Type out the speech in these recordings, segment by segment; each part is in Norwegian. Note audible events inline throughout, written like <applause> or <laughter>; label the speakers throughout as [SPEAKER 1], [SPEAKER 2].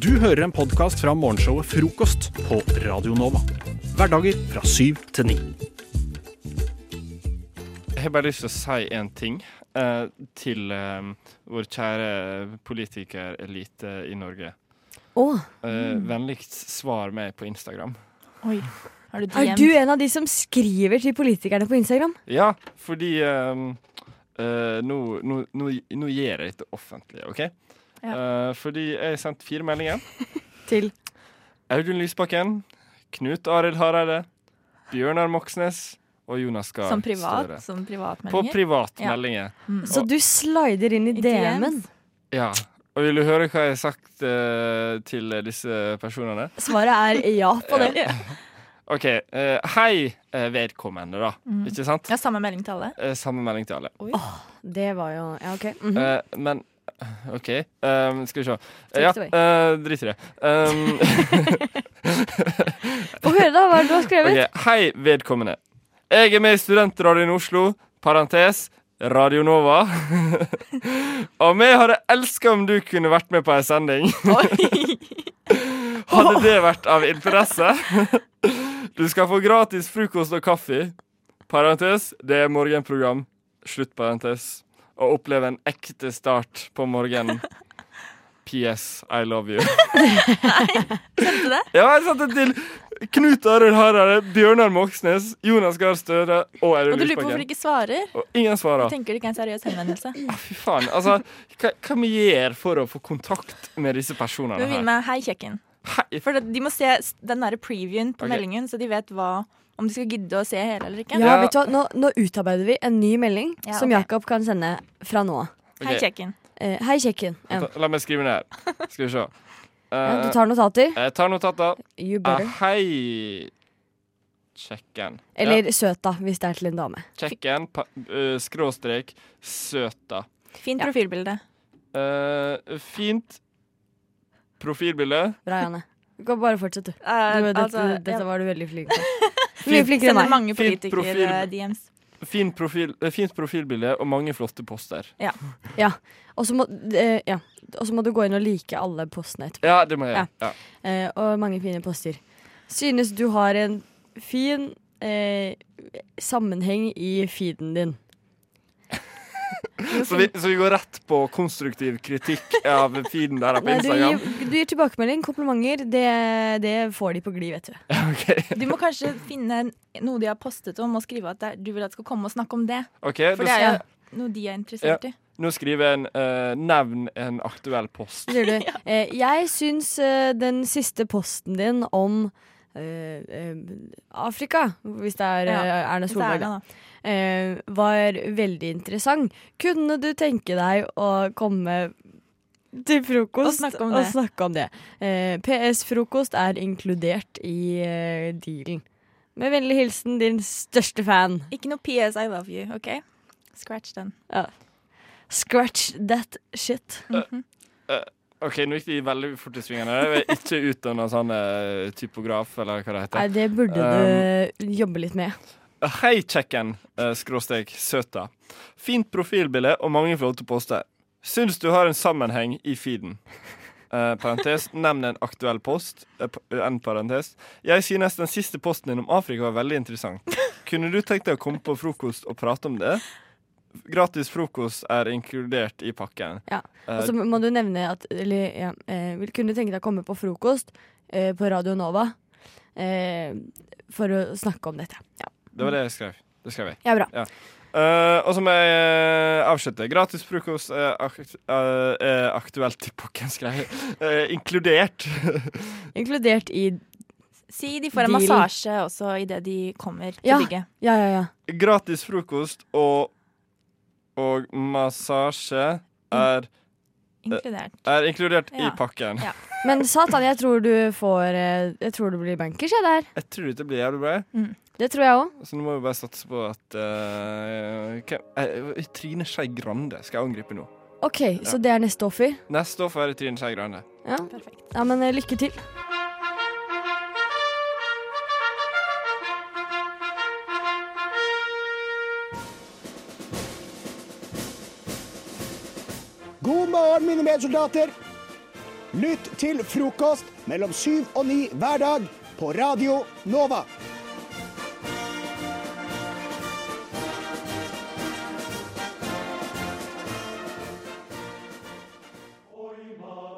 [SPEAKER 1] Du hører en podkast fra morgenshowet Frokost på Radio Nova. Hverdager fra syv til ni.
[SPEAKER 2] Jeg har bare lyst til å si en ting eh, til eh, vår kjære politikerelite i Norge.
[SPEAKER 3] Å,
[SPEAKER 2] Eh,
[SPEAKER 4] mm.
[SPEAKER 2] vennligst svar meg på Instagram.
[SPEAKER 4] Oi. Har du
[SPEAKER 3] er
[SPEAKER 4] DM?
[SPEAKER 3] du en av de som skriver til politikerne på Instagram?
[SPEAKER 2] Ja, fordi eh, eh, nå, nå, nå, nå gjør jeg dette offentlig, OK? Eh, fordi jeg har sendt fire
[SPEAKER 4] <laughs>
[SPEAKER 2] meldinger.
[SPEAKER 3] Til
[SPEAKER 2] Audun Lysbakken, Knut Arild Hareide, Bjørnar Moxnes og Jonas Gahr
[SPEAKER 4] Som privat?
[SPEAKER 2] Støre.
[SPEAKER 4] Som
[SPEAKER 2] På
[SPEAKER 4] privatmeldinger? Ja. Mm.
[SPEAKER 2] privatmeldinger.
[SPEAKER 3] Så du slider inn i
[SPEAKER 4] I
[SPEAKER 3] DM-en.
[SPEAKER 2] Ja. Og vil du høre hva jeg har sagt eh, til disse personene?
[SPEAKER 3] Svaret er ja på
[SPEAKER 4] <laughs>
[SPEAKER 3] det.
[SPEAKER 2] OK. eh, hei, eh, vedkommende, da. Ikke sant?
[SPEAKER 4] Ja, samme melding til alle?
[SPEAKER 2] Eh, samme melding til alle.
[SPEAKER 3] Det var jo Ja, OK. Mhm.
[SPEAKER 2] Eh, men OK, eh, skal vi se. Eh, ja,
[SPEAKER 3] Take it
[SPEAKER 2] eh, drit i det. Um,
[SPEAKER 3] Få høre, da, hva er det du har skrevet?
[SPEAKER 2] ok, Hei, vedkommende. Jeg er med i Studentradioen i Oslo, parentes Radio Nova. <laughs> Og vi hadde elska om du kunne vært med på ei sending. Hadde det vært av interesse? Du skal få gratis frokost og kaffe. Parentes, det er morgenprogram. Slutt parentes. Og oppleve en ekte start på morgenen. PS, I love you. Nei, sendte
[SPEAKER 4] du det?
[SPEAKER 2] Ja, jeg sendte det til Knut Arild Hareide, Bjørnar Moxnes, Jonas Gahr Støre og
[SPEAKER 4] Og
[SPEAKER 2] Audun
[SPEAKER 4] du lurer på hvorfor de
[SPEAKER 2] Lysbakken.
[SPEAKER 4] ikke svarer?
[SPEAKER 2] Og ingen svarer.
[SPEAKER 4] Tenker det ikke er en seriøs henvendelse?
[SPEAKER 2] Fy faen. Altså, hva, hva vi gjør for å få kontakt med disse
[SPEAKER 4] Du
[SPEAKER 2] personene
[SPEAKER 4] vil
[SPEAKER 2] her?
[SPEAKER 4] med 'hei, kjekken'.
[SPEAKER 2] Hei,
[SPEAKER 4] For det, de må se s- den derre previewen på
[SPEAKER 2] Ok.
[SPEAKER 4] meldingen, så de vet hva om de skal gidde å se hele eller ikke.
[SPEAKER 3] Ja,
[SPEAKER 2] Ja.
[SPEAKER 3] vet du hva? Nå, nå utarbeider vi en ny melding
[SPEAKER 4] Ja,
[SPEAKER 3] som
[SPEAKER 4] ok.
[SPEAKER 3] Jakob kan sende fra nå av.
[SPEAKER 4] Hei,
[SPEAKER 2] ok.
[SPEAKER 4] kjekken.
[SPEAKER 3] Eh, hei, kjekken. Ja.
[SPEAKER 2] Ta- La meg skrive ned her. Skal vi se.
[SPEAKER 3] Ja,
[SPEAKER 2] Eh,
[SPEAKER 3] du tar notater.
[SPEAKER 2] jeg tar notater.
[SPEAKER 3] You
[SPEAKER 2] Eh,
[SPEAKER 3] better.
[SPEAKER 2] hei Kjekken.
[SPEAKER 3] Eller
[SPEAKER 2] ja,
[SPEAKER 3] søt, da, hvis det er til en dame.
[SPEAKER 2] Kjekken, pa, eh, skråstrek, søta.
[SPEAKER 4] Fint
[SPEAKER 3] Ja.
[SPEAKER 4] profilbilde.
[SPEAKER 2] Eh, fint profilbilde.
[SPEAKER 3] Bra, Janne. Du kan bare fortsette, du.
[SPEAKER 4] Eh,
[SPEAKER 3] du dette,
[SPEAKER 4] altså,
[SPEAKER 3] dette
[SPEAKER 4] ja,
[SPEAKER 3] var du veldig flink
[SPEAKER 4] <laughs>
[SPEAKER 3] til. Mye
[SPEAKER 2] Fint-
[SPEAKER 4] sender
[SPEAKER 3] flinkere enn meg.
[SPEAKER 4] mange
[SPEAKER 2] Fint profil.
[SPEAKER 4] politiker-DMs.
[SPEAKER 2] Fin profil, eh, fint profilbilde og mange flotte poster.
[SPEAKER 3] Og så må, eh, ja. Og så må du gå inn og like alle postene etterpå.
[SPEAKER 2] Ja, det må jeg gjøre. Ja.
[SPEAKER 3] Eh, og mange fine poster. Synes du har en fin eh, sammenheng i feeden din.
[SPEAKER 2] Så, vi, så vi går rett på konstruktiv kritikk av feeden der på
[SPEAKER 3] Nei, du, gir,
[SPEAKER 2] Instagram?
[SPEAKER 3] du gir tilbakemelding, komplimenter. Det, Eh, det får de på glid,
[SPEAKER 2] <laughs>
[SPEAKER 3] vet du.
[SPEAKER 2] OK,
[SPEAKER 4] Du må kanskje finne noe de har postet om, og skrive at det er- du vil at skal komme og snakke om det.
[SPEAKER 2] ok, da
[SPEAKER 4] For det er
[SPEAKER 2] skal-
[SPEAKER 4] jo noe de er interessert i.
[SPEAKER 2] Nå skriver jeg en eh, Nevn en aktuell post.
[SPEAKER 4] <laughs>
[SPEAKER 3] Så sier du eh, Jeg syns eh, den siste posten din om eh, eh, Afrika, hvis det er eh,
[SPEAKER 4] Ja,
[SPEAKER 3] Erna
[SPEAKER 4] Så er
[SPEAKER 3] Solberg,
[SPEAKER 4] det,
[SPEAKER 3] da,
[SPEAKER 4] da.
[SPEAKER 3] eh, var veldig interessant. Kunne du tenke deg å komme til frokost
[SPEAKER 4] Og snakke om
[SPEAKER 3] og
[SPEAKER 4] det.
[SPEAKER 3] snakke om det? Eh, PS-frokost er inkludert i eh, dealen. Med vennlig hilsen din største fan.
[SPEAKER 4] Ikke noe PS I love you, OK? Scratch den.
[SPEAKER 3] Scratch that shit.
[SPEAKER 4] Mhm.
[SPEAKER 2] Eh, OK, nå gikk de veldig fort i svingene. Jeg er ikke utdanna sånn eh, typograf, eller hva det heter. Um,
[SPEAKER 3] Nei, det burde du jobbe litt med.
[SPEAKER 2] Hei, kjekken, eh, skråstrek, søta. Fint profilbilde og mange flotte poster. Syns du har en sammenheng i feeden. Eh, parentes, nevn en aktuell post. eh, p- En parentes. Jeg synes den siste posten din om Afrika var veldig interessant. Kunne du tenkt deg å komme på frokost og prate om det? Gratis frokost er inkludert i pakken.
[SPEAKER 3] Ja, Altså,
[SPEAKER 2] Eh,
[SPEAKER 3] Og så må du nevne at eller, ja, eh, Vil kunne tenke deg å komme på frokost eh, på Radio Nova eh, for å snakke om dette. Ja,
[SPEAKER 2] det var det jeg skrev. Det skrev jeg.
[SPEAKER 3] ja bra.
[SPEAKER 2] Eh, og så må jeg eh, avslutte. Gratis frokost er akt eh, er aktuelt i pakken, skrev jeg. <laughs> Eh, inkludert. <laughs>
[SPEAKER 3] Inkludert i
[SPEAKER 4] Si de får en
[SPEAKER 3] Deal.
[SPEAKER 4] massasje også idet de kommer til
[SPEAKER 3] Ja.
[SPEAKER 4] bygget.
[SPEAKER 3] Ja, ja, ja.
[SPEAKER 2] Gratis frokost og og massasje er,
[SPEAKER 4] Inkludert.
[SPEAKER 2] er inkludert i
[SPEAKER 4] Ja.
[SPEAKER 2] pakken.
[SPEAKER 4] Ja.
[SPEAKER 3] Men satan, jeg tror du får eh, Jeg tror du blir bankers, jeg, der.
[SPEAKER 2] Jeg tror dette blir jævlig bra,
[SPEAKER 3] Det tror jeg òg.
[SPEAKER 2] så nå må vi bare satse på at eh, hvem- eh, Trine Skei Grande skal jeg angripe nå.
[SPEAKER 3] OK, så det er neste offer.
[SPEAKER 2] Neste år får jeg Trine Skei Grande.
[SPEAKER 3] Ja, ja men eh, lykke til.
[SPEAKER 5] God morgen, mine medsoldater. Lytt til frokost mellom syv og ni hver dag på Radio Nova.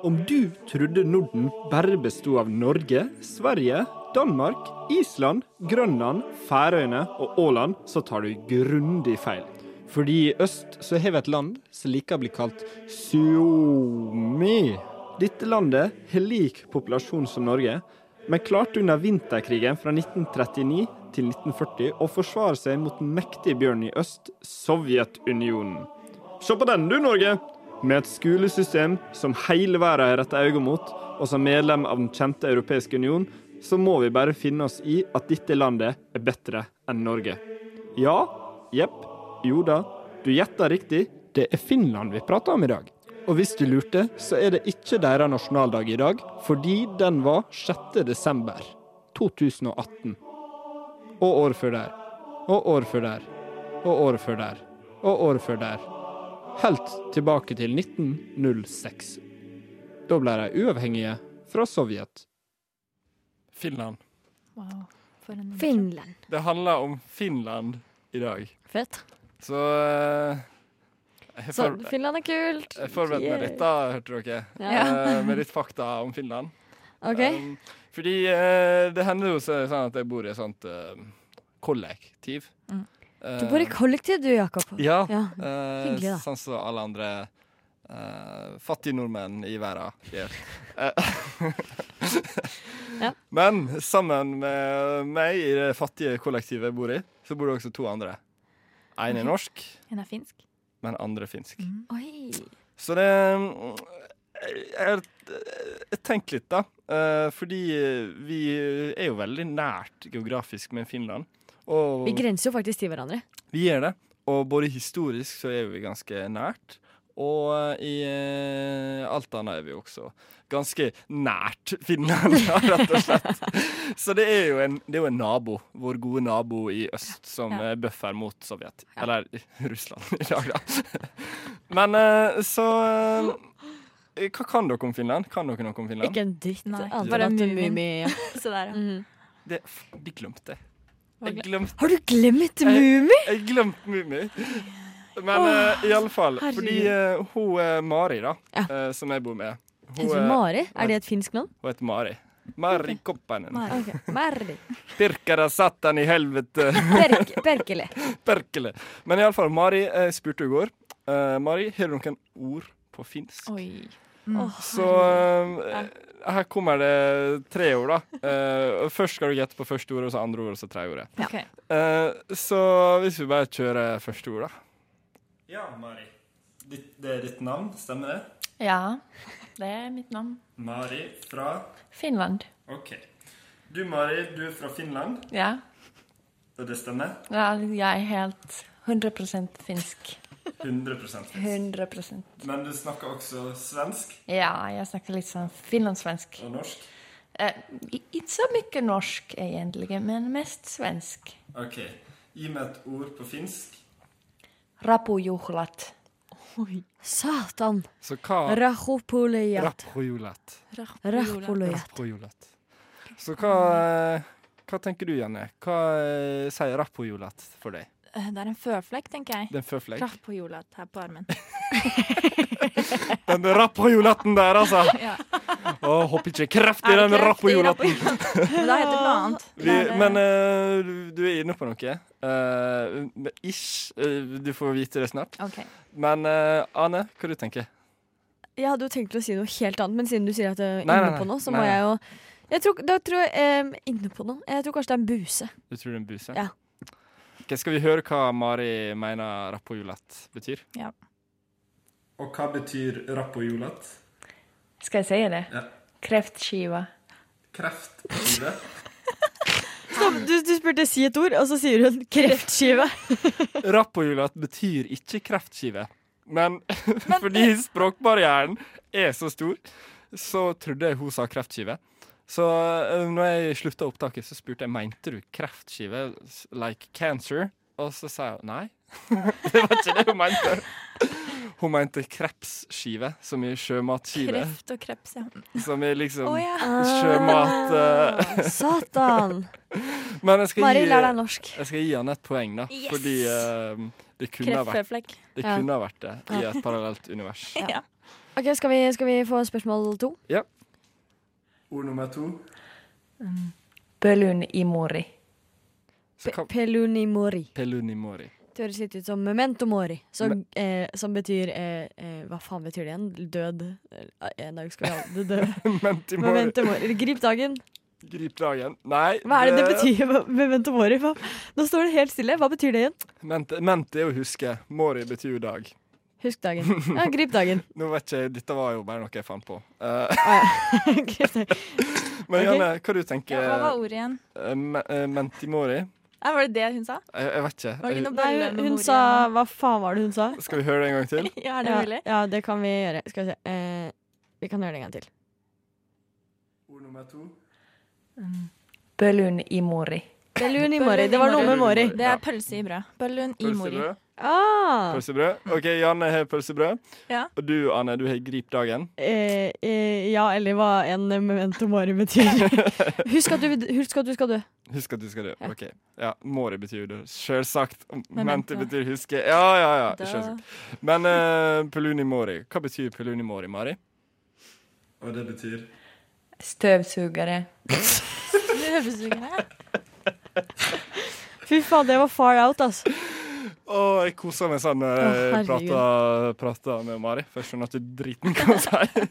[SPEAKER 6] Om du trodde Norden bare bestod av Norge, Sverige, Danmark, Island, Grønland, Færøyene og Åland, så tar du grundig feil. Fordi i øst så har vi et land som liker å bli kalt Suomi. Dette landet har lik populasjon som Norge, men klarte under vinterkrigen fra 1939 til 1940 å forsvare seg mot den mektige bjørnen i øst, Sovjetunionen. Se på den du, Norge! Med et skolesystem som hele verden har retta øynene mot, og som medlem av den kjente europeiske union, så må vi bare finne oss i at dette landet er bedre enn Norge. Ja, jepp, jo da, du gjetta riktig, det er Finland vi prater om i dag. Og hvis du lurte, så er det ikke deres nasjonaldag i dag, fordi den var 6. desember 2018. Og året før der. Og året før der. Og året før der. Og året før der helt tilbake til 1906. Da ble de uavhengige fra Sovjet.
[SPEAKER 2] Finland.
[SPEAKER 4] Wow. For en
[SPEAKER 3] Finland.
[SPEAKER 2] Det handler om Finland i dag.
[SPEAKER 3] Fett.
[SPEAKER 2] Så eh, jeg,
[SPEAKER 3] Så
[SPEAKER 2] for,
[SPEAKER 3] Finland er kult.
[SPEAKER 2] jeg forberedte meg
[SPEAKER 3] Yeah.
[SPEAKER 2] litt, da, hørte dere.
[SPEAKER 3] Ja.
[SPEAKER 2] Eh, med litt fakta om Finland.
[SPEAKER 3] OK.
[SPEAKER 2] Um, fordi eh, det hender jo så- sånn at jeg bor i et sånt eh, kollektiv. Eh,
[SPEAKER 4] Mm.
[SPEAKER 3] Du bor i kollektiv du, Jakob.
[SPEAKER 2] Um, Ja.
[SPEAKER 3] Ja.
[SPEAKER 2] eh,
[SPEAKER 3] hyggelig, da.
[SPEAKER 2] Sånn som alle andre eh, fattige nordmenn i verden gjør. Eh,
[SPEAKER 3] <laughs> Ja.
[SPEAKER 2] Men sammen med meg i det fattige kollektivet jeg bor i, så bor det også to andre. En er norsk,
[SPEAKER 4] En er finsk.
[SPEAKER 2] men andre er finsk.
[SPEAKER 4] Mm.
[SPEAKER 3] Oi.
[SPEAKER 2] Så det mm, Jeg, jeg tenkte litt, da. Eh, fordi vi er jo veldig nært geografisk med Finland. Og
[SPEAKER 3] Vi grenser jo faktisk til hverandre.
[SPEAKER 2] vi gjør det. Og både historisk så er vi ganske nært, og i eh, alt annet er vi også ganske nært Finland, <laughs> ja, rett og slett. Så det er jo en, det er jo en nabo, vår gode nabo i øst, som
[SPEAKER 4] Ja.
[SPEAKER 2] eh, bøffer mot Sovjet. Eller <laughs> Russland i dag, da. Men eh, så eh, Hva kan dere om Finland? Kan dere noe om Finland?
[SPEAKER 3] Ikke en dritt.
[SPEAKER 4] Nei.
[SPEAKER 3] annet
[SPEAKER 4] Bare
[SPEAKER 3] enn at
[SPEAKER 4] Mumin.
[SPEAKER 3] <laughs> Mumin-
[SPEAKER 4] Se der, ja.
[SPEAKER 3] Mhm.
[SPEAKER 2] Det, f- de glemte det.
[SPEAKER 4] Hva
[SPEAKER 2] Jeg
[SPEAKER 4] gle-
[SPEAKER 2] glemte
[SPEAKER 3] Har du glemt
[SPEAKER 2] Jeg-
[SPEAKER 3] Mumi?
[SPEAKER 2] Jeg glemte Mummi. Men eh, i alle fall,
[SPEAKER 3] herregud.
[SPEAKER 2] fordi eh, hun eh, Mari, da,
[SPEAKER 3] Ja.
[SPEAKER 2] eh, som jeg bor med Hun,
[SPEAKER 3] Heter hun
[SPEAKER 2] eh,
[SPEAKER 3] Mari? Er det et finsk navn? Ah,
[SPEAKER 2] hun heter Mari. Mari Koppanen.
[SPEAKER 4] Mari.
[SPEAKER 3] Ok, Mari.
[SPEAKER 2] Pirkara satan i helvete,
[SPEAKER 3] Berk Berkeli.
[SPEAKER 2] <laughs> perkele. Men i alle fall, Mari eh, spurte i går. eh, Mari, har du noen ord på finsk?
[SPEAKER 4] Oi.
[SPEAKER 3] Åh,
[SPEAKER 2] Så eh, her kommer det tre ord, da. Eh, og først skal du gjette på første ordet, og så andre ordet, og så tredje ordet.
[SPEAKER 4] Ja.
[SPEAKER 2] Eh, så hvis vi bare kjører første ord, da. Ja, Mari. det er ditt navn, stemmer det?
[SPEAKER 7] Ja, det er mitt navn.
[SPEAKER 2] Mari fra
[SPEAKER 7] Finland.
[SPEAKER 2] OK. Du, Mari, du er fra Finland,
[SPEAKER 7] Ja,
[SPEAKER 2] og det stemmer?
[SPEAKER 7] ja jeg er helt 100 finsk.
[SPEAKER 2] 100
[SPEAKER 7] 100
[SPEAKER 2] Men du snakker også svensk
[SPEAKER 7] Ja, jeg snakker litt sånn finlandssvensk.
[SPEAKER 2] og norsk?
[SPEAKER 7] Eh, ikke så mye norsk egentlig, men mest svensk.
[SPEAKER 2] OK. Gi meg et ord på finsk.
[SPEAKER 7] Rapujuhlat.
[SPEAKER 3] Satan.
[SPEAKER 2] Så hva
[SPEAKER 3] Rahopolejat.
[SPEAKER 2] Rapprojulat.
[SPEAKER 3] Rahopolejat.
[SPEAKER 2] Rapprojulat. Så hva
[SPEAKER 4] Mm.
[SPEAKER 2] eh, Hva tenker du, Janne? Hva eh, sier rapprojulat for deg?
[SPEAKER 4] Eh, Det er en føflekk, tenker jeg.
[SPEAKER 2] Den føflekk?
[SPEAKER 4] Traff på jorda her
[SPEAKER 2] <laughs>
[SPEAKER 4] på armen.
[SPEAKER 2] Den rapprojulaten der, altså!
[SPEAKER 4] <laughs> Ja.
[SPEAKER 2] Å, hopp ikke kraftig, den rapprojulaten! <laughs>
[SPEAKER 4] Men da heter det noe annet.
[SPEAKER 2] Vi,
[SPEAKER 4] Da er det-
[SPEAKER 2] men eh, du, du er inne på noe. Eh, men ish. eh, du får vite det snart.
[SPEAKER 4] Ok.
[SPEAKER 2] Men eh, Ane, hva du tenker
[SPEAKER 3] Jeg hadde jo tenkt å si noe helt annet, men siden du sier at jeg er
[SPEAKER 2] Nei, nei,
[SPEAKER 3] inne på
[SPEAKER 2] nei.
[SPEAKER 3] noe, så
[SPEAKER 2] Nei,
[SPEAKER 3] må
[SPEAKER 2] nei.
[SPEAKER 3] jeg jo jeg tror, da tror jeg, eh, inne på noe. jeg tror kanskje det er en buse.
[SPEAKER 2] du? Tror du en buse?
[SPEAKER 3] Ja.
[SPEAKER 2] Ok, skal vi høre hva Mari mener rappojulat betyr?
[SPEAKER 4] Ja.
[SPEAKER 2] Og hva betyr rappojulat?
[SPEAKER 7] Skal jeg si det?
[SPEAKER 2] Ja.
[SPEAKER 7] Kreftskiva.
[SPEAKER 2] Kreftskive.
[SPEAKER 3] Du, du spurte si et ord, og så sier hun kreftskive.
[SPEAKER 2] rappojulat betyr ikke kreftskive. Men, <laughs> fordi
[SPEAKER 4] eh,
[SPEAKER 2] språkbarrieren er så stor, så trodde jeg hun sa kreftskive. Så eh, når jeg slutta opptaket, så spurte jeg mente du kreftskive s- <laughs> like cancer. Og så sa hun nei. det var ikke det hun mente. Hun mente krepsskive, som i sjømatskive.
[SPEAKER 4] Kreft og kreps, ja.
[SPEAKER 2] Som i liksom
[SPEAKER 4] Å ja.
[SPEAKER 2] sjømat eh, <laughs>
[SPEAKER 3] Satan!
[SPEAKER 2] Men jeg skal
[SPEAKER 3] Mari,
[SPEAKER 2] gi,
[SPEAKER 3] lær deg norsk.
[SPEAKER 2] jeg skal gi han et poeng, da.
[SPEAKER 4] Yes!
[SPEAKER 2] Fordi eh, det kunne ha vært
[SPEAKER 4] Kreftflekk.
[SPEAKER 2] det,
[SPEAKER 3] Ja.
[SPEAKER 2] kunne ha vært det i et parallelt <laughs> univers.
[SPEAKER 4] Ja.
[SPEAKER 3] Ok, Skal vi, skal vi få spørsmål to?
[SPEAKER 2] Ord nummer to.
[SPEAKER 7] Pölyn imuri.
[SPEAKER 2] Så kan,
[SPEAKER 3] Peluni mori.
[SPEAKER 2] pelunimori.
[SPEAKER 3] Det høres litt ut som memento mori, som,
[SPEAKER 2] Men-
[SPEAKER 3] eh, som betyr eh, eh, Hva faen betyr det igjen? Død eh, En dag skal vi alle dø.
[SPEAKER 2] <laughs> Mentimori.
[SPEAKER 3] Memento mori. eller Grip dagen.
[SPEAKER 2] Grip dagen. Nei.
[SPEAKER 3] Hva er det det betyr? med Memento mori? Hva? Nå står det helt stille. Hva betyr det igjen?
[SPEAKER 2] Mente, mente er å huske. Mori betyr jo dag.
[SPEAKER 3] Husk dagen. Ja, grip dagen.
[SPEAKER 2] Nå vet ikke jeg, Dette var jo bare noe jeg fant på. Eh,
[SPEAKER 3] Ah, <laughs> Grip dagen.
[SPEAKER 2] men
[SPEAKER 3] Ok.
[SPEAKER 2] Janne, hva du
[SPEAKER 4] ja.
[SPEAKER 2] tenker
[SPEAKER 4] Hva var ordet igjen?
[SPEAKER 2] eh, me- eh, mentimori?
[SPEAKER 4] Ja, var det det hun sa?
[SPEAKER 2] Jeg, jeg vet ikke.
[SPEAKER 4] Var det ikke noe
[SPEAKER 3] Nei,
[SPEAKER 4] bølle
[SPEAKER 3] hun,
[SPEAKER 4] med
[SPEAKER 3] hun
[SPEAKER 4] mor
[SPEAKER 3] sa
[SPEAKER 4] igjen?
[SPEAKER 3] Hva faen var det hun sa?
[SPEAKER 2] Skal vi høre det en gang til?
[SPEAKER 4] Ja, er det
[SPEAKER 3] <laughs> Ja,
[SPEAKER 4] mulig?
[SPEAKER 3] ja, det kan vi gjøre. Skal vi se. Eh, vi kan gjøre det en gang til.
[SPEAKER 2] Ord nummer to.
[SPEAKER 7] Pölyn imuri.
[SPEAKER 3] Bellun i
[SPEAKER 4] Bøllun
[SPEAKER 3] Mori. Det var noe med Mori.
[SPEAKER 4] Det er pølse i brød. Bøllun i mori.
[SPEAKER 2] Pølsebrød.
[SPEAKER 3] Ah,
[SPEAKER 2] Pølsebrød. OK, Janne har pølsebrød.
[SPEAKER 4] Ja.
[SPEAKER 2] Og du, Anne, du har grip dagen.
[SPEAKER 3] eh, eh, ja, eller hva en memento mori betyr. husk, at du, husk at du skal dø.
[SPEAKER 2] Husk at du skal dø.
[SPEAKER 3] Ja.
[SPEAKER 2] OK. Ja, Mori betyr det. Sjølsagt. Mente
[SPEAKER 4] Memento.
[SPEAKER 2] betyr huske. Ja, ja, ja.
[SPEAKER 4] Da-
[SPEAKER 2] Selvsagt. Men eh, peluni mori. Hva betyr peluni mori, Mari? Og det betyr
[SPEAKER 7] Stövsugare.
[SPEAKER 4] Løvesugere.
[SPEAKER 3] Fy faen, det var far out, altså.
[SPEAKER 2] Å, jeg koser meg sånn når jeg
[SPEAKER 3] Å,
[SPEAKER 2] prater, prater med Mari. For jeg skjønner at det er driten kan si.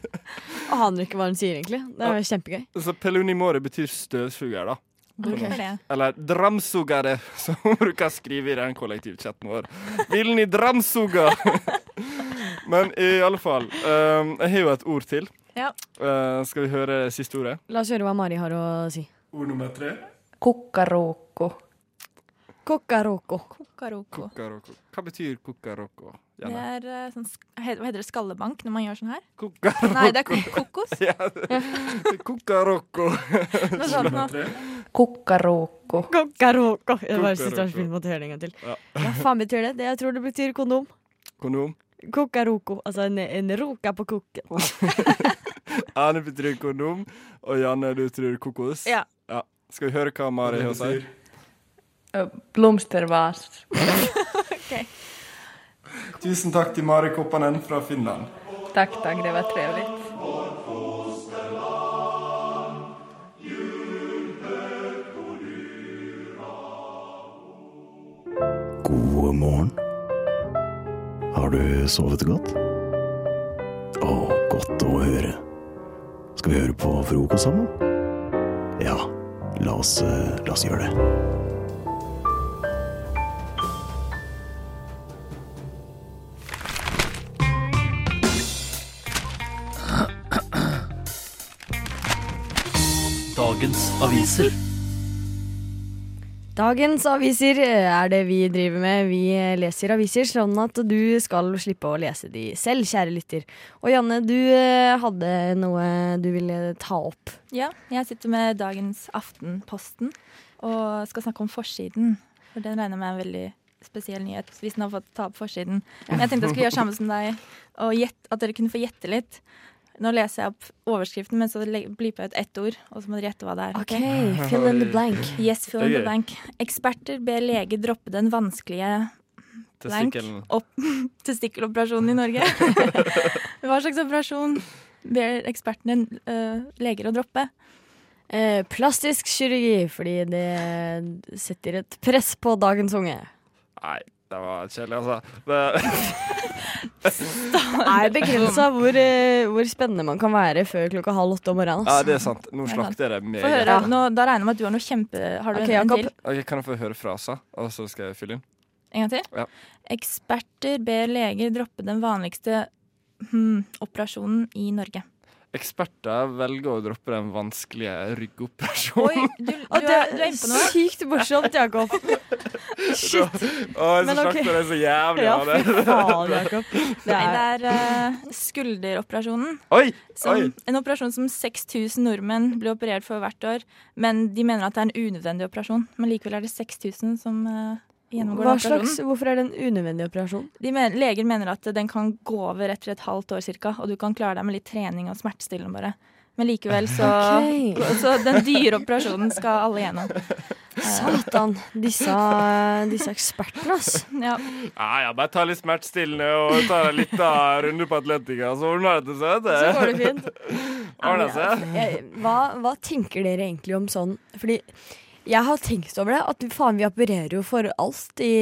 [SPEAKER 3] Aner ikke hva hun sier, egentlig. Det er jo kjempegøy.
[SPEAKER 2] Så peluni mori betyr støvsuger, da. Sånn.
[SPEAKER 4] Hvorfor det?
[SPEAKER 2] Eller dramsugare, <laughs> som hun bruker å skrive i den kollektivchatten vår. Vil ni dramsuga? <laughs> Men i alle fall, ehm, jeg har jo et ord til.
[SPEAKER 4] Ja.
[SPEAKER 2] Eh, skal vi høre siste ordet?
[SPEAKER 3] La oss høre hva Mari har å si.
[SPEAKER 2] Ord nummer tre.
[SPEAKER 7] Kukkaruukku.
[SPEAKER 3] Kokkaroko.
[SPEAKER 4] Kokaroko.
[SPEAKER 2] Kukaroko. Hva betyr kukaroko?
[SPEAKER 4] Det
[SPEAKER 2] Janne?
[SPEAKER 4] er eh, sånn sk- he- Hva heter det? Skallebank når man gjør sånn her?
[SPEAKER 2] Kukaroko.
[SPEAKER 4] Nei, det er ko- kokos.
[SPEAKER 2] <laughs> Ja,
[SPEAKER 4] <laughs>
[SPEAKER 2] kukaroko.
[SPEAKER 4] Noe sånt nå.
[SPEAKER 7] Kukkaruukku.
[SPEAKER 3] Kokkaroko. Det
[SPEAKER 2] Kokkaroko.
[SPEAKER 3] var siste vi måtte høre det en gang til.
[SPEAKER 2] Ja.
[SPEAKER 3] Hva faen betyr det? det? Jeg tror det betyr kondom.
[SPEAKER 2] Kondom.
[SPEAKER 3] Kokkaroko. Altså en, en roka på kokken.
[SPEAKER 2] Ane betyr kondom, og Janne, du tror kokos.
[SPEAKER 4] Ja.
[SPEAKER 2] Skal vi høre hva Mari har å si?
[SPEAKER 7] Ö, Blomstervas.
[SPEAKER 2] Tusen takk til Mari Koppanen fra Finland.
[SPEAKER 7] Tack, tack. Det var trevligt.
[SPEAKER 8] God morgen. Har du sovet godt? Å, godt å høre. Skal vi høre på frokost sammen? Ja, la oss, eh, la oss gjøre det.
[SPEAKER 9] Dagens aviser.
[SPEAKER 3] Dagens aviser er det vi driver med. Vi leser aviser sånn at du skal slippe å lese de selv, kjære lytter. Og Janne, du eh, hadde noe du ville ta opp.
[SPEAKER 4] Ja, jeg sitter med dagens Aftenposten og skal snakke om forsiden. For den regner jeg med er en veldig spesiell nyhet, hvis den har fått ta opp forsiden. Men jeg tenkte jeg skulle gjøre samme som deg, og gjett- at dere kunne få gjette litt. Nå leser jeg opp overskriften, men så le- bliper jeg ut ett ord, og så må dere gjette hva det er.
[SPEAKER 3] Ok, fill in the blank.
[SPEAKER 4] Yes, fill
[SPEAKER 2] Det er
[SPEAKER 4] in the
[SPEAKER 2] gøy.
[SPEAKER 4] blank. Eksperter ber lege droppe den vanskelige blank
[SPEAKER 2] Testikkelen.
[SPEAKER 4] opp <laughs> testikkeloperasjonen i Norge. Hva slags operasjon ber ekspertene øh, leger å droppe?
[SPEAKER 3] Eh, plastisk kirurgi, fordi det setter et press på dagens unge.
[SPEAKER 2] Nei, det var kjedelig, altså. Det,
[SPEAKER 3] Det er begrensa
[SPEAKER 4] sånn?
[SPEAKER 3] hvor, eh, hvor spennende man kan være før klokka halv åtte om morgenen.
[SPEAKER 2] ja,
[SPEAKER 3] altså. ass.
[SPEAKER 2] det er sant. Nå
[SPEAKER 4] Det er
[SPEAKER 2] slakter jeg det
[SPEAKER 4] Få
[SPEAKER 2] meget.
[SPEAKER 4] høre. Nå, da regner jeg med at du har noe kjempe... Har du
[SPEAKER 3] Ok,
[SPEAKER 4] en, en
[SPEAKER 3] Jakob.
[SPEAKER 4] til?
[SPEAKER 2] Ok, kan jeg få høre frasa, og så skal jeg fylle inn?
[SPEAKER 4] En gang til?
[SPEAKER 2] Ja.
[SPEAKER 4] Eksperter ber leger droppe den vanligste hmm, operasjonen i Norge.
[SPEAKER 2] Eksperter velger å droppe den vanskelige ryggoperasjonen.
[SPEAKER 4] Oi, du, du,
[SPEAKER 3] Å,
[SPEAKER 4] er,
[SPEAKER 3] det
[SPEAKER 4] du
[SPEAKER 3] er
[SPEAKER 4] er inne på noe.
[SPEAKER 3] sykt morsomt, Jakob.
[SPEAKER 2] <laughs>
[SPEAKER 3] Shit.
[SPEAKER 2] Å, jeg
[SPEAKER 3] Men
[SPEAKER 2] så
[SPEAKER 3] ok.
[SPEAKER 2] slakter det så jævlig
[SPEAKER 3] Ja,
[SPEAKER 2] av
[SPEAKER 3] fy
[SPEAKER 2] det.
[SPEAKER 3] faen, Jakob. <laughs> Det
[SPEAKER 4] Nei,
[SPEAKER 3] er
[SPEAKER 4] det er eh, skulderoperasjonen.
[SPEAKER 2] Oi!
[SPEAKER 4] Som,
[SPEAKER 2] Oi.
[SPEAKER 4] en operasjon som 6000 nordmenn blir operert for hvert år. Men de mener at det er en unødvendig operasjon. Men likevel er det 6000 som eh, gjennomgår
[SPEAKER 3] Hva
[SPEAKER 4] den operasjonen.
[SPEAKER 3] slags, hvorfor er det en unødvendig operasjon?
[SPEAKER 4] De men, leger mener at den kan gå over etter et halvt år cirka, og du kan klare deg med litt trening og smertestillende bare. Men likevel så
[SPEAKER 3] Ok.
[SPEAKER 4] <laughs> Så den dyre operasjonen skal alle gjennom. Eh,
[SPEAKER 3] Sånn. Satan, disse, disse ekspertene, ass.
[SPEAKER 4] Ja.
[SPEAKER 2] Ja, ja, bare ta litt smertestillende og ta en liten runde på Atletica, så ordner det seg.
[SPEAKER 3] Så
[SPEAKER 2] vet
[SPEAKER 3] går det fint.
[SPEAKER 2] du. Ordner seg.
[SPEAKER 3] Jeg, hva, hva tenker dere egentlig om sånn Fordi jeg har tenkt over det, at faen, vi opererer jo for alt i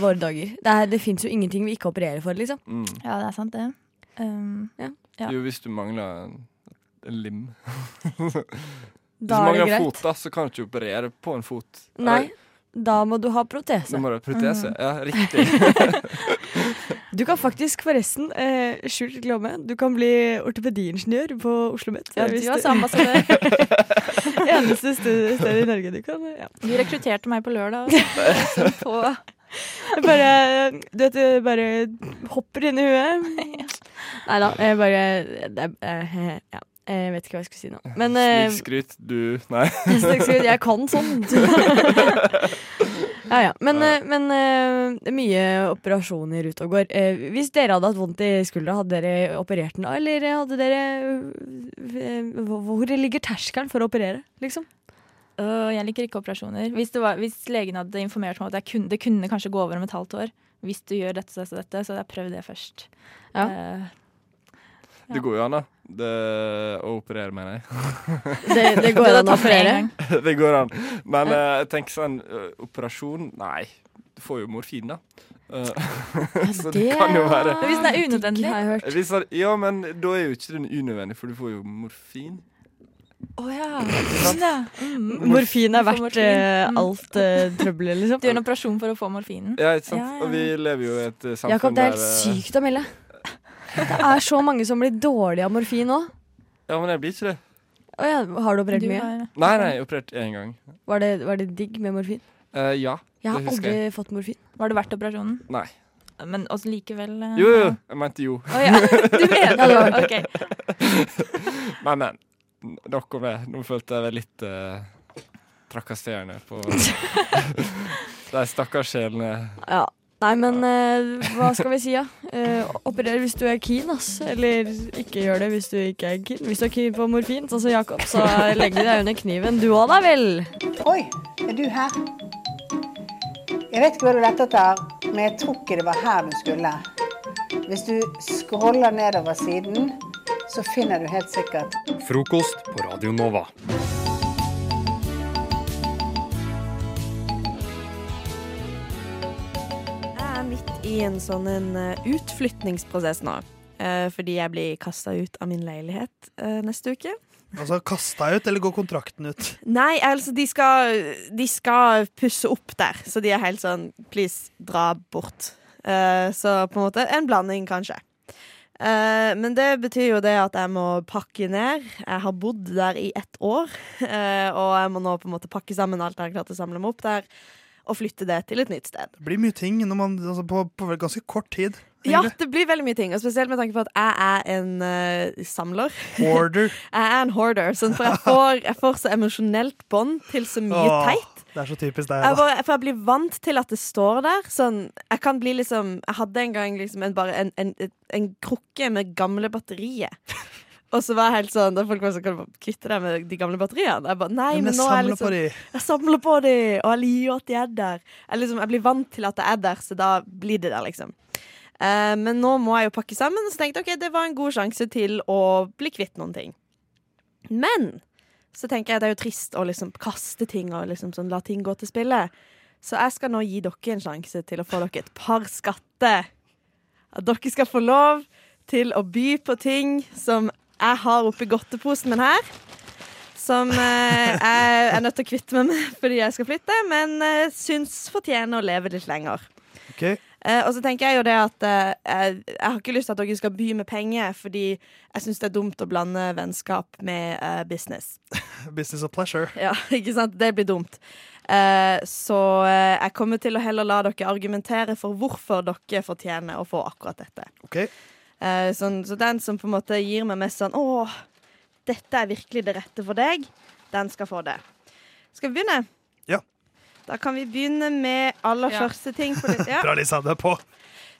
[SPEAKER 3] våre dager. Det, er- det fins jo ingenting vi ikke opererer for, liksom.
[SPEAKER 4] ja, det er sant, det. Um, Ja.
[SPEAKER 2] Jo, hvis du mangler en en lim. <laughs> Hvis du
[SPEAKER 3] Da er det
[SPEAKER 2] mangler en
[SPEAKER 3] greit.
[SPEAKER 2] fot, da, så kan du ikke operere på en fot.
[SPEAKER 3] Nei, da må du ha
[SPEAKER 2] Eller,
[SPEAKER 3] protese.
[SPEAKER 2] Du
[SPEAKER 3] Mm.
[SPEAKER 2] må ha protese. Ja, riktig.
[SPEAKER 3] <laughs> Du kan faktisk, forresten, eh, skjult reklame, du kan bli ortopediingeniør på Oslo Met.
[SPEAKER 4] ja,
[SPEAKER 3] Hvis
[SPEAKER 4] du
[SPEAKER 3] det-
[SPEAKER 4] er ambassadør.
[SPEAKER 3] <laughs> eneste sted, sted i Norge du kan. eh, Ja.
[SPEAKER 4] Du
[SPEAKER 3] <laughs>
[SPEAKER 4] rekrutterte meg på lørdag. altså. Som På,
[SPEAKER 3] Bare, du vet, det bare hopper inn i
[SPEAKER 2] <laughs>
[SPEAKER 3] huet. Nei da, jeg bare det, er- eh, ja. Jeg vet ikke hva jeg skal si nå. Men eh,
[SPEAKER 2] Snikskryt, du
[SPEAKER 3] <laughs>
[SPEAKER 2] Nei.
[SPEAKER 3] Snikskryt, jeg kan <laughs> sånn. ja, ja. Men, eh, men eh, det er mye operasjoner ute og går. Eh, Hvis dere hadde hatt vondt i skuldra, hadde dere operert den da? Eller hadde dere eh, Hvor hvor ligger terskelen for å operere, liksom?
[SPEAKER 4] Øh, jeg liker ikke operasjoner. Hvis, det var, hvis legen hadde informert meg om at jeg kunne, det kunne kanskje gå over om et halvt år, hvis du gjør dette og dette, og dette, så hadde jeg prøvd det først.
[SPEAKER 3] Ja.
[SPEAKER 4] Eh,
[SPEAKER 2] <laughs> Det går jo an, da. Det, å operere, mener jeg.
[SPEAKER 3] <laughs> Det, det
[SPEAKER 4] det
[SPEAKER 3] går
[SPEAKER 4] hadde tatt med
[SPEAKER 3] an å
[SPEAKER 4] en
[SPEAKER 3] operere.
[SPEAKER 4] gang.
[SPEAKER 2] <laughs> Det går an. Men eh, jeg tenker sånn eh, Operasjon Nei. Du får jo morfin, da. Eh, <laughs> så det kan jo være
[SPEAKER 4] Men hvis den er unødvendig?
[SPEAKER 3] Digg, har jeg hørt.
[SPEAKER 2] hvis han, Ja, men da er jo ikke den unødvendig, for du får jo morfin.
[SPEAKER 4] Å
[SPEAKER 3] <laughs>
[SPEAKER 4] ja. Sånn, ja. Mm.
[SPEAKER 3] Morfin er
[SPEAKER 4] Du får
[SPEAKER 3] verdt
[SPEAKER 4] morfin.
[SPEAKER 3] eh,
[SPEAKER 4] Mm.
[SPEAKER 3] <laughs> alt eh, trøbbelet, liksom.
[SPEAKER 4] Du gjør en operasjon for å få morfinen.
[SPEAKER 2] Ja, ikke sant?
[SPEAKER 4] Ja, ja.
[SPEAKER 2] Og vi lever jo i et eh, samfunn
[SPEAKER 3] Jakob, det er helt
[SPEAKER 2] der, eh,
[SPEAKER 3] sykt å melde. Det er så mange som blir dårlige av morfin nå.
[SPEAKER 2] Ja, men jeg blir ikke det.
[SPEAKER 3] Å ja, har du operert
[SPEAKER 4] Du
[SPEAKER 3] mye?
[SPEAKER 4] har-
[SPEAKER 2] Nei, nei, jeg opererte én gang.
[SPEAKER 3] Var det, var det digg med morfin?
[SPEAKER 2] Eh, ja.
[SPEAKER 3] Jeg har
[SPEAKER 2] Det husker
[SPEAKER 3] aldri fått morfin.
[SPEAKER 4] Var det verdt operasjonen?
[SPEAKER 2] Nei.
[SPEAKER 4] Men også likevel eh,
[SPEAKER 2] Jo, jo, jo. Jeg mente jo.
[SPEAKER 4] Å ja. <laughs> Du
[SPEAKER 2] <laughs>
[SPEAKER 4] mener
[SPEAKER 3] Ja, det var
[SPEAKER 4] det? Ok.
[SPEAKER 2] Men, men. Nok om det. Nå følte jeg meg litt eh, trakasserende
[SPEAKER 4] <laughs>
[SPEAKER 2] på <laughs> de stakkars sjelene.
[SPEAKER 3] Ja. Nei, men eh, hva skal vi si, da? Ja? Eh, operer hvis du er keen, ass. Eller ikke gjør det hvis du ikke er keen. Hvis du er keen på morfin, sånn som Jakob, så legger deg under kniven. Du òg, da vel?
[SPEAKER 9] Oi, er du her? Jeg vet ikke hva du lette etter, men jeg tror ikke det var her du skulle. Hvis du scroller nedover siden, så finner du helt sikkert
[SPEAKER 1] Frokost på Radio Nova.
[SPEAKER 10] Jeg er midt i en sånn en eh, utflytningsprosess nå. eh, Fordi jeg blir kasta ut av min leilighet eh, neste uke.
[SPEAKER 11] Altså, Kast deg ut, eller går kontrakten ut?
[SPEAKER 10] Nei, altså, de skal, de skal pusse opp der, så de er helt sånn Please, dra bort. Eh, så på en måte en blanding, kanskje. Eh, men det betyr jo det at jeg må pakke ned. Jeg har bodd der i ett år, eh, og jeg må nå på en måte pakke sammen alt jeg har klart å samle meg opp der, og flytte det til et nytt sted.
[SPEAKER 11] Det blir mye ting når man, altså, på, på vel ganske kort tid.
[SPEAKER 10] Ja,
[SPEAKER 11] egentlig.
[SPEAKER 10] det blir veldig mye ting. Og spesielt med tanke på at jeg er en eh, samler.
[SPEAKER 11] Order.
[SPEAKER 10] <laughs> Jeg er en hoarder. Sånn, for jeg får, jeg får så emosjonelt bånd til så mye
[SPEAKER 11] Åh,
[SPEAKER 10] teit.
[SPEAKER 11] Det er så typisk deg,
[SPEAKER 10] Jeg
[SPEAKER 11] da.
[SPEAKER 10] bare, for jeg blir vant til at det står der. Sånn, jeg kan bli liksom Jeg hadde en gang liksom en, bare en, en, en krukke med gamle batterier. Og så var jeg helt sånn Da folk var sånn Kan du bare kvitte deg med de gamle batteriene? Jeg bare, nei,
[SPEAKER 11] Men
[SPEAKER 10] men
[SPEAKER 11] jeg
[SPEAKER 10] nå er jeg
[SPEAKER 11] samler på
[SPEAKER 10] liksom
[SPEAKER 11] de.
[SPEAKER 10] jeg samler på de, og jeg liker at de er der. Jeg, liksom, jeg blir vant til at det er der, så da blir det der, liksom. Eh, men nå må jeg jo pakke sammen, så tenkte jeg ok, det var en god sjanse til å bli kvitt noen ting. Men så tenker jeg det er jo trist å liksom kaste ting og liksom sånn, la ting gå til spille. Så jeg skal nå gi dere en sjanse til å få dere et par skatter. At dere skal få lov til å by på ting som jeg har oppi godteposen min her som eh, jeg er nødt til å kvitte meg med fordi jeg skal flytte, men eh, syns fortjener å leve litt lenger.
[SPEAKER 11] Ok. <laughs>
[SPEAKER 10] Eh, og så tenker jeg jo det at eh, jeg, jeg har ikke lyst til at dere skal by med penger, fordi jeg syns det er dumt å blande vennskap med eh, business.
[SPEAKER 11] <laughs> Business of pleasure.
[SPEAKER 10] Ja, ikke sant? Det blir dumt. Eh, så eh, jeg kommer til å heller la dere argumentere for hvorfor dere fortjener å få akkurat dette.
[SPEAKER 11] Ok.
[SPEAKER 10] Eh, sånn, så den som på en måte gir meg mest sånn Å, dette er virkelig det rette for deg, den skal få det. Skal vi begynne?
[SPEAKER 11] Ja.
[SPEAKER 10] Da kan vi begynne med aller
[SPEAKER 11] Ja.
[SPEAKER 10] første ting. På
[SPEAKER 11] <laughs>
[SPEAKER 10] det. <laughs> Ja.
[SPEAKER 11] Bra, Lisa. Du er på.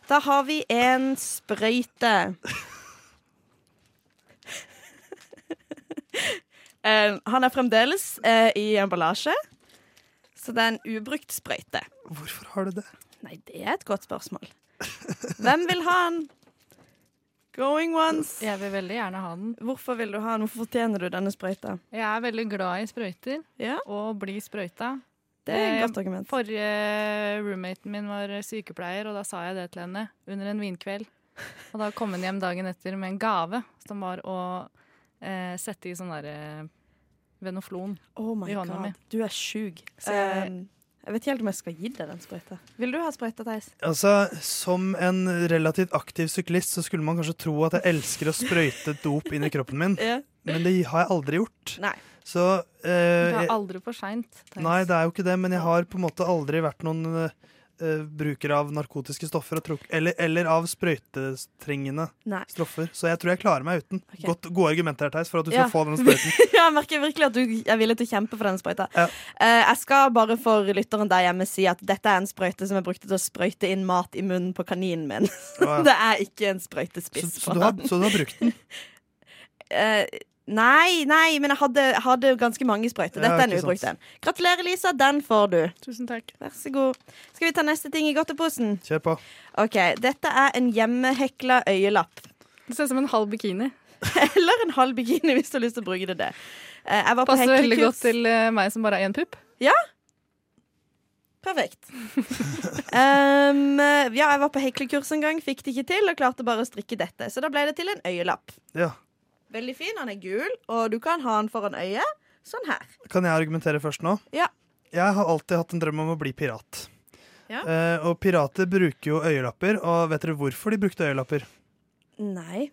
[SPEAKER 10] Da har vi en sprøyte. Eh, han er fremdeles eh, i emballasje, så det er en ubrukt sprøyte.
[SPEAKER 11] Hvorfor har du det?
[SPEAKER 10] Nei, det er et godt spørsmål. Hvem vil ha den? Going once.
[SPEAKER 12] Jeg vil veldig gjerne ha den.
[SPEAKER 10] Hvorfor vil du ha den? Hvorfor fortjener du denne sprøyta?
[SPEAKER 12] Jeg er veldig glad i sprøyter, og bli sprøyta.
[SPEAKER 10] Det er et
[SPEAKER 12] Eh,
[SPEAKER 10] godt argument.
[SPEAKER 12] Forrige roommaten min var sykepleier, og da sa jeg det til henne under en vinkveld. Og da kom hun hjem dagen etter med en gave, som var å eh, sette i sånn derre venoflon
[SPEAKER 10] Oh my
[SPEAKER 12] i hånda
[SPEAKER 10] god,
[SPEAKER 12] mi.
[SPEAKER 10] du er sjuk.
[SPEAKER 12] Så jeg-
[SPEAKER 10] Um, jeg vet ikke helt om jeg skal gi deg den sprøyta. Vil du ha sprøyta, Theis?
[SPEAKER 11] Altså, Som en relativt aktiv syklist så skulle man kanskje tro at jeg elsker å sprøyte dop inn i kroppen min,
[SPEAKER 10] <laughs> Ja.
[SPEAKER 11] men det har jeg aldri gjort.
[SPEAKER 10] Nei.
[SPEAKER 11] Så
[SPEAKER 12] Du
[SPEAKER 11] eh,
[SPEAKER 12] er
[SPEAKER 11] jeg,
[SPEAKER 12] aldri for seint.
[SPEAKER 11] Nei, det er jo ikke det, men jeg har på en måte aldri vært noen eh, eh, bruker av narkotiske stoffer og truk, eller, eller av sprøytetrengende
[SPEAKER 10] Nei.
[SPEAKER 11] stoffer, så jeg tror jeg klarer meg uten. Godt, gode argumenter her, Theis, for at du
[SPEAKER 10] Ja.
[SPEAKER 11] skal få denne
[SPEAKER 10] <laughs>
[SPEAKER 11] sprøyten.
[SPEAKER 10] ja, jeg merker virkelig at du er villig til å kjempe for denne sprøyta. Eh, jeg skal bare for lytteren der hjemme si at dette er en sprøyte som jeg brukte til å sprøyte inn mat i munnen på kaninen min.
[SPEAKER 11] Ja, ja.
[SPEAKER 10] <laughs> det er ikke en sprøytespiss.
[SPEAKER 11] Så du har, så du har brukt den?
[SPEAKER 10] Eh, nei, nei, men jeg hadde, jeg hadde ganske mange sprøyter.
[SPEAKER 11] Ja,
[SPEAKER 10] Dette er en
[SPEAKER 11] ikke
[SPEAKER 10] ubrukt
[SPEAKER 11] sant.
[SPEAKER 10] en. Gratulerer, Lisa. Den får du.
[SPEAKER 12] Tusen takk.
[SPEAKER 10] Vær så god. Skal vi ta neste ting i godteposen?
[SPEAKER 11] Kjør på.
[SPEAKER 10] OK. Dette er en hjemmehekla øyelapp.
[SPEAKER 12] Det ser ut som en halv bikini.
[SPEAKER 10] <laughs> Eller en halv bikini, hvis du har lyst til å bruke det. det. Eh, Jeg var på
[SPEAKER 12] Passer veldig
[SPEAKER 10] heklekurs.
[SPEAKER 12] godt til eh, meg som bare har én pupp.
[SPEAKER 10] Ja.
[SPEAKER 11] <laughs>
[SPEAKER 10] Perfekt. um, ja, jeg var på heklekurs en gang, fikk det ikke til og klarte bare å strikke dette. Så da ble det til en øyelapp.
[SPEAKER 11] Ja.
[SPEAKER 10] Veldig fin, han er gul, og du kan ha den foran øyet. Sånn her.
[SPEAKER 11] Kan jeg argumentere først nå?
[SPEAKER 10] Ja.
[SPEAKER 11] Jeg har alltid hatt en drøm om å bli pirat.
[SPEAKER 10] Ja.
[SPEAKER 11] Eh, og pirater bruker jo øyelapper, og vet dere hvorfor de brukte øyelapper?
[SPEAKER 10] Nei.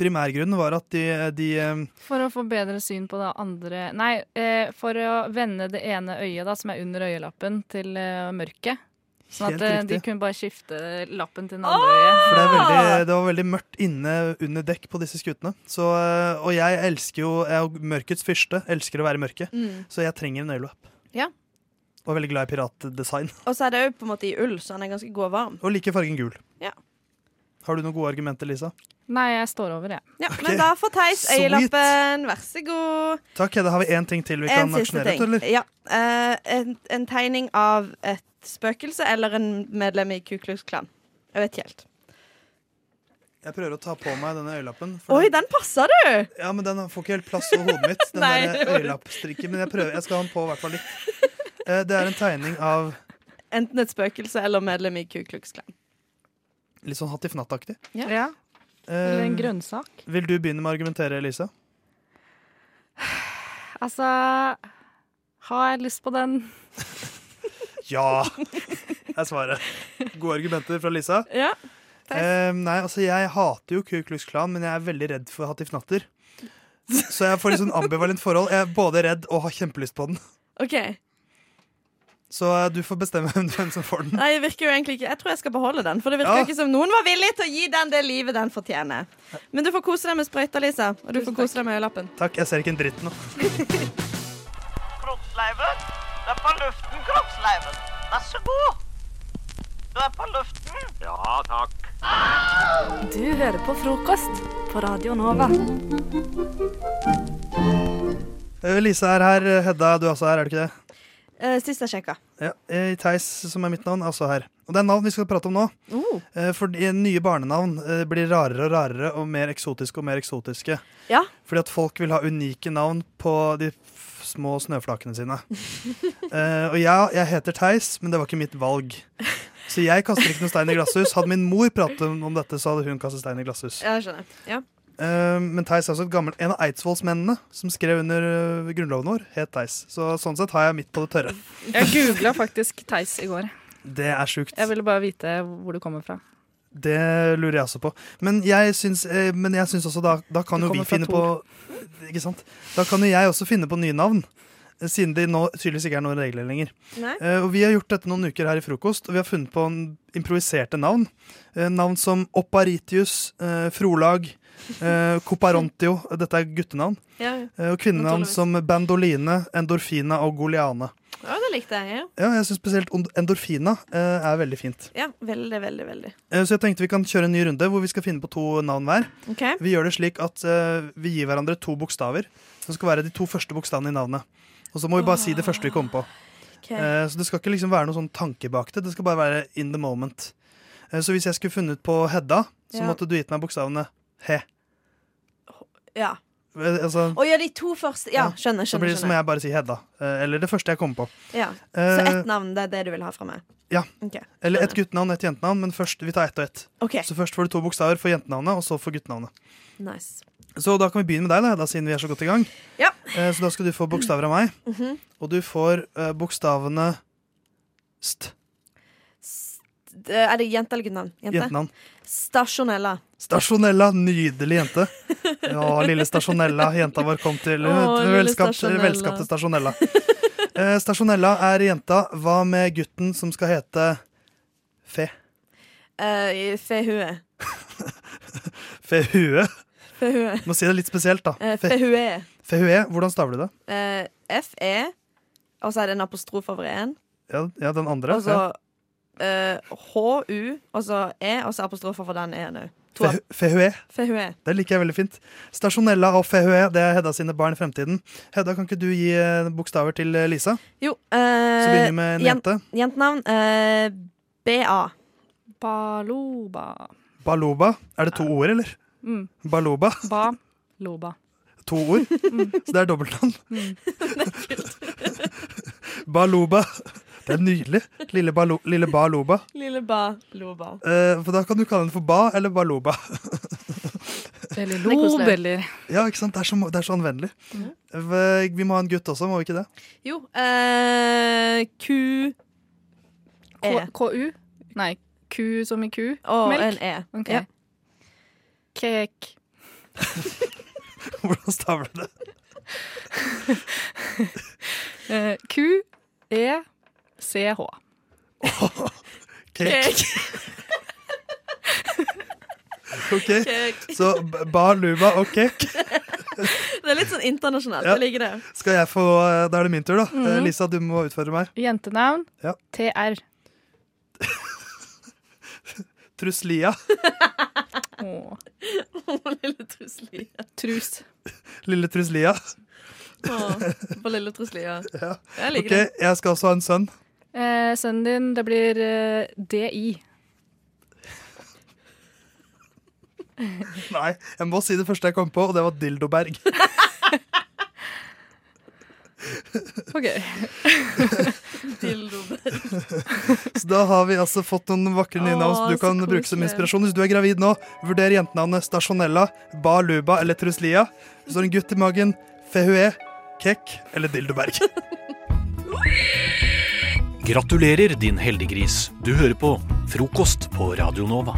[SPEAKER 11] Primærgrunnen var at de, de eh,
[SPEAKER 12] For å få bedre syn på det andre Nei, eh, for å vende det ene øyet da, som er under øyelappen, til eh, mørket. Sånn
[SPEAKER 11] Helt
[SPEAKER 12] at eh, de
[SPEAKER 11] riktig.
[SPEAKER 12] kunne bare skifte lappen til den andre øyet.
[SPEAKER 11] For det, er
[SPEAKER 10] Ah.
[SPEAKER 11] veldig, det var veldig mørkt inne under dekk på disse skutene. Så, eh, og jeg elsker jo jeg er jo mørkets fyrste. Elsker å være i mørket.
[SPEAKER 10] Mm.
[SPEAKER 11] Så jeg trenger en øyelapp.
[SPEAKER 10] Ja.
[SPEAKER 11] Og er veldig glad i piratdesign. <laughs>
[SPEAKER 10] Og så er det jo på en måte i ull, så han er ganske god og varm.
[SPEAKER 11] Og liker fargen gul.
[SPEAKER 10] Ja.
[SPEAKER 11] Har du noen gode argumenter, Lisa?
[SPEAKER 12] Nei, jeg står over, jeg.
[SPEAKER 10] Ja, Men da får Theis
[SPEAKER 11] Sweet.
[SPEAKER 10] øyelappen. Vær så god.
[SPEAKER 11] Takk, Da har vi én ting til vi kan
[SPEAKER 10] en siste
[SPEAKER 11] aksjonere
[SPEAKER 10] ting.
[SPEAKER 11] ut, eller?
[SPEAKER 10] Ja. eh, en, en tegning av et spøkelse eller en medlem i Ku Klux Klan. Jeg vet ikke helt.
[SPEAKER 11] Jeg prøver å ta på meg denne øyelappen. for
[SPEAKER 10] Oi, den passer du!
[SPEAKER 11] Ja, men den får ikke helt plass over hodet mitt. Den
[SPEAKER 10] <laughs> Nei, det
[SPEAKER 11] der
[SPEAKER 10] var-
[SPEAKER 11] øyelappstrikken. Men jeg prøver, jeg skal ha den på i hvert fall litt. Eh, Det er en tegning av
[SPEAKER 10] Enten et spøkelse eller medlem i Ku Klux Klan.
[SPEAKER 11] litt sånn hattifnatt-aktig.
[SPEAKER 12] Ja.
[SPEAKER 11] Eller
[SPEAKER 12] en grønnsak.
[SPEAKER 11] Vil du begynne med å argumentere, Lisa?
[SPEAKER 12] Altså Har jeg lyst på den?
[SPEAKER 11] Ja, er svaret. Gode argumenter fra Lisa.
[SPEAKER 10] Ja.
[SPEAKER 11] Eh, nei, altså jeg hater jo Ku Klux Klan, men jeg er veldig redd for hattifnatter. Så jeg får litt sånn ambivalent forhold. Jeg er både redd og har kjempelyst på den.
[SPEAKER 10] OK.
[SPEAKER 11] Så eh, du får bestemme hvem hvem som får den.
[SPEAKER 10] <laughs> Nei, det virker jo egentlig ikke Jeg tror jeg skal beholde den, for det virker
[SPEAKER 11] Ja.
[SPEAKER 10] ikke som noen var villig til å gi den det livet den fortjener. Men du får kose deg med sprøyta, Lisa. Og du får kose deg med øyelappen.
[SPEAKER 11] Takk, jeg ser ikke en dritt nå.
[SPEAKER 13] Kroppsleiven. Du er på luften, kroppsleiven. Vær så god. Du er på luften.
[SPEAKER 14] Ja, takk.
[SPEAKER 15] Du hører på frokost på Radio Nova.
[SPEAKER 11] Eh, Lisa er her. Hedda, du er også her, er du ikke det?
[SPEAKER 10] Eh, sist jeg sjekka.
[SPEAKER 11] Ja, eh, Theis, som er mitt navn, er også her. Og det er navn vi skal prate om nå.
[SPEAKER 10] Oh.
[SPEAKER 11] Eh, For de nye barnenavn eh, blir rarere og rarere og mer eksotiske og mer eksotiske.
[SPEAKER 10] Ja.
[SPEAKER 11] Fordi at folk vil ha unike navn på de f- små snøflakene sine. Eh, og ja, jeg heter Theis, men det var ikke mitt valg. Så jeg kaster ikke noen stein i glasshus. Hadde min mor pratet om om dette, så hadde hun kastet stein i glasshus.
[SPEAKER 10] Ja, jeg skjønner. Ja.
[SPEAKER 11] Eh, men Theis er også et gammelt En av Eidsvollsmennene som skrev under eh, grunnloven vår, het Theis. Så sånn sett har jeg mitt på det tørre.
[SPEAKER 12] Jeg googla faktisk Theis i går.
[SPEAKER 11] Det er sjukt.
[SPEAKER 12] Jeg ville bare vite hvor du kommer fra.
[SPEAKER 11] Det lurer jeg også på. Men jeg syns, eh, men jeg syns også da, da kan
[SPEAKER 12] Det
[SPEAKER 11] jo vi
[SPEAKER 12] kommer fra
[SPEAKER 11] finne
[SPEAKER 12] Tor.
[SPEAKER 11] på <laughs> Ikke sant? Da kan jo jeg også finne på nye navn. eh, Siden det nå tydeligvis ikke er noen regler lenger.
[SPEAKER 10] Nei.
[SPEAKER 11] Eh, og Vi har gjort dette noen uker her i frokost, og vi har funnet på en improviserte navn. Eh, navn som Opparitius, eh, Frolag, eh,
[SPEAKER 12] <laughs>
[SPEAKER 11] Coparontio. Dette er guttenavn.
[SPEAKER 10] Ja, ja.
[SPEAKER 11] Eh, og kvinnenavn som Bandoline, Endorfina og Goliane.
[SPEAKER 10] Ja, det likte jeg. Ja.
[SPEAKER 11] Ja, jeg synes Spesielt ond- endorfina eh, er veldig fint.
[SPEAKER 10] ja, veldig, veldig. veldig
[SPEAKER 11] Eh, Så jeg tenkte vi kan kjøre en ny runde hvor vi skal finne på to navn hver.
[SPEAKER 10] Ok.
[SPEAKER 11] Vi gjør det slik at eh, vi gir hverandre to bokstaver. Som skal være de to første bokstavene i navnet. Og så må vi bare si det første vi kommer på.
[SPEAKER 10] Ah, Ok.
[SPEAKER 11] Eh, så det skal ikke liksom være noen sånn tanke bak det. Det skal bare være in the moment. Eh, så hvis jeg skulle funnet på Hedda, så
[SPEAKER 10] Ja.
[SPEAKER 11] måtte du gitt meg bokstavene he.
[SPEAKER 10] Ja.
[SPEAKER 11] Eh, altså,
[SPEAKER 10] Å ja, de to første Ja, skjønner.
[SPEAKER 11] så blir
[SPEAKER 10] skjønner,
[SPEAKER 11] det som
[SPEAKER 10] skjønner.
[SPEAKER 11] jeg bare si Hedda. Eh, eller det første jeg kommer på.
[SPEAKER 10] Ja. Så
[SPEAKER 11] Eh,
[SPEAKER 10] ett navn, det er det du vil ha fra meg?
[SPEAKER 11] Ja.
[SPEAKER 10] Ok.
[SPEAKER 11] Eller et guttenavn, et jentenavn, men først, vi tar ett og ett.
[SPEAKER 10] Ok.
[SPEAKER 11] Så først får du to bokstaver for jentenavnet, og så for guttenavnet.
[SPEAKER 10] Nice.
[SPEAKER 11] Så da kan vi begynne med deg, da, Hedda, siden vi er så godt i gang.
[SPEAKER 10] Ja.
[SPEAKER 11] Eh, så da skal du få bokstaver av meg.
[SPEAKER 10] Mhm.
[SPEAKER 11] Og du får eh, bokstavene st.
[SPEAKER 10] D- Er det jente eller guttenavn?
[SPEAKER 11] Jentenavn.
[SPEAKER 10] Stasjonella.
[SPEAKER 11] Stasjonella, nydelig jente. Ja, lille Stasjonella. Jenta vår kom til,
[SPEAKER 10] Å,
[SPEAKER 11] til
[SPEAKER 10] lille
[SPEAKER 11] velskapte,
[SPEAKER 10] Stasjonella.
[SPEAKER 11] velskapte Stasjonella. Eh, Stasjonella er jenta. Hva med gutten som skal hete Fe?
[SPEAKER 10] Uh, fehue.
[SPEAKER 11] Fehue?
[SPEAKER 10] Fehue.
[SPEAKER 11] Må si det litt spesielt, da.
[SPEAKER 10] Eh,
[SPEAKER 11] Fe-
[SPEAKER 10] Fehue.
[SPEAKER 11] Fehue, hvordan staver du det?
[SPEAKER 10] Eh, F-E, og så er det en apostrof over en.
[SPEAKER 11] Ja, ja den andre.
[SPEAKER 10] Og så
[SPEAKER 11] Ja.
[SPEAKER 10] eh, H-U, og så E, og så apostrof over den E-en òg.
[SPEAKER 11] Fe- Fehue.
[SPEAKER 10] Fehue.
[SPEAKER 11] Det liker jeg veldig fint. Stasjonella og Fehue, det er Hedda sine barn i fremtiden. Hedda, kan ikke du gi eh, bokstaver til eh, Lisa?
[SPEAKER 10] Jo.
[SPEAKER 11] Så begynner vi med en jente.
[SPEAKER 10] Jentenavn eh, BA.
[SPEAKER 12] Baloba.
[SPEAKER 11] Baloba. Er det to ord, eller?
[SPEAKER 12] Mm.
[SPEAKER 11] Baloba.
[SPEAKER 12] Ba. Loba.
[SPEAKER 11] <laughs> To ord. Så det er dobbeltnavn.
[SPEAKER 12] Mm. <laughs>
[SPEAKER 11] <laughs> Baloba. Det er nydelig. Lille, balo, lille Baloba.
[SPEAKER 10] Lille Ba. Loba.
[SPEAKER 11] Eh, for da kan du kalle den for Ba eller Baloba.
[SPEAKER 12] Eller
[SPEAKER 10] Det er koselig.
[SPEAKER 12] lob, eller
[SPEAKER 11] Ja, ikke sant? Det er så, det er så anvendelig.
[SPEAKER 12] Mm.
[SPEAKER 11] V- Vi må ha en gutt også, må vi
[SPEAKER 12] <laughs>
[SPEAKER 11] ikke det?
[SPEAKER 10] Jo. eh, Q...
[SPEAKER 12] K- KU? Nei, Q som i ku?
[SPEAKER 10] Og
[SPEAKER 12] Melk?
[SPEAKER 10] en E.
[SPEAKER 12] Ok.
[SPEAKER 10] Ja.
[SPEAKER 12] Kek.
[SPEAKER 11] <laughs> Hvordan staver du det?
[SPEAKER 12] <laughs> Eh, Q, E, C, H.
[SPEAKER 11] Cake.
[SPEAKER 8] <laughs>
[SPEAKER 11] Ok,
[SPEAKER 10] Cake.
[SPEAKER 11] Så b- Baluba og cake.
[SPEAKER 10] det er litt sånn internasjonalt. <laughs>
[SPEAKER 11] Ja.
[SPEAKER 10] Jeg liker det.
[SPEAKER 11] Skal jeg få, eh, Da er det min tur, da.
[SPEAKER 12] Mhm.
[SPEAKER 11] Eh, Lisa, du må utfordre meg.
[SPEAKER 12] Jentenavn?
[SPEAKER 11] Ja.
[SPEAKER 12] TR.
[SPEAKER 11] Truslia. <laughs>
[SPEAKER 12] Åh.
[SPEAKER 10] lille Truslia.
[SPEAKER 12] Trus.
[SPEAKER 11] Lille Truslia.
[SPEAKER 10] På lille Truslia. Jeg
[SPEAKER 11] Ok,
[SPEAKER 10] liker det.
[SPEAKER 11] jeg skal også ha en sønn. <laughs>
[SPEAKER 12] Eh, sønnen din, det blir eh, DI.
[SPEAKER 11] Nei, jeg må si det første jeg kom på, og det var
[SPEAKER 12] <laughs>
[SPEAKER 11] Dildoberg. <laughs>
[SPEAKER 12] OK.
[SPEAKER 11] Så da har vi altså fått noen vakre nye navn som
[SPEAKER 12] Åh,
[SPEAKER 11] du kan
[SPEAKER 12] så
[SPEAKER 11] bruke som
[SPEAKER 12] koselig.
[SPEAKER 11] inspirasjon. Hvis du er gravid nå, vurder jentenavnet Stasjonella, Ba Luba eller Truslia. Hvis du har en gutt i magen, Fehue, Kek eller
[SPEAKER 12] <laughs>
[SPEAKER 11] Dildoberg.
[SPEAKER 1] Gratulerer, din heldiggris. Du hører på Frokost på Radio Nova.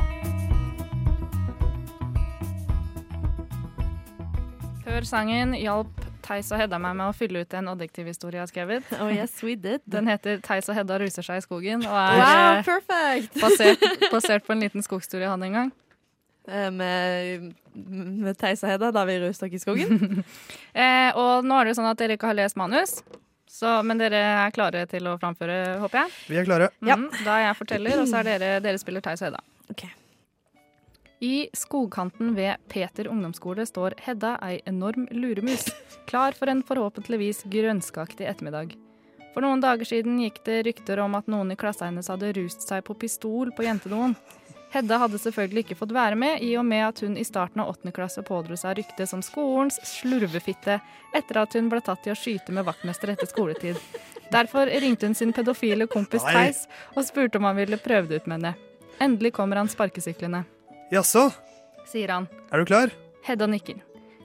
[SPEAKER 12] Før sangen hjalp Theis og Hedda meg med å fylle ut en adjektivhistorie jeg har skrevet.
[SPEAKER 10] <laughs> Oh, yes, we did.
[SPEAKER 12] Den heter 'Theis og Hedda ruser seg i skogen' og er
[SPEAKER 10] Wow,
[SPEAKER 12] eh,
[SPEAKER 10] perfect!
[SPEAKER 12] basert, basert på en liten skogstudie jeg hadde en gang.
[SPEAKER 10] Eh, med, med Theis og Hedda da vi ruste dere i skogen.
[SPEAKER 12] <laughs> Eh, og nå er det jo sånn at dere ikke har lest manus, så, men dere er klare til å framføre, håper jeg.
[SPEAKER 11] Vi er klare.
[SPEAKER 12] Mm, da er jeg forteller, og så er dere, dere spiller Theis og Hedda. I skogkanten ved Peter ungdomsskole står Hedda ei enorm luremus, klar for en forhåpentligvis grønskaktig ettermiddag. For noen dager siden gikk det rykter om at noen i klassa hennes hadde rust seg på pistol på jentedoen. Hedda hadde selvfølgelig ikke fått være med, i og med at hun i starten av åttende klasse pådro seg ryktet som skolens slurvefitte etter at hun ble tatt i å skyte med vaktmester etter skoletid. Derfor ringte hun sin pedofile kompis
[SPEAKER 11] Nei.
[SPEAKER 12] Theis og spurte om han ville prøve det ut med henne. Endelig kommer han sparkesyklende,
[SPEAKER 11] Jaså,
[SPEAKER 12] sier han.
[SPEAKER 11] er du klar?
[SPEAKER 12] Hedda nikker.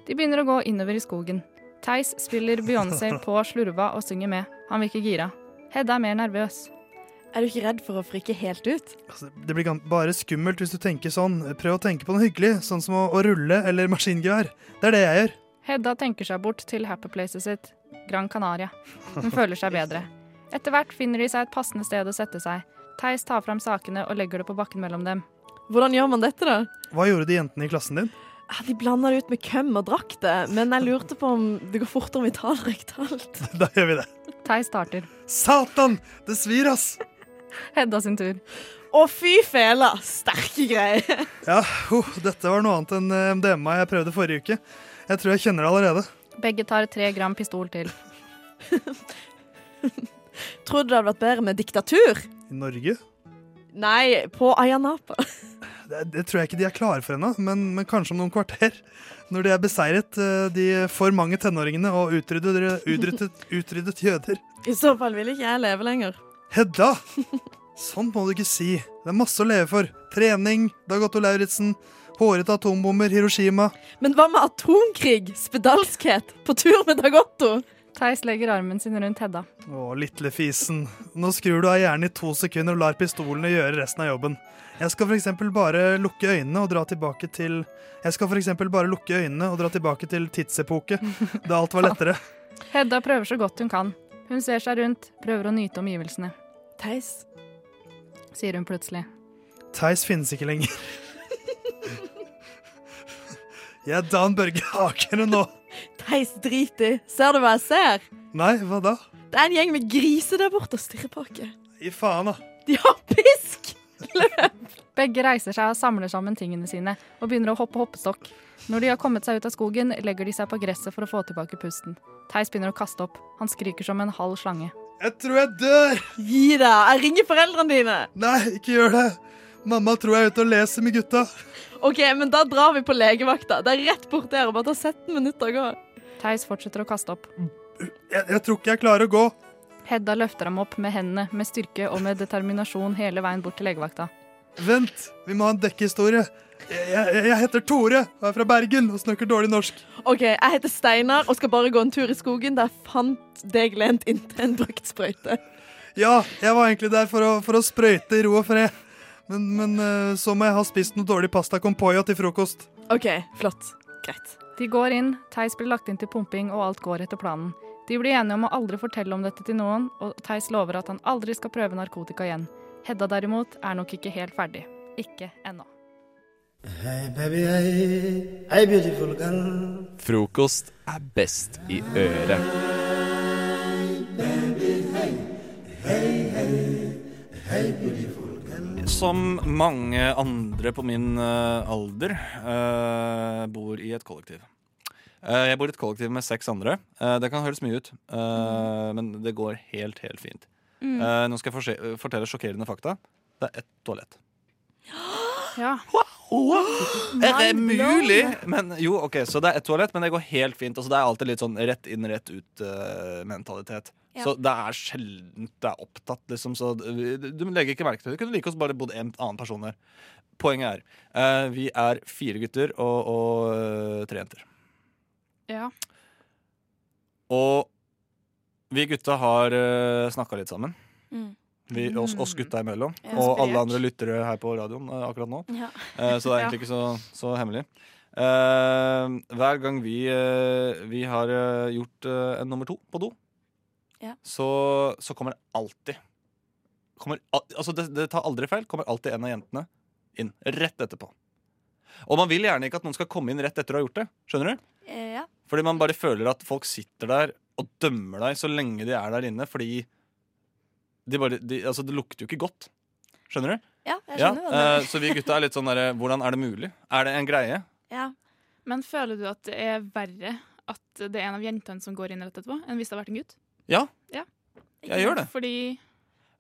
[SPEAKER 12] De begynner å gå innover i skogen. Theis spiller Beyoncé på slurva og synger med. Han virker gira. Hedda er mer nervøs.
[SPEAKER 10] Er du ikke redd for å frike helt ut?
[SPEAKER 11] Altså, det blir gan- bare skummelt hvis du tenker sånn. Prøv å tenke på noe hyggelig, sånn som å, å rulle eller maskingevær. Det er det jeg gjør.
[SPEAKER 12] Hedda tenker seg bort til happy placet sitt, Gran Canaria. Hun føler seg bedre. Etter hvert finner de seg et passende sted å sette seg. Theis tar fram sakene og legger det på bakken mellom dem.
[SPEAKER 10] Hvordan gjør man dette, da?
[SPEAKER 11] Hva gjorde de jentene i klassen din? <laughs>
[SPEAKER 10] Ja, Ah, de blander det ut med hvem og drakk det, men jeg lurte på om det går fortere om vi tar det rektalt.
[SPEAKER 11] Da gjør vi det.
[SPEAKER 12] Theis starter.
[SPEAKER 11] Satan! Det svir, ass!
[SPEAKER 12] Hedda sin tur.
[SPEAKER 10] Å, fy fela! Sterke greier.
[SPEAKER 11] Ja, oh, dette var noe annet enn eh, MDMA jeg prøvde forrige uke. Jeg tror jeg kjenner det allerede.
[SPEAKER 12] Begge tar tre gram pistol til.
[SPEAKER 10] Tror du det hadde vært bedre med diktatur?
[SPEAKER 11] I Norge?
[SPEAKER 10] Nei, på Ayanapa.
[SPEAKER 11] Det, det tror jeg ikke de er klare for ennå, men, men kanskje om noen kvarter. Når de er beseiret, eh, de for mange tenåringene og utryddet, utryddet, utryddet jøder.
[SPEAKER 10] I så fall vil ikke jeg leve lenger.
[SPEAKER 11] Hedda! Sånn må du ikke si. Det er masse å leve for. Trening, Dag Otto Lauritzen, hårete atombomber, Hiroshima.
[SPEAKER 10] Men hva med atomkrig, spedalskhet, på tur med Dagotto?
[SPEAKER 12] Theis legger armen sin rundt Hedda.
[SPEAKER 11] Å, lille fisen. Nå skrur du av hjernen i to sekunder og lar pistolene gjøre resten av jobben. Jeg skal for eksempel bare lukke øynene og dra tilbake til Jeg skal for eksempel bare lukke øynene og dra tilbake til tidsepoke, da alt var lettere.
[SPEAKER 12] Hedda prøver så godt hun kan. Hun ser seg rundt, prøver å nyte omgivelsene.
[SPEAKER 10] Theis,
[SPEAKER 12] sier hun plutselig.
[SPEAKER 11] Theis finnes ikke lenger. Jeg er Dan Børge Hakere nå.
[SPEAKER 10] Theis, drit i. Ser du hva jeg ser?
[SPEAKER 11] Nei, hva da?
[SPEAKER 10] Det er en gjeng med griser der borte og stirrer på oss.
[SPEAKER 11] Gi faen, da.
[SPEAKER 10] De har pisk!
[SPEAKER 12] Begge reiser seg og samler sammen tingene sine og begynner å hoppe hoppestokk. Når de har kommet seg ut av skogen, legger de seg på gresset for å få tilbake pusten. Theis begynner å kaste opp. Han skriker som en halv slange.
[SPEAKER 11] Jeg tror jeg dør!
[SPEAKER 10] Gi deg! Jeg ringer foreldrene dine!
[SPEAKER 11] Nei, ikke gjør det. Mamma tror jeg er ute og leser med gutta.
[SPEAKER 10] OK, men da drar vi på legevakta. Det er rett bort der. og Bare ta 17 minutter å gå.
[SPEAKER 12] Theis fortsetter å kaste opp.
[SPEAKER 11] Jeg, jeg tror ikke jeg klarer å gå.
[SPEAKER 12] Hedda løfter ham opp med hendene, med styrke og med determinasjon hele veien bort til legevakta.
[SPEAKER 11] Vent, vi må ha en dekkehistorie. Jeg, jeg, jeg heter Tore og er fra Bergen og snakker dårlig norsk.
[SPEAKER 10] OK, jeg heter Steinar og skal bare gå en tur i skogen der jeg fant deg lent inntil en brukt sprøyte.
[SPEAKER 11] Ja, jeg var egentlig der for å, for å sprøyte i ro og fred. Men, men eh, så må jeg ha spist noe dårlig pasta con pollo til frokost.
[SPEAKER 10] OK, flott. Greit.
[SPEAKER 12] De går inn, Theis blir lagt inn til pumping, og alt går etter planen. De blir enige om å aldri fortelle om dette til noen, og Theis lover at han aldri skal prøve narkotika igjen. Hedda derimot er nok ikke helt ferdig. Ikke ennå.
[SPEAKER 8] Hei, baby, hei. Hei, beautiful girl.
[SPEAKER 16] Frokost er best i øret.
[SPEAKER 17] Som mange andre på min eh, alder eh, bor i et kollektiv. Eh, jeg bor i et kollektiv med seks andre. Eh, det kan høres mye ut, eh, men det går helt, helt fint.
[SPEAKER 12] Mm.
[SPEAKER 17] Eh, nå skal jeg forse- fortelle sjokkerende fakta. Det er ett toalett.
[SPEAKER 12] Ja.
[SPEAKER 17] Er det mulig? Men, jo, ok, så det er ett toalett, men det går helt fint. Altså, det er alltid litt sånn rett inn, rett ut-mentalitet.
[SPEAKER 18] Ja.
[SPEAKER 17] Så det er sjeldent det er opptatt, liksom. Så du, du legger ikke merke til det. Du kunne like oss bare bodd en annen person her. Poenget er, eh, vi er fire gutter og, og eh, tre jenter.
[SPEAKER 12] Ja.
[SPEAKER 17] Og vi gutta har uh, snakka litt sammen.
[SPEAKER 12] Mm.
[SPEAKER 17] Vi, oss, oss gutta imellom.
[SPEAKER 12] Ja.
[SPEAKER 17] og
[SPEAKER 12] Inspirert.
[SPEAKER 17] alle andre lyttere her på radioen eh, akkurat nå.
[SPEAKER 12] <laughs> Ja.
[SPEAKER 17] Eh, så det er egentlig ikke så, så hemmelig. Eh, hver gang vi, eh, vi har eh, gjort eh, en nummer to på do,
[SPEAKER 12] Ja.
[SPEAKER 17] så, så kommer det alltid kommer, al- Altså, det, det tar aldri feil. Kommer alltid en av jentene inn rett etterpå. Og man vil gjerne ikke at noen skal komme inn rett etter å ha gjort det. Skjønner du?
[SPEAKER 7] Eh, ja.
[SPEAKER 17] Fordi man bare føler at folk sitter der og dømmer deg så lenge de er der inne, fordi de bare, de, altså, det lukter jo ikke godt. Skjønner du?
[SPEAKER 2] Ja, jeg skjønner hva du
[SPEAKER 17] eh,
[SPEAKER 2] mener.
[SPEAKER 17] Så vi gutta er litt sånn derre Hvordan er det mulig? Er det en greie?
[SPEAKER 19] Ja. Men føler du at det er verre at det er en av jentene som går inn rett etterpå, enn hvis det har vært en gutt?
[SPEAKER 17] Ja.
[SPEAKER 19] Ja.
[SPEAKER 17] Jeg gjør det.
[SPEAKER 19] Fordi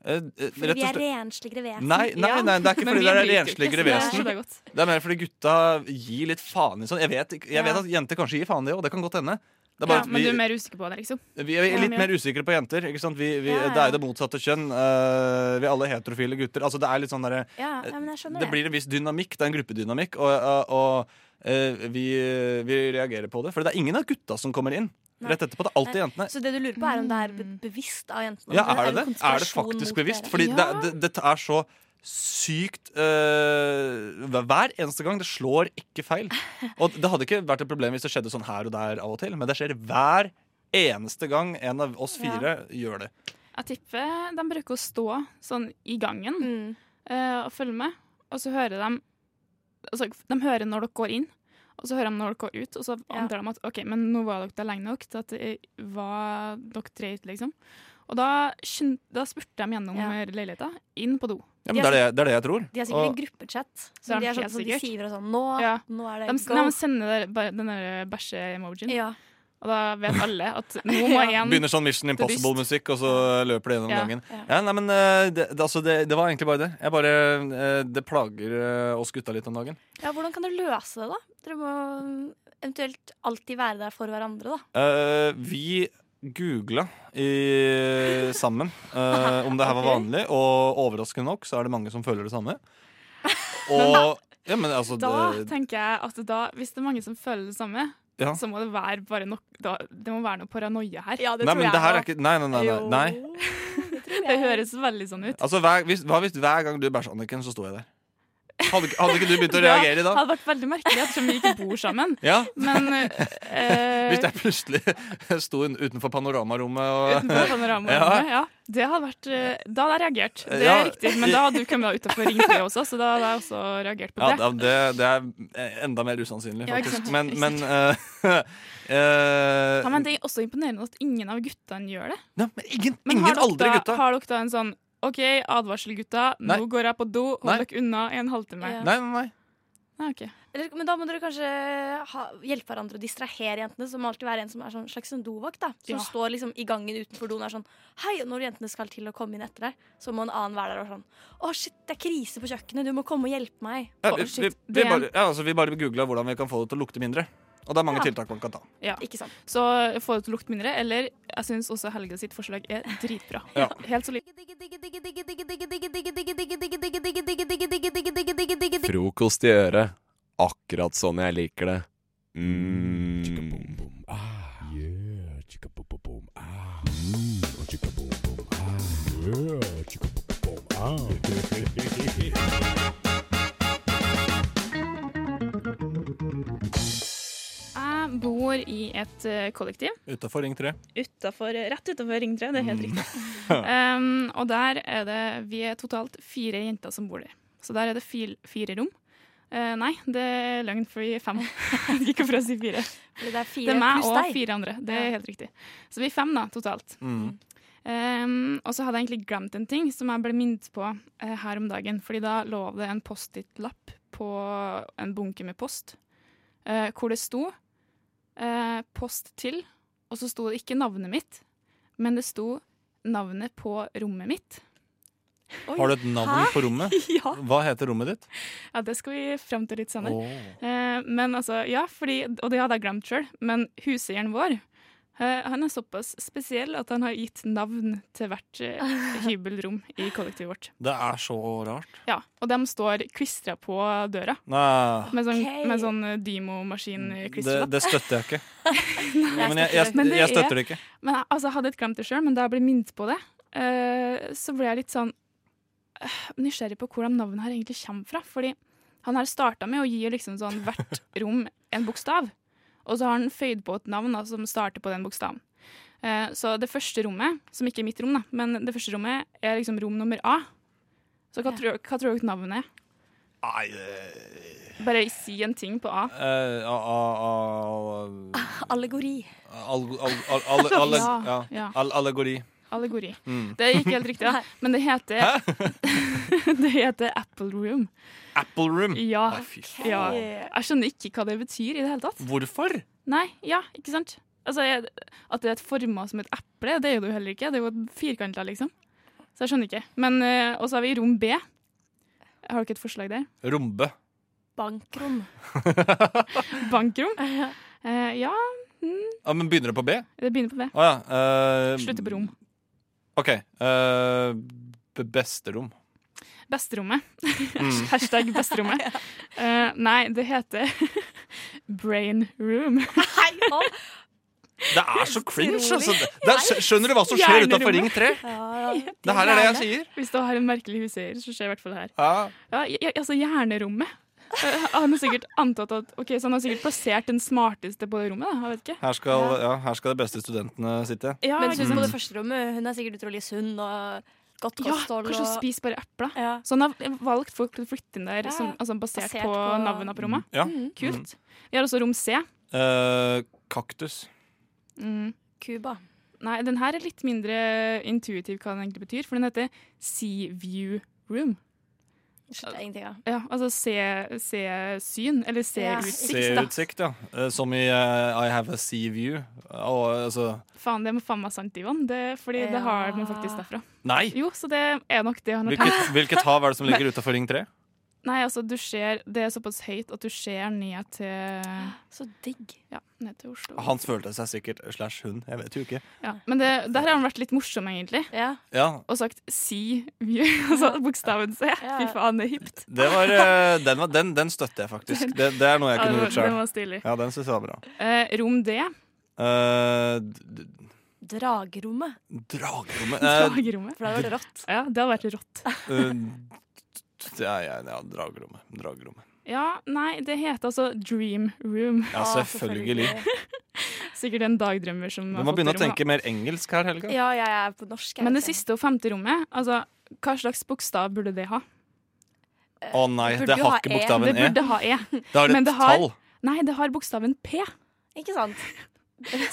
[SPEAKER 17] Eh, eh,
[SPEAKER 7] Fordi
[SPEAKER 17] rett og
[SPEAKER 7] vi er
[SPEAKER 17] slett-
[SPEAKER 7] rensligere vesen.
[SPEAKER 17] Nei, nei, nei, det er ikke
[SPEAKER 7] Men
[SPEAKER 17] fordi
[SPEAKER 7] vi
[SPEAKER 17] dere er
[SPEAKER 7] driter jo ikke,
[SPEAKER 17] rensligere
[SPEAKER 7] så det er
[SPEAKER 17] vesen.
[SPEAKER 7] så det er godt.
[SPEAKER 17] Det er mer fordi gutta gir litt faen i sånn. Jeg vet, ikke- jeg vet
[SPEAKER 19] Ja.
[SPEAKER 17] at jenter kanskje gir faen i det òg, det kan godt hende. Det er bare
[SPEAKER 19] ja,
[SPEAKER 17] at
[SPEAKER 19] Men
[SPEAKER 17] vi-
[SPEAKER 19] du er mer usikker på det, liksom?
[SPEAKER 17] Vi er
[SPEAKER 19] Ja,
[SPEAKER 17] litt
[SPEAKER 19] men-
[SPEAKER 17] mer usikre på jenter. Ikke sant? Vi, vi,
[SPEAKER 19] Ja, ja.
[SPEAKER 17] Det er jo det motsatte kjønn. eh, vi er alle heterofile gutter. Altså, det er litt sånn derre
[SPEAKER 7] Ja,
[SPEAKER 17] eh,
[SPEAKER 7] ja, men jeg skjønner
[SPEAKER 17] Det
[SPEAKER 7] det.
[SPEAKER 17] blir en viss dynamikk. Det er en gruppedynamikk. Og, eh, og eh, vi, vi reagerer på det. For det er ingen av gutta som kommer inn.
[SPEAKER 7] Nei.
[SPEAKER 17] Rett etterpå. Det er alltid
[SPEAKER 7] Nei,
[SPEAKER 17] jentene.
[SPEAKER 7] Eh, Så det du lurer på, er om det er be bevisst av jentene?
[SPEAKER 17] Ja,
[SPEAKER 7] om
[SPEAKER 17] er det
[SPEAKER 7] en
[SPEAKER 17] det? Er det
[SPEAKER 7] konspirasjon mot
[SPEAKER 17] faktisk bevisst?
[SPEAKER 7] dere?
[SPEAKER 17] Fordi
[SPEAKER 7] ja.
[SPEAKER 17] det, det, dette er så sykt eh, Hver eneste gang. Det slår ikke feil. Og det hadde ikke vært et problem hvis det skjedde sånn her og der av og til, men det skjer hver eneste gang en av oss fire gjør det.
[SPEAKER 19] Jeg tipper de bruker å stå sånn i gangen
[SPEAKER 7] Mm.
[SPEAKER 19] eh, og følge med, og så hører de Altså, de hører når dere går inn, Og så hører de når dere går ut, og så antar de at ok, men nå var dere der lenge nok til at det var dere tre ute, liksom. Og da, skynd- da spurte de gjennom
[SPEAKER 7] Ja.
[SPEAKER 19] leiligheta, inn på do.
[SPEAKER 17] Ja, men det er det, det er det jeg tror.
[SPEAKER 7] De har sikkert
[SPEAKER 17] Og-
[SPEAKER 7] en gruppechat.
[SPEAKER 19] Det er
[SPEAKER 7] Som de, er
[SPEAKER 19] helt
[SPEAKER 7] sånn, som de
[SPEAKER 19] sikkert.
[SPEAKER 7] siver og sånn Nå,
[SPEAKER 19] Ja.
[SPEAKER 7] nå er det
[SPEAKER 19] De,
[SPEAKER 7] go.
[SPEAKER 19] de sender der, bare den der bæsje-emojien.
[SPEAKER 7] Ja.
[SPEAKER 19] Og da vet alle
[SPEAKER 17] <laughs>
[SPEAKER 19] at nå må jeg igjen
[SPEAKER 17] Begynner sånn Mission
[SPEAKER 19] til dyst.
[SPEAKER 17] Impossible-musikk, og så løper det gjennom
[SPEAKER 19] Ja,
[SPEAKER 17] gangen. Ja, nei, men eh, det, det, altså, det, det var egentlig bare det. Jeg bare, eh, Det plager eh, oss gutta litt om dagen.
[SPEAKER 7] Ja, hvordan kan dere løse det, da? Dere må mm, eventuelt alltid være der for hverandre, da.
[SPEAKER 17] Eh, vi googla i, sammen eh, om det
[SPEAKER 19] <laughs>
[SPEAKER 17] her var vanlig, og overraskende nok så er det mange som føler det samme. Og ja, men altså
[SPEAKER 19] Da
[SPEAKER 17] det,
[SPEAKER 19] tenker jeg at da, hvis det er mange som føler det samme,
[SPEAKER 17] Ja.
[SPEAKER 19] så må det være bare nok, da, Det må være noe paranoia her.
[SPEAKER 17] Nei, men det her er ikke Nei, nei, nei. nei, nei.
[SPEAKER 19] Det høres veldig sånn ut.
[SPEAKER 17] Altså, hver, hvis, hva hvis hver gang du bæsjer, Anniken, så står jeg der? Hadde, ikke- hadde ikke du
[SPEAKER 19] <laughs>
[SPEAKER 17] begynt å reagere
[SPEAKER 19] Det
[SPEAKER 17] da?
[SPEAKER 19] hadde vært veldig merkelig ettersom vi ikke bor sammen.
[SPEAKER 17] Ja.
[SPEAKER 19] Men
[SPEAKER 17] <laughs>
[SPEAKER 19] eh,
[SPEAKER 17] Hvis jeg plutselig <laughs> sto utenfor panoramarommet
[SPEAKER 19] <laughs>
[SPEAKER 17] og <laughs>
[SPEAKER 19] utenfor panoramarommet, ja. Det hadde vært, eh, da hadde jeg reagert. Det er
[SPEAKER 17] Ja.
[SPEAKER 19] riktig. Men da hadde du kommet deg utenfor ring 3 også, så da hadde jeg også reagert på
[SPEAKER 17] Ja,
[SPEAKER 19] det.
[SPEAKER 17] da- det, det er enda mer usannsynlig,
[SPEAKER 19] Ja, ikke sant?
[SPEAKER 17] faktisk. Men,
[SPEAKER 19] Ikke
[SPEAKER 17] men eh, <laughs>
[SPEAKER 19] Ja, men
[SPEAKER 17] eh,
[SPEAKER 19] Det er også imponerende at ingen av guttene gjør det.
[SPEAKER 17] Nei, men ingen,
[SPEAKER 19] har
[SPEAKER 17] ingen
[SPEAKER 19] dere
[SPEAKER 17] aldri
[SPEAKER 19] da,
[SPEAKER 17] gutta.
[SPEAKER 19] Har dere da en sånn OK, advarsel, gutta.
[SPEAKER 17] Nei.
[SPEAKER 19] Nå går jeg på do.
[SPEAKER 17] Nei.
[SPEAKER 19] Hold dere unna i en halvtime.
[SPEAKER 7] Ja.
[SPEAKER 17] Nei, nei, nei.
[SPEAKER 19] Nei, ok.
[SPEAKER 7] Eller, men da må dere kanskje ha, hjelpe hverandre å distrahere jentene. Så må alltid være en som er sånn slags sånn dovakt. da
[SPEAKER 19] Ja.
[SPEAKER 7] Som står liksom i gangen utenfor doen og er sånn Hei, og når jentene skal til å komme inn etter deg, så må en annen være der og sånn Å, shit, det er krise på kjøkkenet, du må komme og hjelpe meg.
[SPEAKER 17] Ja,
[SPEAKER 7] Å,
[SPEAKER 17] vi, vi,
[SPEAKER 7] shit,
[SPEAKER 17] vi,
[SPEAKER 7] det-
[SPEAKER 17] bare, ja, altså, vi bare googla hvordan vi kan få det til å lukte mindre. Og det er mange
[SPEAKER 19] Ja.
[SPEAKER 17] tiltak man kan ta.
[SPEAKER 19] Ja. Så få det til å lukte mindre. Eller jeg syns også Helge sitt forslag er dritbra.
[SPEAKER 17] Ja.
[SPEAKER 19] Helt solid.
[SPEAKER 16] Frokost i øret. Akkurat sånn jeg liker det. Mm.
[SPEAKER 19] Jeg bor i et eh, kollektiv
[SPEAKER 17] Utafor Ring 3.
[SPEAKER 19] utenfor, rett utenfor Ring 3. Det er helt riktig.
[SPEAKER 17] Ja.
[SPEAKER 19] Um, og der er det Vi er totalt fire jenter som bor der. Så der er det fil, fire rom. Eh, nei, det er løgn, for vi er fem. <laughs> Jeg vet ikke hvorfor jeg sier fire.
[SPEAKER 7] Fordi det er fire
[SPEAKER 19] det er meg
[SPEAKER 7] pluss
[SPEAKER 19] og
[SPEAKER 7] deg.
[SPEAKER 19] fire andre. Det er helt riktig. Så vi er fem da, totalt.
[SPEAKER 17] Mm.
[SPEAKER 19] Um, og så hadde jeg egentlig glemt en ting som jeg ble minnet på eh, her om dagen. Fordi da lå det en Post-It-lapp på en bunke med post, eh, hvor det sto eh, 'post til', og så sto det ikke navnet mitt, men det sto navnet på rommet mitt.
[SPEAKER 17] Har du et navn
[SPEAKER 19] Hæ?
[SPEAKER 17] på rommet?
[SPEAKER 19] <laughs> ja.
[SPEAKER 17] Hva heter rommet ditt?
[SPEAKER 19] ja, det skal vi fram til litt senere.
[SPEAKER 17] Åh.
[SPEAKER 19] Eh, men altså, ja, fordi, og det hadde jeg glemt sjøl, men huseieren vår eh, han er såpass spesiell at han har gitt navn til hvert eh, hybelrom i kollektivet vårt.
[SPEAKER 17] Det er så rart.
[SPEAKER 19] Ja, Og de står klistra på døra.
[SPEAKER 17] Nei.
[SPEAKER 19] Med sånn,
[SPEAKER 17] Ok.
[SPEAKER 19] med sånn eh,
[SPEAKER 17] Det,
[SPEAKER 19] Dymo-maskin-klistrelapp.
[SPEAKER 17] det støtter jeg ikke.
[SPEAKER 19] <laughs> Nei,
[SPEAKER 17] Men jeg- jeg-
[SPEAKER 19] Men
[SPEAKER 17] jeg støtter
[SPEAKER 19] er-
[SPEAKER 17] det ikke.
[SPEAKER 19] Men jeg, altså, jeg hadde ikke glemt det sjøl, men da jeg ble minnet på det, eh, så ble jeg litt sånn eh, nysgjerrig på hvor de navnene her egentlig kommer fra. Fordi han her starta med å gi liksom sånn
[SPEAKER 17] <laughs>
[SPEAKER 19] hvert rom en bokstav, og så har han føyd på et navn da, som starter på den bokstaven. Eh, så det første rommet, som ikke er mitt rom, da, men det første rommet er liksom rom nummer A. Så hva, tror, hva tror dere navnet er?
[SPEAKER 17] Nei eh,
[SPEAKER 19] Bare si en ting på A.
[SPEAKER 17] eh, a- a- a-
[SPEAKER 7] Allegori.
[SPEAKER 17] Al- al- al- alle- alle-
[SPEAKER 19] <laughs> Ja,
[SPEAKER 17] ja.
[SPEAKER 19] ja.
[SPEAKER 17] Al- Allegori.
[SPEAKER 19] Allegori.
[SPEAKER 17] Mm.
[SPEAKER 19] Det er ikke helt riktig, da. men det heter, <laughs> det heter Apple Room.
[SPEAKER 17] <laughs> Apple Room?
[SPEAKER 19] Ja.
[SPEAKER 17] Nei, fy faen.
[SPEAKER 19] ja. Jeg skjønner ikke hva det betyr i det hele tatt.
[SPEAKER 17] Hvorfor?
[SPEAKER 19] Nei, ja, ikke sant? Altså, jeg, At det er et forma som et eple, det er jo det jo heller ikke. Det er jo firkanta, liksom. Så jeg skjønner ikke. Men, eh, Og så har vi rom B. Har dere et forslag der?
[SPEAKER 17] Rombe.
[SPEAKER 7] Bankrom.
[SPEAKER 17] <laughs>
[SPEAKER 19] Bankrom? Eh, ja, mm,
[SPEAKER 17] Ja, men begynner det på B?
[SPEAKER 19] det begynner på B.
[SPEAKER 17] Å ja. eh,
[SPEAKER 19] Slutter på rom.
[SPEAKER 17] OK. eh, b- besterom.
[SPEAKER 19] Besterommet.
[SPEAKER 17] Mm.
[SPEAKER 19] <laughs> Hashtag besterommet. Eh, nei, det heter <laughs> brain room. <laughs>
[SPEAKER 17] Det er så cringe, altså. Det, det er, skj- skjønner du hva som skjer utafor Ring 3?
[SPEAKER 19] <laughs>
[SPEAKER 17] Det her er det jeg sier.
[SPEAKER 19] Hvis du har en merkelig huseier, så skjer i hvert fall det her.
[SPEAKER 17] Ja.
[SPEAKER 19] Ja, je- je- altså hjernerommet. Eh, han har sikkert antatt at Ok, så han har sikkert plassert den smarteste på det rommet, da. Jeg vet ikke.
[SPEAKER 17] Her skal, ja, her skal de beste studentene sitte. Mm.
[SPEAKER 19] Ja,
[SPEAKER 7] Mens hun
[SPEAKER 19] ikke
[SPEAKER 7] på
[SPEAKER 19] sant?
[SPEAKER 7] det første rommet, hun er sikkert utrolig sunn og godt
[SPEAKER 19] Ja,
[SPEAKER 7] kosthold.
[SPEAKER 19] kanskje
[SPEAKER 7] og-
[SPEAKER 19] spis bare epla.
[SPEAKER 7] Ja.
[SPEAKER 19] Så han har valgt folk til å flytte inn der
[SPEAKER 7] Ja,
[SPEAKER 19] som, altså basert,
[SPEAKER 7] basert
[SPEAKER 19] på,
[SPEAKER 7] på-
[SPEAKER 19] navnene på rommet.
[SPEAKER 17] Ja.
[SPEAKER 19] Mm.
[SPEAKER 17] Mm.
[SPEAKER 19] Kult. Vi har også rom C.
[SPEAKER 17] Eh, kaktus.
[SPEAKER 7] Cuba.
[SPEAKER 19] Mm. Nei, den her er litt mindre intuitiv hva den egentlig betyr, for den heter Sea View Room.
[SPEAKER 7] Skjønner jeg ingenting av.
[SPEAKER 19] Ja, altså se, se syn, eller se
[SPEAKER 7] Ja,
[SPEAKER 19] utsikt,
[SPEAKER 17] Se
[SPEAKER 19] da.
[SPEAKER 17] utsikt, ja. Eh, Som i eh, I have a sea view. Og, altså,
[SPEAKER 19] Faen, det må faen meg sant, Ivan, det, fordi det har man faktisk derfra.
[SPEAKER 17] Nei!
[SPEAKER 19] Jo, så det er nok det han har
[SPEAKER 17] Hvilket, hvilket hav er det som
[SPEAKER 19] <laughs>
[SPEAKER 17] ligger
[SPEAKER 19] Men-
[SPEAKER 17] utafor Ring 3?
[SPEAKER 19] Nei, altså, du ser, det er såpass høyt at du ser ned til
[SPEAKER 7] Så digg.
[SPEAKER 19] Ja, ned til Oslo.
[SPEAKER 17] Han følte seg sikkert slash hun. Jeg vet jo ikke.
[SPEAKER 19] Ja, men det, der har han vært litt morsom, egentlig.
[SPEAKER 17] Ja,
[SPEAKER 19] Og sagt si view, <laughs> altså bokstaven C. Fy faen, det er hipt.
[SPEAKER 17] det var, eh, den, var, den, den støtter jeg faktisk. Det, det er noe jeg
[SPEAKER 19] Ja, den
[SPEAKER 17] kunne
[SPEAKER 19] var-
[SPEAKER 17] gjort sjøl.
[SPEAKER 19] den var stilig.
[SPEAKER 17] Ja, den synes jeg var bra.
[SPEAKER 19] <laughs> Eh, rom D.
[SPEAKER 17] Eh, d- d-
[SPEAKER 7] Dragerommet.
[SPEAKER 17] dragrommet Eh,
[SPEAKER 19] <laughs> Dragerommet.
[SPEAKER 7] For det hadde vært rått.
[SPEAKER 19] Ja, det hadde vært rått.
[SPEAKER 17] <laughs> eh, d- ja, ja, ja, dragrommet. Dragrommet.
[SPEAKER 19] Ja, nei, det heter altså dream room.
[SPEAKER 17] Ja, selvfølgelig.
[SPEAKER 19] <laughs> Sikkert en dagdrømmer som
[SPEAKER 17] Du
[SPEAKER 19] har
[SPEAKER 17] må
[SPEAKER 19] fått
[SPEAKER 17] begynne å
[SPEAKER 19] rom, da.
[SPEAKER 17] tenke mer engelsk her, Helga.
[SPEAKER 7] Ja, jeg er på norsk. jeg
[SPEAKER 19] Men det
[SPEAKER 7] vet ikke.
[SPEAKER 19] siste og femte rommet, altså, hva slags bokstav burde det ha?
[SPEAKER 17] Å nei,
[SPEAKER 19] Burde
[SPEAKER 17] det
[SPEAKER 19] jo
[SPEAKER 17] har
[SPEAKER 19] ha
[SPEAKER 17] ikke
[SPEAKER 19] E.
[SPEAKER 17] bokstaven E.
[SPEAKER 19] Det burde ha E.
[SPEAKER 17] Det har
[SPEAKER 19] Men
[SPEAKER 17] et tall.
[SPEAKER 19] Nei, det har bokstaven P.
[SPEAKER 7] Ikke sant?
[SPEAKER 19] <laughs>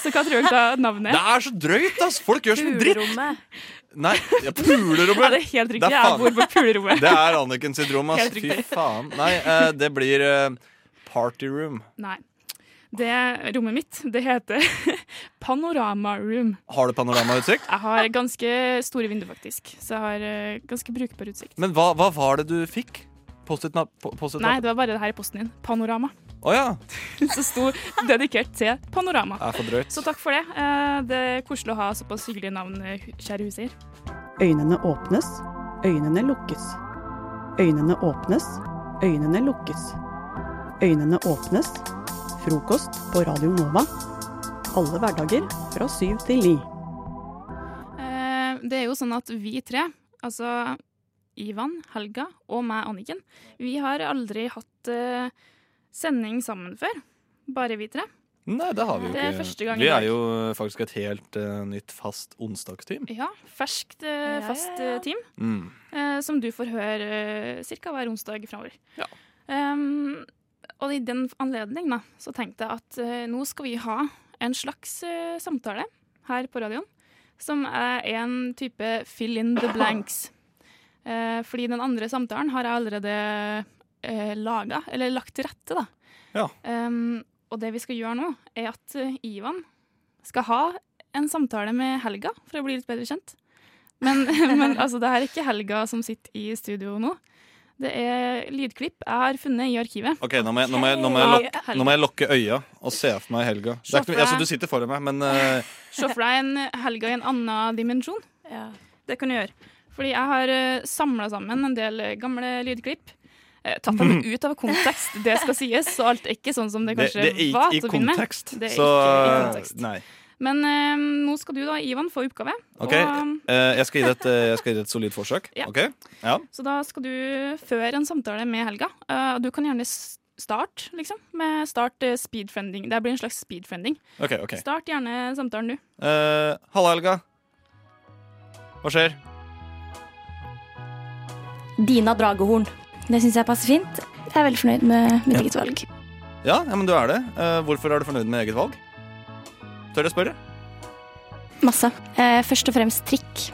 [SPEAKER 19] Så hva tror dere da navnet
[SPEAKER 17] Det er så drøyt, ass! Folk gjør så mye dritt!
[SPEAKER 7] Pulerommet.
[SPEAKER 17] Nei, ja, pulerommet!
[SPEAKER 19] <laughs> Ja, det er helt riktig. Jeg bor på pulerommet.
[SPEAKER 17] Det er Anniken sitt rom, ass.
[SPEAKER 19] Helt
[SPEAKER 17] Fy
[SPEAKER 19] riktig.
[SPEAKER 17] faen. Nei, eh, det blir eh, party room.
[SPEAKER 19] Nei. Det rommet mitt, det heter <laughs> Panorama Room.
[SPEAKER 17] Har du panoramautsikt?
[SPEAKER 19] Jeg har ganske store vinduer, faktisk. Så jeg har eh, ganske brukbar utsikt.
[SPEAKER 17] Men hva, hva var det du fikk? Post-it-napp? po- Post-it
[SPEAKER 19] Nei, det var bare det her i posten din. Panorama. <laughs>
[SPEAKER 17] Å ja.
[SPEAKER 19] Så sto dedikert til Panorama.
[SPEAKER 17] Det er for drøyt.
[SPEAKER 19] Så takk for det. Eh, Det er koselig å ha såpass hyggelige navn, eh, kjære huseier.
[SPEAKER 20] Øynene åpnes, øynene lukkes. Øynene åpnes, øynene lukkes. Øynene åpnes. Frokost på Radio Nova. Alle hverdager fra syv til ni.
[SPEAKER 19] Eh, Det er jo sånn at vi tre, altså Ivan, Helga og meg, Anniken, vi har aldri hatt eh, sending sammen før. Bare vi tre.
[SPEAKER 17] Nei, det har vi jo
[SPEAKER 19] Det
[SPEAKER 17] ikke.
[SPEAKER 19] er første gang i
[SPEAKER 17] vi
[SPEAKER 19] dag.
[SPEAKER 17] er jo eh, faktisk et helt eh, nytt fast onsdagsteam.
[SPEAKER 19] Ja, ferskt, eh, fast eh, team.
[SPEAKER 17] Mm.
[SPEAKER 19] eh, som du får høre eh, ca. hver onsdag framover. Um, og i den anledning da, så tenkte jeg at eh, nå skal vi ha en slags eh, samtale her på radioen, som er en type fill in the blanks. Eh, fordi den andre samtalen har jeg allerede uh, laga, eller lagt til rette, da.
[SPEAKER 17] Ja.
[SPEAKER 19] Um, og det vi skal gjøre nå, er at eh, Ivan skal ha en samtale med Helga, for å bli litt bedre kjent. Men, <laughs> men altså, det her er ikke Helga som sitter i studio nå. Det er lydklipp jeg har funnet i arkivet.
[SPEAKER 17] OK, nå må, jeg, nå, må jeg, nå, må jeg
[SPEAKER 19] Ok.
[SPEAKER 17] lokke, nå må jeg lokke øya og se for meg Helga. Det er ikke, noe- altså, du sitter foran meg,
[SPEAKER 19] <laughs>
[SPEAKER 17] men eh,
[SPEAKER 19] <laughs> Se for deg en Helga i en annen dimensjon. Det kan du gjøre. Fordi jeg har samla sammen en del eh, gamle lydklipp. Eh, Tatt dem ut av kontekst, det skal sies, så alt er ikke sånn som det
[SPEAKER 17] Mhm. det,
[SPEAKER 19] kanskje
[SPEAKER 17] det er ikke
[SPEAKER 19] var.
[SPEAKER 17] i
[SPEAKER 19] til å begynne med.
[SPEAKER 17] kontekst.
[SPEAKER 19] Det er
[SPEAKER 17] Så
[SPEAKER 19] ikke i kontekst.
[SPEAKER 17] Nei.
[SPEAKER 19] Men eh, nå skal du da, Ivan, få oppgave.
[SPEAKER 17] OK,
[SPEAKER 19] Og, ehm, um,
[SPEAKER 17] eh, jeg skal gi det et, eh, jeg skal gi det et solid forsøk.
[SPEAKER 19] <laughs> Ja.
[SPEAKER 17] OK? Ja.
[SPEAKER 19] så da skal du føre en samtale med Helga. Eh, og du kan gjerne s- start, liksom, med start eh, speedfriending. Det blir en slags speedfriending.
[SPEAKER 17] Ok, ok.
[SPEAKER 19] Start gjerne samtalen, du.
[SPEAKER 17] Eh, Halla, Helga. Hva skjer?
[SPEAKER 7] Dina Dragehorn. Det syns jeg passer fint. Jeg er veldig fornøyd med mitt
[SPEAKER 17] Ja.
[SPEAKER 7] eget valg.
[SPEAKER 17] Ja, ja, men du er det. Eh, hvorfor er du fornøyd med eget valg? Tør jeg spørre?
[SPEAKER 7] Masse. Eh, først og fremst trikk.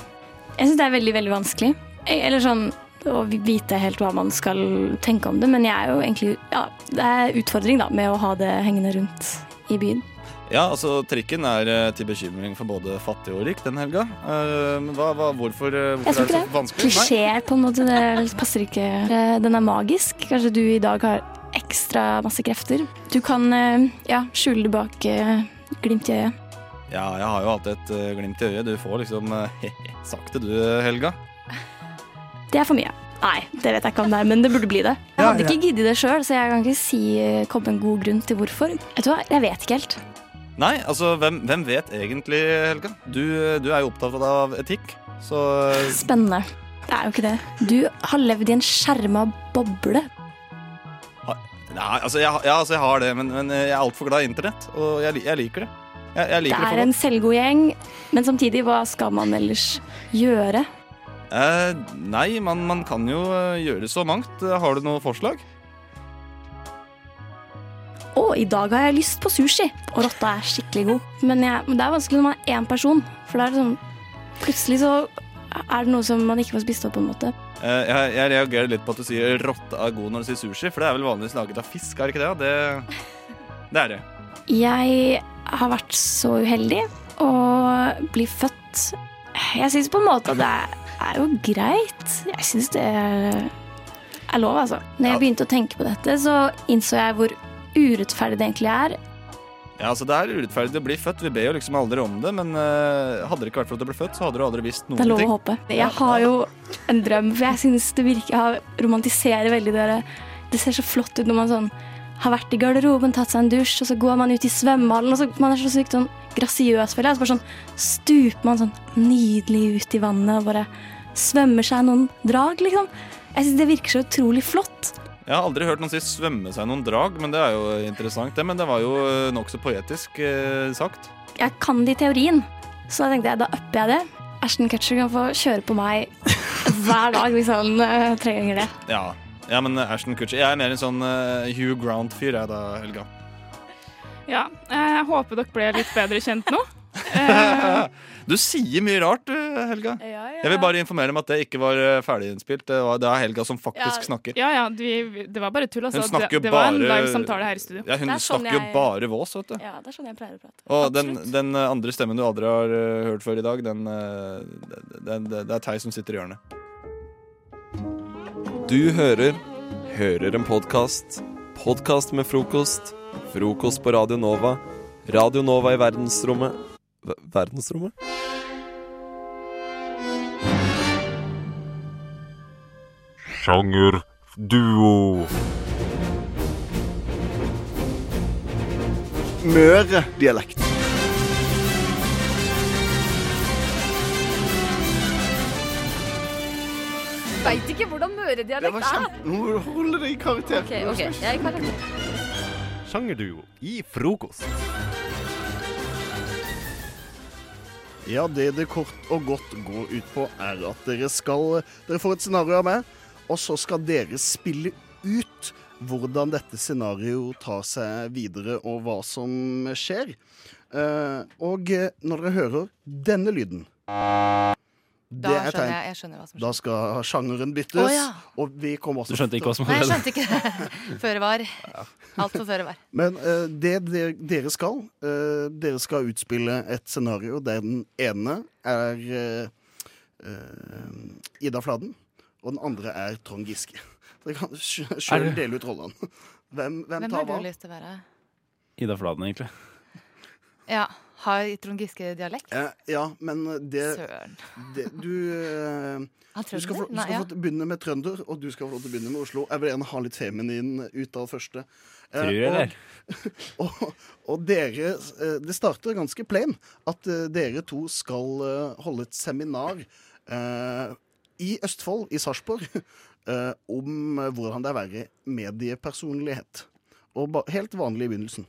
[SPEAKER 7] Jeg syns det er veldig, veldig vanskelig. Eh, Eller sånn å vite helt hva man skal tenke om det, men jeg er jo egentlig Ja, det er utfordring, da, med å ha det hengende rundt i byen.
[SPEAKER 17] Ja, altså Trikken er eh, til bekymring for både fattig og rik den helga. Eh, men hva, hva, hvorfor, eh,
[SPEAKER 7] Jeg
[SPEAKER 17] hvorfor
[SPEAKER 7] tror
[SPEAKER 17] er det så
[SPEAKER 7] ikke det.
[SPEAKER 17] vanskelig? Nei.
[SPEAKER 7] Klisjeer, på en måte. Det passer ikke. Eh, Den er magisk. Kanskje du i dag har ekstra masse krefter. Du kan eh, ja, skjule det bak eh, glimt i øyet.
[SPEAKER 17] Ja, jeg har jo alltid et eh, glimt i øyet. Du får liksom eh, <laughs> sagt det du, Helga.
[SPEAKER 7] Det er for mye. Nei, det vet jeg ikke om det er, men det burde bli det. Jeg
[SPEAKER 17] Ja,
[SPEAKER 7] hadde
[SPEAKER 17] ja.
[SPEAKER 7] ikke giddet det sjøl, så jeg kan ikke si, eh, komme med en god grunn til hvorfor. Vet du hva, jeg vet ikke helt.
[SPEAKER 17] Nei, altså hvem, hvem vet egentlig, Helga? Du, eh, du er jo opptatt av etikk, så
[SPEAKER 7] Spennende. Det er jo ikke det. Du har levd i en skjerma boble.
[SPEAKER 17] Nei, altså jeg, ja, altså jeg har det, men, men jeg er altfor glad i internett, og jeg, li- jeg liker det. Jeg, jeg
[SPEAKER 7] Det
[SPEAKER 17] liker det
[SPEAKER 7] er
[SPEAKER 17] for
[SPEAKER 7] en
[SPEAKER 17] godt.
[SPEAKER 7] selvgod gjeng, men samtidig, hva skal man ellers gjøre?
[SPEAKER 17] Eh, nei, man, man kan jo eh, gjøre så mangt. Eh, Har du noe forslag?
[SPEAKER 7] Å, i dag har jeg lyst på sushi. Og rotta er skikkelig god. Men, jeg, men det er vanskelig når man er én person. For det er liksom Plutselig så er det noe som man ikke får spist opp, på en måte.
[SPEAKER 17] Eh, jeg, jeg reagerer litt på at du sier rotte er god når du sier sushi, for det er vel vanligvis laget av fisk, er det ikke det? Det, det er det.
[SPEAKER 7] Jeg har vært så uheldig å bli født Jeg syns på en måte det er jo greit. Jeg syns det er er lov, altså. Når jeg begynte å tenke på dette, så innså jeg hvor urettferdig det egentlig er.
[SPEAKER 17] Ja, altså Det er urettferdig å bli født. Vi ber jo liksom aldri om det. Men eh, hadde det ikke vært for at du ble født, så hadde du aldri visst noen
[SPEAKER 7] Det er lov
[SPEAKER 17] ting.
[SPEAKER 7] å håpe. Jeg har jo en drøm, for jeg synes det virker Jeg romantiserer veldig det der. Det ser så flott ut når man sånn har vært i garderoben, tatt seg en dusj, og så går man ut i svømmehallen, og så man er så sykt sånn grasiøs, føler jeg. Og så bare sånn stuper man sånn nydelig ut i vannet og bare svømmer seg noen drag, liksom. Jeg synes det virker så utrolig flott.
[SPEAKER 17] Jeg har aldri hørt noen si 'svømme seg noen drag', men det er jo interessant, det. Men det var jo eh, nokså poetisk eh, sagt.
[SPEAKER 7] Jeg kan det i teorien, så da tenkte jeg da upper jeg det. Ashton Kutcher kan få kjøre på meg hver dag hvis han eh, trenger det.
[SPEAKER 17] Ja, ja men eh, Ashton Kutcher Jeg er mer en sånn eh, Hugh Grant-fyr, jeg da, Helga.
[SPEAKER 19] Ja, eh, jeg håper dere ble litt bedre kjent
[SPEAKER 17] <laughs>
[SPEAKER 19] nå. Eh,
[SPEAKER 17] Du sier mye rart, du, Helga. Jeg vil bare informere om at det ikke var eh, ferdiginnspilt. Det, var, det er Helga som faktisk snakker.
[SPEAKER 19] Ja, ja, vi, det var bare tull. Altså.
[SPEAKER 17] Hun snakker
[SPEAKER 19] det,
[SPEAKER 17] jo
[SPEAKER 19] det var en
[SPEAKER 17] bare
[SPEAKER 19] live samtale her i studio.
[SPEAKER 17] Ja, hun snakker jo bare vås, vet du.
[SPEAKER 7] sånn Ja, det er sånn jeg pleier å prate.
[SPEAKER 17] Og den, den eh, andre stemmen du aldri har eh, hørt før i dag, den, eh, den, den, det er Theis som sitter i hjørnet.
[SPEAKER 16] Du hører Hører en podkast. Podkast med frokost. Frokost på Radio Nova. Radio Nova i verdensrommet Ver- Verdensrommet?
[SPEAKER 8] Sjangerduo.
[SPEAKER 21] Møre-dialekt.
[SPEAKER 15] Veit ikke hvordan møredialekt er.
[SPEAKER 21] Nå må du holde deg i karakter.
[SPEAKER 15] Ok, ok. Jeg kan
[SPEAKER 8] Sjangerduo i frokost.
[SPEAKER 21] Ja, det det kort og godt går ut på, er at dere skal Dere får et scenario av meg, og så skal dere spille ut hvordan dette scenarioet tar seg videre, og hva som skjer. Eh, og eh, når dere hører denne lyden
[SPEAKER 15] Da
[SPEAKER 21] det er
[SPEAKER 15] skjønner
[SPEAKER 21] tegn.
[SPEAKER 15] jeg- jeg skjønner hva som skjer.
[SPEAKER 21] Da skal sjangeren byttes.
[SPEAKER 15] Å, ja.
[SPEAKER 21] Og vi kommer også
[SPEAKER 17] Du skjønte ikke hva som
[SPEAKER 15] Nei, jeg skjønte <laughs> ikke. Føre var. Altfor føre var.
[SPEAKER 21] Men eh, det de- dere skal eh, Dere skal utspille et scenario der den ene er eh, eh, Ida Fladen, og den andre er Trond Giske. <laughs> Dere kan sjøl
[SPEAKER 11] Er det-
[SPEAKER 21] dele ut rollene. Hvem, hvem
[SPEAKER 15] <laughs> Hvem
[SPEAKER 21] tar
[SPEAKER 15] har du
[SPEAKER 21] hva?
[SPEAKER 15] lyst til å være?
[SPEAKER 11] Ida Fladen, egentlig.
[SPEAKER 15] Ja. Har Trond Giske dialekt?
[SPEAKER 21] Eh, ja, men det, det Du, eh,
[SPEAKER 15] Han
[SPEAKER 21] du skal, få,
[SPEAKER 15] trønder?
[SPEAKER 21] du
[SPEAKER 15] Nei,
[SPEAKER 21] skal
[SPEAKER 15] ja.
[SPEAKER 21] få begynne med trønder, og du skal få lov til å begynne med Oslo. Jeg vil gjerne ha litt feminin ut av første. Eh,
[SPEAKER 11] Tror jeg,
[SPEAKER 21] og-
[SPEAKER 11] eller?
[SPEAKER 21] og, <laughs> og dere eh, Det starter ganske plain at eh, dere to skal eh, holde et seminar eh, i Østfold, i Sarpsborg, <laughs> eh, om eh, hvordan det er å være mediepersonlighet. Og ba helt vanlig i begynnelsen.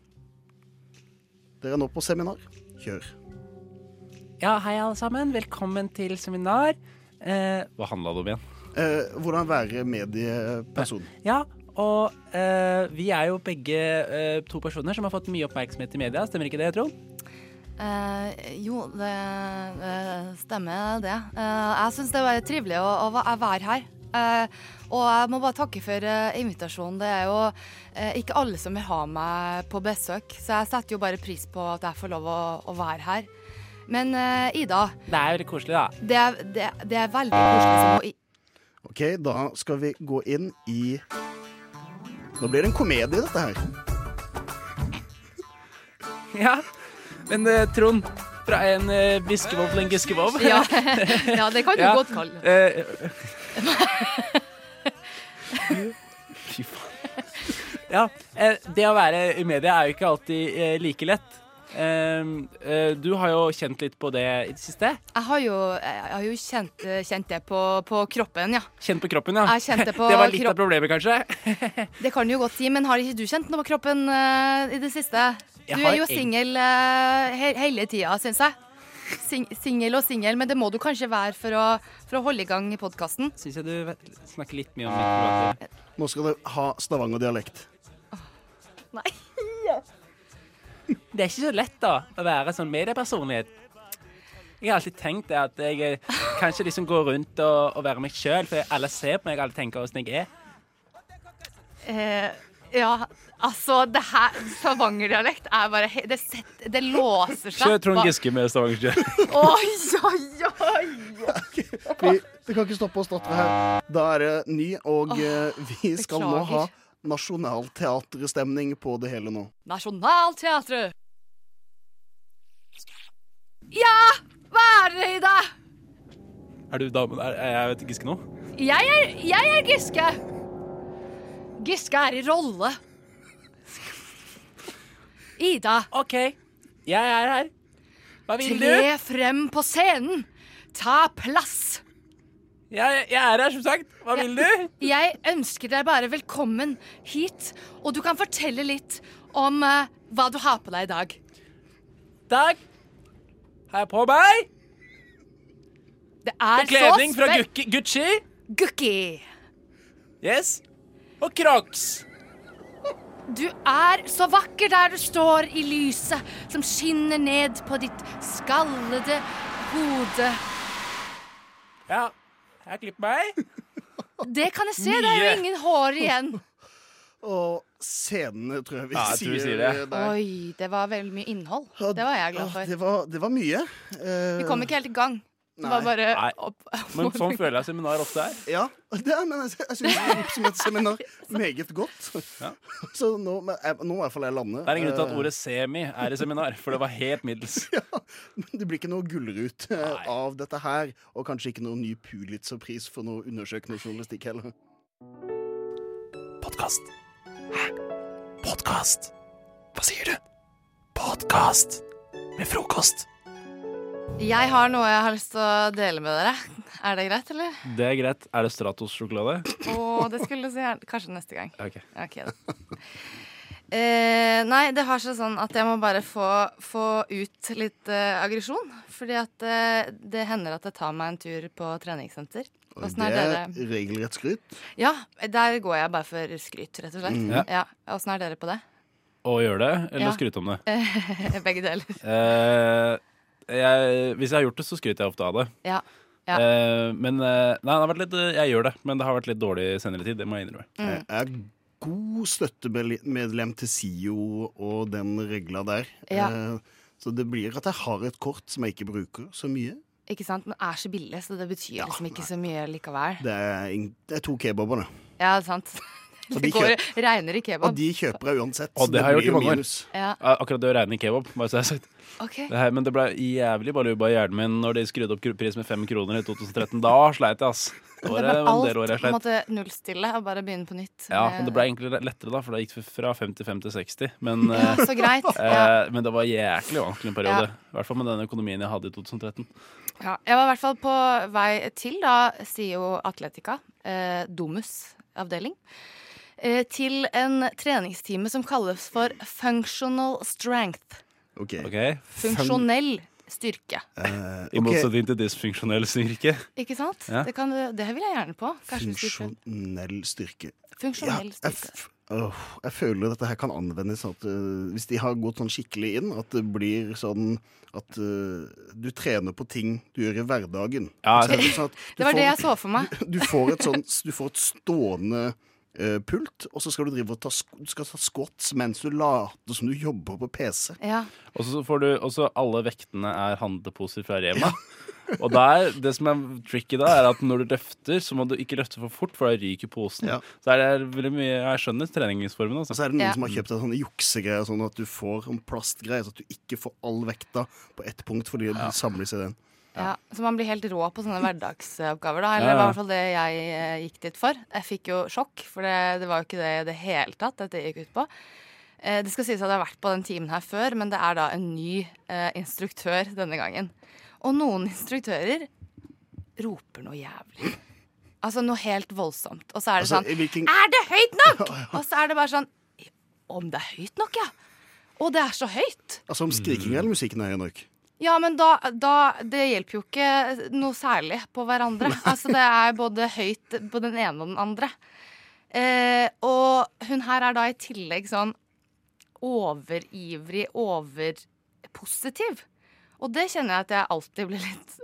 [SPEAKER 21] Dere er nå på seminar. Kjør.
[SPEAKER 22] Ja, hei alle sammen. Velkommen til seminar. Eh,
[SPEAKER 11] Hva handla det om igjen?
[SPEAKER 21] Eh, hvordan være medieperson.
[SPEAKER 22] ja, og eh, vi er jo begge eh, to personer som har fått mye oppmerksomhet i media. Stemmer ikke det, Trond?
[SPEAKER 15] Eh, jo, det eh, stemmer det. Eh, jeg syns det var trivelig å, å va- være her. Eh, og jeg må bare takke for eh, invitasjonen. Det er jo eh, ikke alle som vil ha meg på besøk, så jeg setter jo bare pris på at jeg får lov å, å være her. Men eh, Ida,
[SPEAKER 22] Det er veldig koselig, da.
[SPEAKER 15] det er, det, det er veldig koselig som å i-
[SPEAKER 21] OK, da skal vi gå inn i Nå blir det en komedie, dette her.
[SPEAKER 22] <laughs> Ja. Men eh, Trond, fra en eh, biskevov til en giskevov <laughs>
[SPEAKER 15] Ja. Ja, det kan du godt kalle det.
[SPEAKER 22] det. eh,
[SPEAKER 15] <laughs>
[SPEAKER 22] Fy faen. Ja, eh, det å være i media er jo ikke alltid eh, like lett. Ehm, eh, du har jo kjent litt på det i det siste.
[SPEAKER 15] Jeg har jo, jeg har jo kjent, kjent det på, på kroppen, ja.
[SPEAKER 22] Kjent på kroppen, ja.
[SPEAKER 15] Jeg
[SPEAKER 22] <laughs>
[SPEAKER 15] kjente på
[SPEAKER 22] det var litt
[SPEAKER 15] kropp-
[SPEAKER 22] av problemet, kanskje.
[SPEAKER 15] Det kan du jo godt si, men har ikke du kjent noe på kroppen eh, i det siste?
[SPEAKER 22] Jeg
[SPEAKER 15] Du
[SPEAKER 22] har
[SPEAKER 15] er jo
[SPEAKER 22] egent-
[SPEAKER 15] singel eh, he hele tida, syns jeg. Sing, singel og singel, men det må du kanskje være for å, for å holde i gang podkasten.
[SPEAKER 22] Syns jeg du vet- snakker litt mye om mikrofonene.
[SPEAKER 21] Nå skal dere ha Stavanger-dialekt.
[SPEAKER 15] Nei.
[SPEAKER 22] Det er ikke så lett da å være sånn mediepersonlighet. Jeg har alltid tenkt det at jeg eh, kanskje liksom går rundt og, og være meg sjøl, for alle ser på meg, alle tenker åssen jeg er.
[SPEAKER 15] Eh, ja, altså det her Stavanger-dialekt er bare he- det, sett, det låser seg.
[SPEAKER 22] Kjør Trond Giske med Stavanger-dialekt.
[SPEAKER 15] Ba- Oi, oi, oi, oi.
[SPEAKER 21] <laughs> Vi, det kan ikke stoppe oss datter her. Da er det ny, og eh, vi skal nå ha
[SPEAKER 15] beklager.
[SPEAKER 21] nasjonalteaterstemning på det hele nå.
[SPEAKER 15] Nationaltheatret. Ja, hva er det i dag?
[SPEAKER 22] <laughs> Er du damen? Er, er jeg vet Giske nå?
[SPEAKER 15] Jeg er, jeg er Giske. Giske er i rolle. Ida.
[SPEAKER 22] OK, jeg er her. Hva vil du?
[SPEAKER 15] Tre frem på scenen. Ta plass.
[SPEAKER 22] Jeg, jeg er her, som sagt. Hva vil du?
[SPEAKER 15] Jeg ønsker deg bare velkommen hit, og du kan fortelle litt om eh, hva du har på deg i dag.
[SPEAKER 22] Takk. Har jeg på meg
[SPEAKER 15] Det er
[SPEAKER 22] bekledning
[SPEAKER 15] så
[SPEAKER 22] fra
[SPEAKER 15] spen-
[SPEAKER 22] Gucci, Gucci.
[SPEAKER 15] Gucci.
[SPEAKER 22] Yes. Og Crocs.
[SPEAKER 15] Du er så vakker der du står i lyset som skinner ned på ditt skallede hode.
[SPEAKER 22] Ja, her klipper meg.
[SPEAKER 15] Det kan jeg se, det er jo
[SPEAKER 21] Mye.
[SPEAKER 15] ingen hår igjen.
[SPEAKER 21] Og scenene, tror jeg vi
[SPEAKER 2] Ja, jeg tror
[SPEAKER 21] sier
[SPEAKER 2] vi sier det.
[SPEAKER 21] <laughs> der.
[SPEAKER 15] Oi, det var veldig mye innhold. Det var jeg glad
[SPEAKER 21] Ah,
[SPEAKER 15] for.
[SPEAKER 21] Det var, det var mye. Eh,
[SPEAKER 15] Vi kom ikke helt i gang. Det var
[SPEAKER 21] nei.
[SPEAKER 15] bare
[SPEAKER 22] Nei.
[SPEAKER 15] opp.
[SPEAKER 22] Men sånn føler jeg seminar ofte er.
[SPEAKER 21] Ja, det er, men jeg, jeg syns det er oppsummert
[SPEAKER 15] <laughs>
[SPEAKER 21] seminar meget godt. Så nå, men jeg, nå er i hvert fall jeg landet.
[SPEAKER 22] Det er en grunn til at
[SPEAKER 21] Eh,
[SPEAKER 22] ordet semi er i seminar, for det var helt middels.
[SPEAKER 21] Eh, Det blir ikke noe gullrut eh, av dette her, og kanskje ikke noen ny Pulitzer-pris for noe undersøkende journalistikk heller.
[SPEAKER 8] Podkast. Hæ? Podkast? Hva sier du? Podkast med frokost.
[SPEAKER 15] Jeg har noe jeg har lyst til å dele med dere. Er det greit, eller?
[SPEAKER 22] <laughs> Det er greit. Er det Stratos-sjokolade?
[SPEAKER 15] Å, det skulle du si. gjerne- Kanskje neste gang.
[SPEAKER 22] Ok.
[SPEAKER 15] Ok, da. Eh, nei, det har seg sånn at jeg må bare få, få ut litt eh, aggresjon. Fordi at eh, det hender at jeg tar meg en tur på treningssenter. Åssen er dere?
[SPEAKER 21] Det er regelrett skryt.
[SPEAKER 15] Ja, der går jeg bare for skryt, rett og slett.
[SPEAKER 22] Mm. Ja.
[SPEAKER 15] Ja, Åssen er dere på det?
[SPEAKER 22] Å gjøre det, eller
[SPEAKER 15] Ja.
[SPEAKER 22] skryte om det?
[SPEAKER 15] <laughs> Begge deler.
[SPEAKER 22] Eh, jeg, hvis jeg har gjort det, så skryter jeg ofte av det.
[SPEAKER 15] Ja. ja.
[SPEAKER 22] Eh, men eh, Nei, det har vært litt, jeg gjør det, men det har vært litt dårlig senere tid. Det må jeg innrømme.
[SPEAKER 15] Mm.
[SPEAKER 21] Jeg er god støttemedlem til SIO og den regla der.
[SPEAKER 15] Ja.
[SPEAKER 21] Eh, Så det blir at jeg har et kort som jeg ikke bruker så mye.
[SPEAKER 15] Ikke sant? Men er så billig, så det betyr liksom ikke så mye likevel.
[SPEAKER 21] Det er, ing- det er to kebaber, det.
[SPEAKER 15] Ja, sant. <laughs>
[SPEAKER 21] Og
[SPEAKER 15] Det
[SPEAKER 21] de
[SPEAKER 15] går,
[SPEAKER 21] kjøper-
[SPEAKER 15] regner i kebab.
[SPEAKER 21] Og de kjøper jeg uansett.
[SPEAKER 22] Og
[SPEAKER 21] så
[SPEAKER 22] det har jeg gjort i
[SPEAKER 21] blir jo
[SPEAKER 22] mange år.
[SPEAKER 21] minus.
[SPEAKER 15] Ja.
[SPEAKER 22] Akkurat det å regne i kebab, bare så jeg har sagt.
[SPEAKER 15] Ok.
[SPEAKER 22] Det her, men det ble jævlig baluba i hjernen min når de skrudde opp pris med fem kroner i 2013. Da sleit jeg, ass. Det var
[SPEAKER 15] Det ble
[SPEAKER 22] en del år jeg
[SPEAKER 15] alt
[SPEAKER 22] sleit.
[SPEAKER 15] måtte nullstille og bare begynne på nytt.
[SPEAKER 22] Ja, men
[SPEAKER 15] med-
[SPEAKER 22] det ble egentlig lettere da, for da gikk det fra 55 til 60. Men,
[SPEAKER 15] <laughs> Ja,
[SPEAKER 22] eh,
[SPEAKER 15] så greit, ja.
[SPEAKER 22] eh, men det var jæklig vanskelig en periode.
[SPEAKER 15] Ja.
[SPEAKER 22] I hvert fall med den økonomien jeg hadde i 2013.
[SPEAKER 15] ja, jeg var i hvert fall på vei til da SIO Atletica, eh, Domus avdeling, eh, til en treningstime som kalles for functional strength.
[SPEAKER 22] Ok.
[SPEAKER 15] Funksjonell styrke.
[SPEAKER 22] Eh, I motsetning til dysfunksjonell styrke.
[SPEAKER 15] Ikke sant?
[SPEAKER 21] Ja.
[SPEAKER 15] Det, kan, du- det vil jeg gjerne på. Kanskje vi skulle prøve.
[SPEAKER 21] Funksjonell styrke.
[SPEAKER 15] Funksjonell
[SPEAKER 21] jeg, f Åh, jeg føler dette her kan anvendes sånn at, øh, hvis de har gått sånn skikkelig inn, at det blir sånn at øh, du trener på ting du gjør i hverdagen.
[SPEAKER 22] Ja,
[SPEAKER 21] Så det
[SPEAKER 15] det-
[SPEAKER 21] er sånn at du
[SPEAKER 15] Det var det
[SPEAKER 21] får-
[SPEAKER 15] jeg så for meg.
[SPEAKER 21] <laughs> Du får et, sånn, du får et stående øh, pult, og så skal du drive og ta, sk- du skal ta squats mens du later som du jobber på PC.
[SPEAKER 15] Ja.
[SPEAKER 22] Og så får du også alle vektene er handleposer fra Rema. <laughs> Og der, det som er tricky da, er at når du løfter, så må du ikke løfte for fort, for da ryker posen. Så er det veldig mye Jeg skjønner treningsformen. Altså.
[SPEAKER 21] Så er det noen som har kjøpt en sånn juksegreie, sånn at du får en plastgreie, så at du ikke får all vekta på ett punkt fordi det samles i den.
[SPEAKER 15] Ja, så man blir helt rå på
[SPEAKER 21] <laughs>
[SPEAKER 15] sånne hverdagsoppgaver, da. Eller det
[SPEAKER 21] Ja,
[SPEAKER 15] var
[SPEAKER 21] ja.
[SPEAKER 15] i hvert fall det jeg eh, gikk dit for. Jeg fikk jo sjokk, for det, det var jo ikke det i det hele tatt dette gikk ut på. Eh, Det skal sies at jeg har vært på den timen her før, men det er da en ny eh, instruktør denne gangen. Og noen instruktører roper noe jævlig. Altså noe helt voldsomt. Og så er det
[SPEAKER 21] Altså, i
[SPEAKER 15] sånn
[SPEAKER 21] hvilken-
[SPEAKER 15] Er det høyt
[SPEAKER 21] <laughs>
[SPEAKER 15] nok?! Og så er det bare sånn Om det er høyt nok, ja! Å, det er så høyt!
[SPEAKER 22] Mm.
[SPEAKER 21] Altså om skrikinga eller musikken er høy nok.
[SPEAKER 15] Ja, men da, da Det hjelper jo ikke noe særlig på hverandre. Altså, det er både høyt på den ene og den andre. Eh, og hun her er da i tillegg sånn overivrig, overpositiv. Og det kjenner jeg at jeg alltid blir litt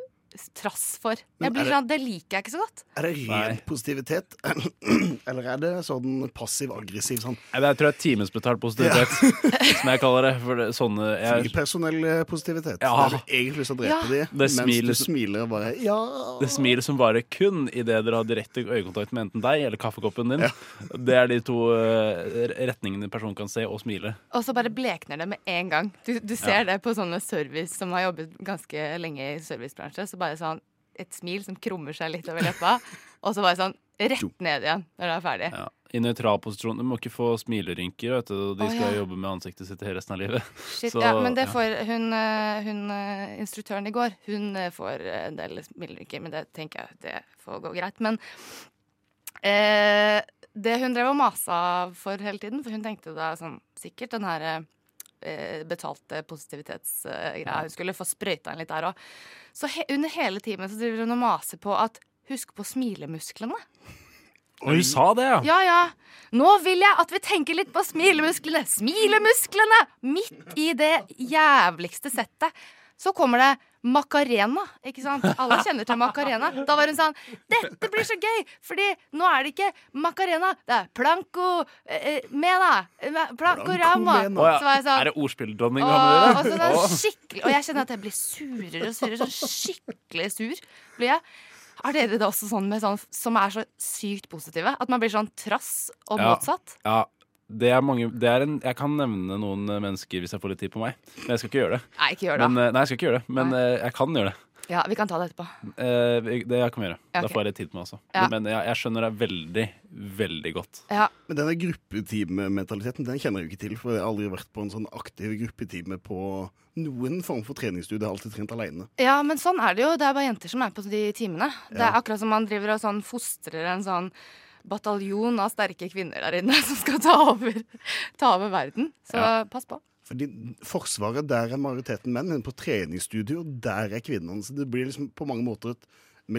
[SPEAKER 15] trass for.
[SPEAKER 21] Men
[SPEAKER 15] Jeg blir
[SPEAKER 21] er det-
[SPEAKER 15] sånn, Det liker jeg ikke så godt.
[SPEAKER 21] Er det ren positivitet, <clears throat> eller er det sånn passiv-aggressiv sånn?
[SPEAKER 22] Nei, men Jeg tror det er timesbetalt positivitet, <laughs> som jeg kaller det. For det, sånne jeg,
[SPEAKER 21] Fripersonell eh, positivitet.
[SPEAKER 22] Ja.
[SPEAKER 21] Der du egentlig har lyst til å drepe
[SPEAKER 22] Ja.
[SPEAKER 21] de,
[SPEAKER 22] Det
[SPEAKER 21] mens
[SPEAKER 22] smilet
[SPEAKER 21] du
[SPEAKER 22] som-
[SPEAKER 21] smiler og bare Ja.
[SPEAKER 22] Det smilet som varer kun idet dere har direkte øyekontakt med enten deg eller kaffekoppen din. Det er de to eh, retningene personen kan se og smile.
[SPEAKER 15] Og så bare blekner det med en gang. Du, du
[SPEAKER 22] Ja.
[SPEAKER 15] ser det på sånne service som har jobbet ganske lenge i servicebransje. Så bare sånn et smil som krummer seg litt over leppa, og så bare sånn rett ned igjen når det er ferdig.
[SPEAKER 22] I nøytral posisjon. Du må ikke få smilerynker, vet du. og De
[SPEAKER 15] Å,
[SPEAKER 22] skal
[SPEAKER 15] ja.
[SPEAKER 22] jobbe med ansiktet sitt hele resten av livet.
[SPEAKER 15] Shit,
[SPEAKER 22] Så,
[SPEAKER 15] ja, men det
[SPEAKER 22] ja.
[SPEAKER 15] får hun, eh, hun eh, instruktøren i går. Hun eh, får eh, en del smilerynker, men det tenker jeg det får gå greit. Men eh, det hun drev og masa for hele tiden, for hun tenkte da sånn sikkert den her eh, betalte positivitetsgreia. Hun skulle få sprøyta inn litt der òg. Så he under hele timen så driver hun og maser på at husk på smilemusklene.
[SPEAKER 22] Og hun sa det, ja!
[SPEAKER 15] Ja, ja. Nå vil jeg at vi tenker litt på smilemusklene. Smilemusklene! Midt i det jævligste settet. Så kommer det Macarena, ikke sant? Alle kjenner til Macarena. Da var hun sånn Dette blir så gøy! Fordi nå er det ikke Macarena, det er Planco eh, eh, Mena. eh, Planco Rama.
[SPEAKER 22] Å,
[SPEAKER 15] Så var
[SPEAKER 22] ja.
[SPEAKER 15] jeg sånn
[SPEAKER 22] Er det ordspilldronning vi
[SPEAKER 15] Åh,
[SPEAKER 22] har
[SPEAKER 15] og
[SPEAKER 22] med
[SPEAKER 15] så
[SPEAKER 22] å
[SPEAKER 15] det
[SPEAKER 22] gjøre?
[SPEAKER 15] er skikkelig Og jeg kjenner at jeg blir surere og surere. Sånn skikkelig sur blir jeg. Er dere da også sånn med sånn som er så sykt positive? At man blir sånn trass og
[SPEAKER 22] Ja.
[SPEAKER 15] motsatt?
[SPEAKER 22] Ja. Det er mange, det er en, jeg kan nevne noen eh, mennesker hvis jeg får litt tid på meg. Men jeg skal ikke gjøre det.
[SPEAKER 15] Nei, ikke gjør det.
[SPEAKER 22] Men, eh, nei, jeg skal ikke gjøre det, men eh, jeg kan gjøre det.
[SPEAKER 15] Ja, Vi kan ta det etterpå.
[SPEAKER 22] Eh, det jeg kan gjøre.
[SPEAKER 15] Ja,
[SPEAKER 22] Da
[SPEAKER 15] ok.
[SPEAKER 22] får jeg litt tid på meg også.
[SPEAKER 15] Ja.
[SPEAKER 22] Men jeg, jeg skjønner deg veldig, veldig godt.
[SPEAKER 21] Men denne gruppeteam-mentaliteten den kjenner jeg jo ikke til. For jeg har aldri vært på en sånn aktiv gruppeteam på noen form for treningsstudie. Jeg har alltid trent alene.
[SPEAKER 15] Ja, men sånn er det jo. Det er bare jenter som er på de timene. Det
[SPEAKER 21] Ja.
[SPEAKER 15] er akkurat som man driver og sånn fostrer en sånn bataljon av sterke kvinner der inne <laughs> som skal ta over, ta over verden. Så
[SPEAKER 21] Ja.
[SPEAKER 15] pass på.
[SPEAKER 21] Fordi Forsvaret, der er majoriteten menn, men på treningsstudio, der er kvinnene. Så det blir liksom på mange måter et,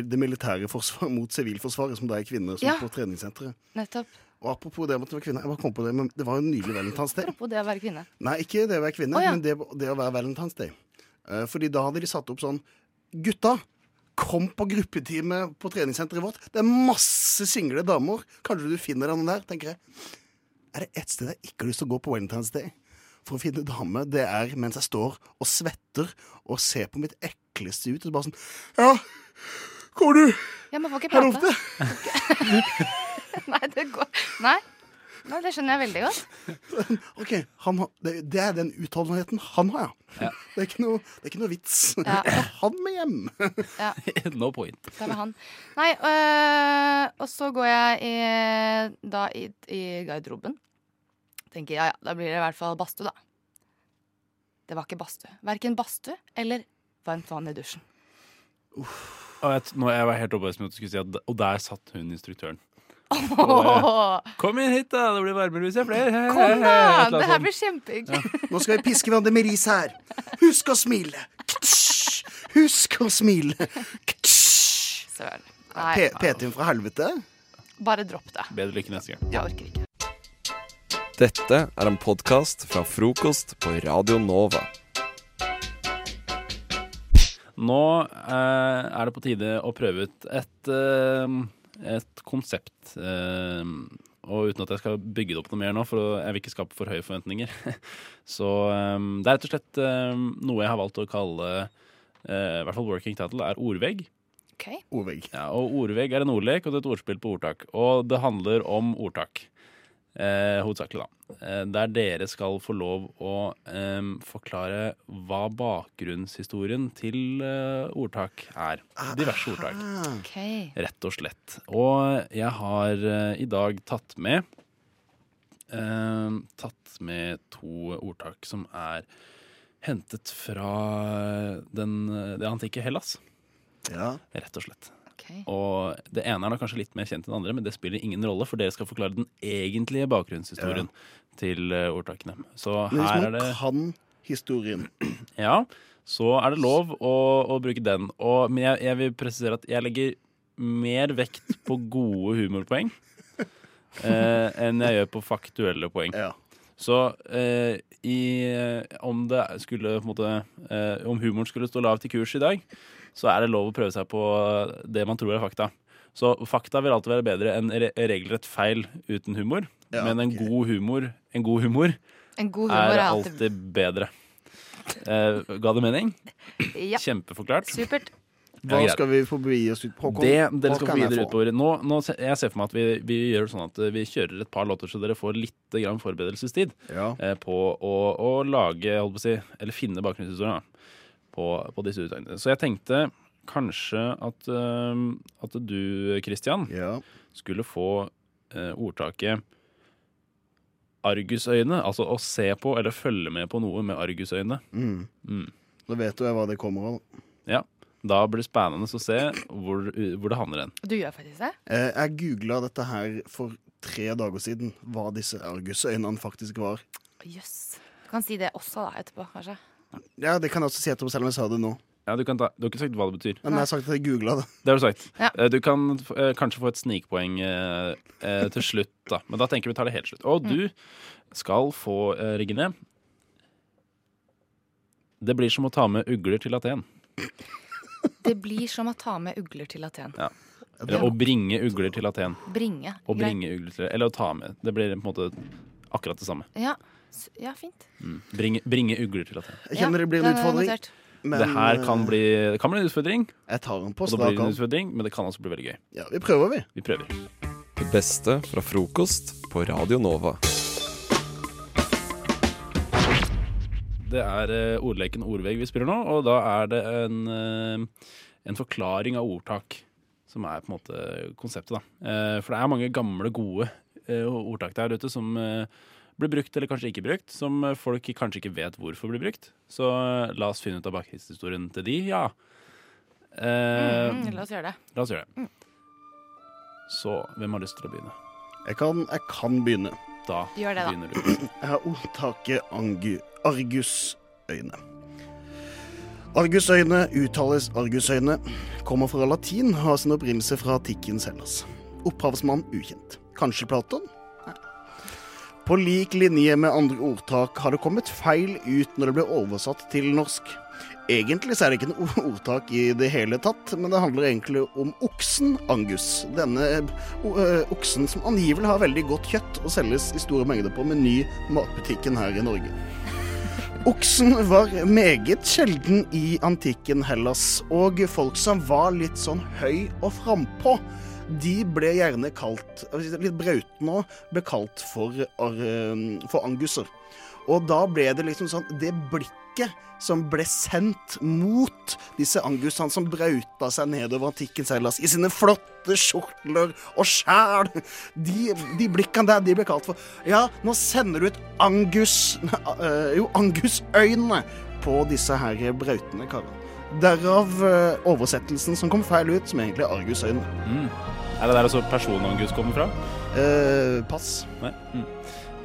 [SPEAKER 21] det militære forsvaret mot sivilforsvaret, som det er kvinner som
[SPEAKER 15] Ja.
[SPEAKER 21] på treningssenteret.
[SPEAKER 15] Nettopp.
[SPEAKER 21] Og apropos det med at det var kvinner, jeg bare kom på det, men det var jo nylig Valentine's Day.
[SPEAKER 15] Apropos det å være kvinne.
[SPEAKER 21] Nei, ikke det å være kvinne,
[SPEAKER 15] Å, ja.
[SPEAKER 21] men det, det å være Valentine's Day. Eh, fordi da hadde de satt opp sånn Gutta, kom på gruppetime på treningssenteret vårt. Det er masse single damer. Kanskje du finner den der, tenker jeg. Er det ett sted jeg ikke har lyst til å gå på Valentine's Day for å finne dame, det er mens jeg står og svetter og ser på mitt ekleste ut, og så bare sånn Ja, kommer du?
[SPEAKER 15] Ja, men får ikke
[SPEAKER 21] Her oppe.
[SPEAKER 15] prate. <laughs> Nei, det går Nei. Nei, det skjønner jeg veldig godt.
[SPEAKER 21] <laughs> OK, han har, det, det er den utholdenheten han har, ja. <laughs> Det, er ikke noe, det er ikke noe vits. <laughs>
[SPEAKER 15] Ja.
[SPEAKER 21] Han med hjem.
[SPEAKER 15] Ja,
[SPEAKER 22] <laughs> no point.
[SPEAKER 15] det var han. Nei, øh, og så går jeg i, da i, i garderoben. Tenker ja, ja, da blir det i hvert fall badstue, da. Det var ikke badstue. Verken badstue eller varmt vann i dusjen.
[SPEAKER 22] Og jeg, t- nå, jeg var helt overbevist om at du skulle si at Og der satt hun instruktøren. eh,
[SPEAKER 15] Åh,
[SPEAKER 22] Kom inn hit, da! Det blir varmere hvis jeg er flere.
[SPEAKER 15] kom, da!
[SPEAKER 22] Et eller
[SPEAKER 15] Det
[SPEAKER 22] annet
[SPEAKER 15] her
[SPEAKER 22] sånt.
[SPEAKER 15] blir kjempehyggelig.
[SPEAKER 21] Nå skal vi piske hverandre med ris her. Husk å smile! Husk å smile!
[SPEAKER 15] Søren.
[SPEAKER 21] P-
[SPEAKER 15] Nei,
[SPEAKER 21] PT-en fra helvete.
[SPEAKER 15] bare dropp det.
[SPEAKER 22] Bedre lykke neste gang.
[SPEAKER 15] Jeg orker ikke.
[SPEAKER 16] Dette er en podkast fra frokost på Radio Nova.
[SPEAKER 22] Nå eh, er det på tide å prøve ut et, eh, et konsept. Eh, og uten at jeg skal bygge det opp noe mer nå, for å- jeg vil ikke skape for høye forventninger. <laughs> Så eh, det er rett og slett eh, noe jeg har valgt å kalle eh, i hvert fall working title, er ordvegg.
[SPEAKER 15] Okay.
[SPEAKER 21] Ordvegg.
[SPEAKER 22] Ja, og ordvegg er en ordlek og det er et ordspill på ordtak. Og det handler om ordtak. Eh, hovedsakelig, da. Eh, der dere skal få lov å eh, forklare hva bakgrunnshistorien til eh, ordtak er. Diverse ordtak.
[SPEAKER 15] Ok.
[SPEAKER 22] Rett og slett. Og jeg har eh, i dag tatt med eh, Tatt med to ordtak som er hentet fra den, det antikke Hellas. Rett og slett. Og det ene er da kanskje litt mer kjent enn det andre, men det spiller ingen rolle, for dere skal forklare den egentlige bakgrunnshistorien til eh, ordtakene. Så
[SPEAKER 21] Men hvis
[SPEAKER 22] her er
[SPEAKER 21] man
[SPEAKER 22] det
[SPEAKER 21] kan historien
[SPEAKER 22] <clears throat> Ja, så er det lov å, å bruke den. Og, men jeg, jeg vil presisere at jeg legger mer vekt på gode humorpoeng eh, enn jeg gjør på faktuelle poeng. Så eh, i, om, det skulle, på en måte, eh, om humoren skulle stå lavt i kurs i dag, så er det lov å prøve seg på det man tror er fakta. Så fakta vil alltid være bedre enn re regelrett feil uten humor. men en god humor, en god humor,
[SPEAKER 15] En god humor
[SPEAKER 22] er
[SPEAKER 15] er alltid-
[SPEAKER 22] alltid bedre. Eh, ga det mening?
[SPEAKER 15] Ja.
[SPEAKER 22] Kjempeforklart.
[SPEAKER 15] Supert.
[SPEAKER 21] Hva skal vi få begi oss ut på? Håkon?
[SPEAKER 22] Det,
[SPEAKER 21] Hva
[SPEAKER 22] dere skal
[SPEAKER 21] kan
[SPEAKER 22] få
[SPEAKER 21] jeg
[SPEAKER 22] videre utover. Nå, nå, se- jeg ser for meg at vi, vi gjør det sånn at eh, vi kjører et par låter, så dere får litt grann forberedelsestid eh, på å, å lage, holdt på å si, eller finne bakgrunnshistorien da, på, på disse utøyene. Så jeg tenkte kanskje at, eh, at du, Kristian, skulle få eh, ordtaket argusøyne, altså å se på eller følge med på noe med argusøyne.
[SPEAKER 21] Mm.
[SPEAKER 22] Mm.
[SPEAKER 21] Da vet du hva det kommer av.
[SPEAKER 22] Ja, da blir det spennende å se hvor, hvor det havner hen.
[SPEAKER 15] Du gjør faktisk det?
[SPEAKER 21] Eh, Jeg googla dette her for tre dager siden, hva disse argusøynene faktisk var.
[SPEAKER 15] Jøss. Du kan si det også da, etterpå, kanskje.
[SPEAKER 21] Ja, Det kan jeg også si etterpå, selv om jeg sa det nå.
[SPEAKER 22] Ja, du, kan ta, du har ikke sagt hva det betyr.
[SPEAKER 21] Men jeg har sagt at jeg googla det.
[SPEAKER 22] Det har du sagt.
[SPEAKER 15] Ja.
[SPEAKER 22] Eh, Du kan eh, kanskje få et snikpoeng eh, eh, til slutt, da. Men da tenker vi tar det helt slutt. Og
[SPEAKER 15] Mm.
[SPEAKER 22] du skal få eh, rigge ned. Det blir som å ta med ugler til Aten.
[SPEAKER 15] Det blir som å ta med ugler til Aten.
[SPEAKER 22] Ja. Eller å bringe ugler til Aten.
[SPEAKER 15] Bringe.
[SPEAKER 22] Å
[SPEAKER 15] Greit.
[SPEAKER 22] bringe ugler til Eller å ta med. Det blir på en måte akkurat det samme.
[SPEAKER 15] Ja. S- ja, fint.
[SPEAKER 22] Mm. Bringe, bringe ugler til Aten.
[SPEAKER 21] Jeg kjenner det blir en
[SPEAKER 15] Ja, den er
[SPEAKER 21] utfordring.
[SPEAKER 15] notert.
[SPEAKER 21] men- eh,
[SPEAKER 22] det her kan bli, det kan bli en utfordring.
[SPEAKER 21] Jeg tar den på
[SPEAKER 22] Og det blir
[SPEAKER 21] strak
[SPEAKER 22] en
[SPEAKER 21] arm.
[SPEAKER 22] utfordring, men det kan også bli veldig gøy.
[SPEAKER 21] Ja, vi prøver, vi.
[SPEAKER 22] Vi prøver.
[SPEAKER 16] Det beste fra frokost på Radio Nova.
[SPEAKER 22] Det er eh, ordleken Ordveg vi spiller nå, og da er det en, eh, en forklaring av ordtak som er på en måte konseptet, da. Eh, for det er mange gamle, gode eh, ordtak der ute som eh, blir brukt eller kanskje ikke brukt, som eh, folk kanskje ikke vet hvorfor blir brukt. Så eh, la oss finne ut av bakhistorien til de, ja. Eh,
[SPEAKER 15] Mhm, la oss gjøre det.
[SPEAKER 22] La oss gjøre det.
[SPEAKER 15] Mm.
[SPEAKER 22] Så hvem har lyst til å begynne?
[SPEAKER 21] Jeg kan, jeg kan begynne.
[SPEAKER 22] Da
[SPEAKER 15] Gjør det, da.
[SPEAKER 22] begynner du.
[SPEAKER 21] <clears throat> Jeg har ordtaket angu, argusøyne. Argusøyne uttales argusøyne, kommer fra latin og har sin opprinnelse fra antikkens Hellas. Opphavsmann ukjent. Kanskje Platon? Nei. På lik linje med andre ordtak har det kommet feil ut når det ble oversatt til norsk. Egentlig så er det ikke noe <laughs> ordtak i det hele tatt, men det handler egentlig om oksen Angus. Denne o- ø, oksen som angivelig har veldig godt kjøtt og selges i store mengder på Meny matbutikken her i Norge. Oksen var meget sjelden i antikken Hellas, og folk som var litt sånn høy og frampå, de ble gjerne kalt Litt brautende òg, ble kalt for, ar- for anguser. Og da ble det liksom sånn Det blikket som ble sendt mot disse angusene som brauta seg nedover antikkens Hellas i sine flotte skjortler og skjær de, de blikkene der, de ble kalt for Ja, nå sender du ut angus <laughs> eh, Jo, angusøyne på disse her brautende karene. Derav eh, oversettelsen som kom feil ut, som egentlig er argusøyne.
[SPEAKER 22] Mm. Er det der altså personangus kommer fra?
[SPEAKER 21] Eh, pass.
[SPEAKER 22] Nei. Mm.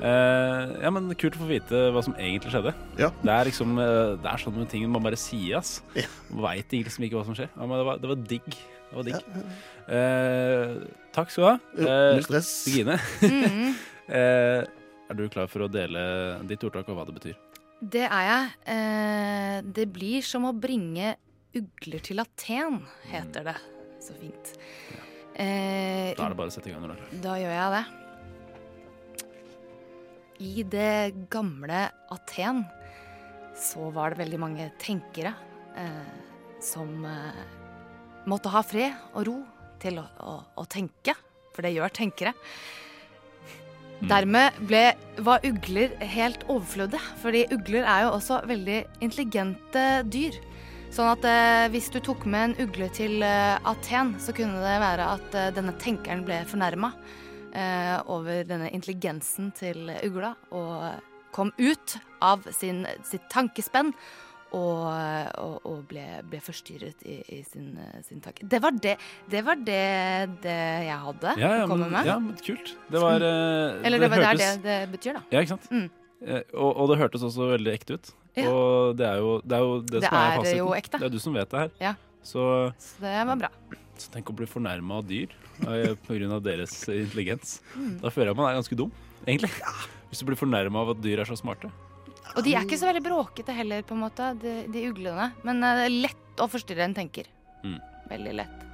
[SPEAKER 22] Eh, ja, men kult å få vite hva som egentlig skjedde. Det er liksom eh, Det er sånn med ting man bare sier, ass. Man Veit liksom ikke hva som skjer. Ja, men det var, det var digg. Det var digg. Eh, takk skal du ha.
[SPEAKER 21] Jo,
[SPEAKER 22] Eh,
[SPEAKER 21] null stress.
[SPEAKER 22] Regine.
[SPEAKER 15] Mhm.
[SPEAKER 22] <laughs> eh, er du klar for å dele ditt ordtak og hva det betyr?
[SPEAKER 15] Det er jeg. Eh, det blir som å bringe ugler til Aten, heter det. Så fint. Eh,
[SPEAKER 22] Da er det bare å sette i gang når du er klar.
[SPEAKER 15] Da gjør jeg det. I det gamle Aten så var det veldig mange tenkere eh, som eh, måtte ha fred og ro til å, å, å tenke, for det gjør tenkere.
[SPEAKER 22] Mm.
[SPEAKER 15] Dermed ble, var ugler helt overflødige, fordi ugler er jo også veldig intelligente dyr. Sånn at eh, hvis du tok med en ugle til eh, Aten, så kunne det være at eh, denne tenkeren ble fornærma eh, over denne intelligensen til ugla, og kom ut av sin, sitt tankespenn og, og, og ble, ble forstyrret i, i sin, eh, sin tanke. Det var det, det var det, det jeg hadde
[SPEAKER 22] Ja, ja,
[SPEAKER 15] å komme
[SPEAKER 22] men,
[SPEAKER 15] med.
[SPEAKER 22] ja, men kult. Det var eh,
[SPEAKER 15] Eller det, var der
[SPEAKER 22] hørtes-
[SPEAKER 15] det, det betyr, da.
[SPEAKER 22] Ja, ikke sant?
[SPEAKER 15] Mm.
[SPEAKER 22] Eh, og, og det hørtes også veldig ekte ut.
[SPEAKER 15] Ja.
[SPEAKER 22] Og det er jo det, er jo det,
[SPEAKER 15] Det
[SPEAKER 22] som er
[SPEAKER 15] er
[SPEAKER 22] fasiten.
[SPEAKER 15] jo ekte.
[SPEAKER 22] Det er du som vet det her.
[SPEAKER 15] Ja.
[SPEAKER 22] Så,
[SPEAKER 15] Så det var bra.
[SPEAKER 22] så tenk å bli fornærma av dyr eh, på grunn av deres intelligens.
[SPEAKER 15] Mm.
[SPEAKER 22] Da føler jeg at man er ganske dum, egentlig. Hvis du blir fornærma av at dyr er så smarte.
[SPEAKER 15] Og de er
[SPEAKER 21] Mm.
[SPEAKER 15] ikke så veldig bråkete heller, på en måte, de, de uglene. Men eh, det er lett å forstyrre en tenker. Veldig lett.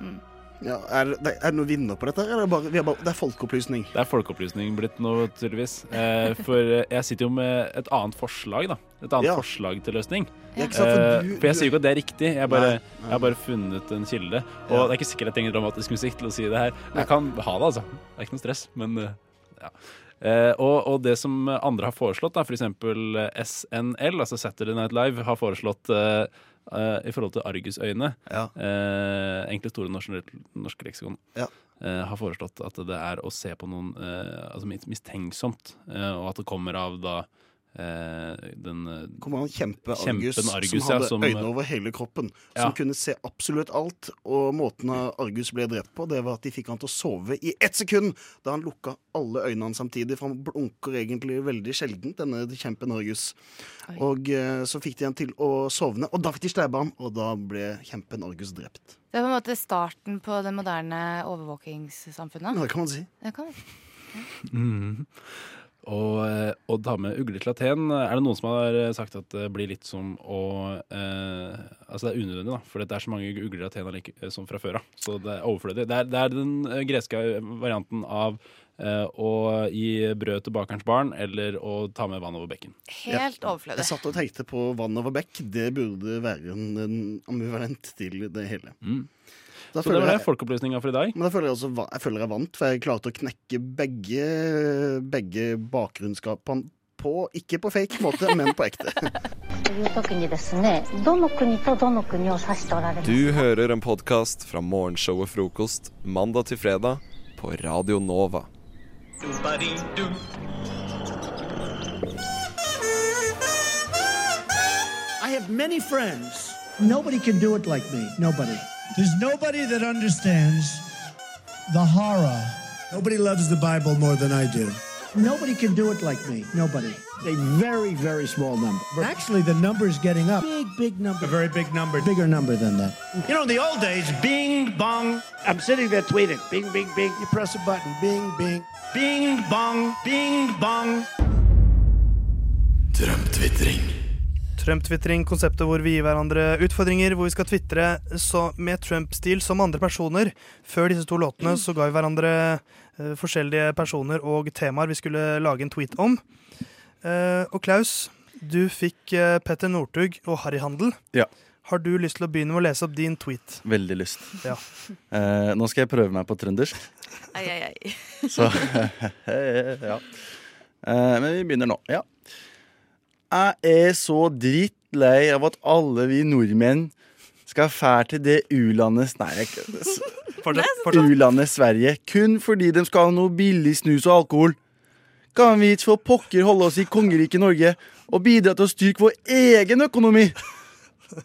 [SPEAKER 15] Mm.
[SPEAKER 21] Ja, er, det- er det noen vinner på dette, eller er det bare, vi er bare det er folkeopplysning?
[SPEAKER 22] Det er folkeopplysning blitt nå, tydeligvis. Eh, for eh, jeg sitter jo med et annet forslag, da. Et annet forslag til løsning.
[SPEAKER 21] Ja, ikke sant, for
[SPEAKER 22] Eh,
[SPEAKER 21] du-
[SPEAKER 22] for jeg sier jo ikke at det er riktig, jeg, bare,
[SPEAKER 21] Nei, nei.
[SPEAKER 22] jeg har bare funnet en kilde. Og
[SPEAKER 21] Ja.
[SPEAKER 22] det er ikke sikkert jeg trenger dramatisk musikk til å si det her. Men jeg kan ha det, altså. Det er ikke noe stress, men eh, ja. Eh, og, og det som andre har foreslått, da, eh, f.eks. SNL, altså Saturday Night Live, har foreslått eh, eh, i forhold til Argusøyne, eh, egentlig Store norske, norske leksikon, eh, har foreslått at det er å se på noen eh, altså mis- mistenksomt, eh, og at det kommer av da eh, den eh,
[SPEAKER 21] Kommer han kjempe
[SPEAKER 22] Kjempen
[SPEAKER 21] Argus,
[SPEAKER 22] Argus,
[SPEAKER 21] som hadde
[SPEAKER 22] ja, som-
[SPEAKER 21] øyne over hele kroppen,
[SPEAKER 22] Ja.
[SPEAKER 21] som kunne se absolutt alt, og måten Argus ble drept på, det var at de fikk han til å sove i ett sekund, da han lukka alle øynene samtidig, for han blunker egentlig veldig sjelden, denne kjempen Argus. Og eh, så fikk de han til å sovne, og da fikk de stabba han, og da ble kjempen Argus drept.
[SPEAKER 15] Det er på en måte starten på det moderne overvåkingssamfunnet.
[SPEAKER 21] Ja, det kan man si.
[SPEAKER 15] Det kan man si.
[SPEAKER 22] Mhm. Og, eh, å ta med ugler til Aten, er det noen som har eh, sagt at det blir litt som å eh, Altså det er unødvendig, da, for det er så mange ugler i Aten allike- eh, som fra før av. Så det er overflødig. Det er, det er den eh, greske varianten av eh, å gi brød til bakerens barn, eller å ta med vann over bekken.
[SPEAKER 15] Helt overflødig.
[SPEAKER 21] Jeg satt og tenkte på vann over bekk. Det burde være en, en ambivalent til det hele. Da
[SPEAKER 22] Mm. Så det var
[SPEAKER 21] føler
[SPEAKER 22] det folkeopplysninga for i dag.
[SPEAKER 21] Men da føler jeg, også, va- jeg føler jeg vant, for jeg klarte å knekke begge, begge bakgrunnsskapene på Ikke på fake måte, men på ekte. <laughs>
[SPEAKER 5] という時にですねどの国とどの国を指しておられる
[SPEAKER 16] Du hører en podkast fra morgenshowet Frokost mandag til fredag på Radio Nova.
[SPEAKER 13] Dum-ba-di-dum.
[SPEAKER 6] I have many friends. Nobody can do it like me. Nobody. There's nobody that understands the horror. Nobody loves the Bible more than I do. Nobody can do it like me. Nobody. A very, very small number. Actually, the number is getting up. Big, big number. A very big number. Bigger number than that. You know, in the old days, bing, bong. I'm sitting there tweeting. Bing, bing, bing. You press a button. Bing, bing. Bing, bong. Bing, bong.
[SPEAKER 11] Trump-tvitring. Trump-tvitring, konseptet hvor vi gir hverandre utfordringer, hvor vi skal tvitre så- med Trump-stil som andre personer. Før disse to låtene så ga vi hverandre eh, forskjellige personer og temaer vi skulle lage en tweet om. Eh, og Klaus, du fikk eh, Petter Northug og Harry Handel.
[SPEAKER 18] Ja.
[SPEAKER 11] Har du lyst til å begynne med å lese opp din tweet?
[SPEAKER 18] Veldig lyst.
[SPEAKER 11] Ja.
[SPEAKER 18] Eh, nå skal jeg prøve meg på trøndersk.
[SPEAKER 10] Ai, ai, ai.
[SPEAKER 18] Så <laughs> ja. Eh, men vi begynner nå. Ja. Jeg er så drittlei av at alle vi nordmenn skal fære til det u-landet Nei, jeg U-landet Sverige kun fordi de skal ha noe billig snus og alkohol. Kan vi ikke for pokker holde oss i kongeriket Norge og bidra til å styrke vår egen økonomi?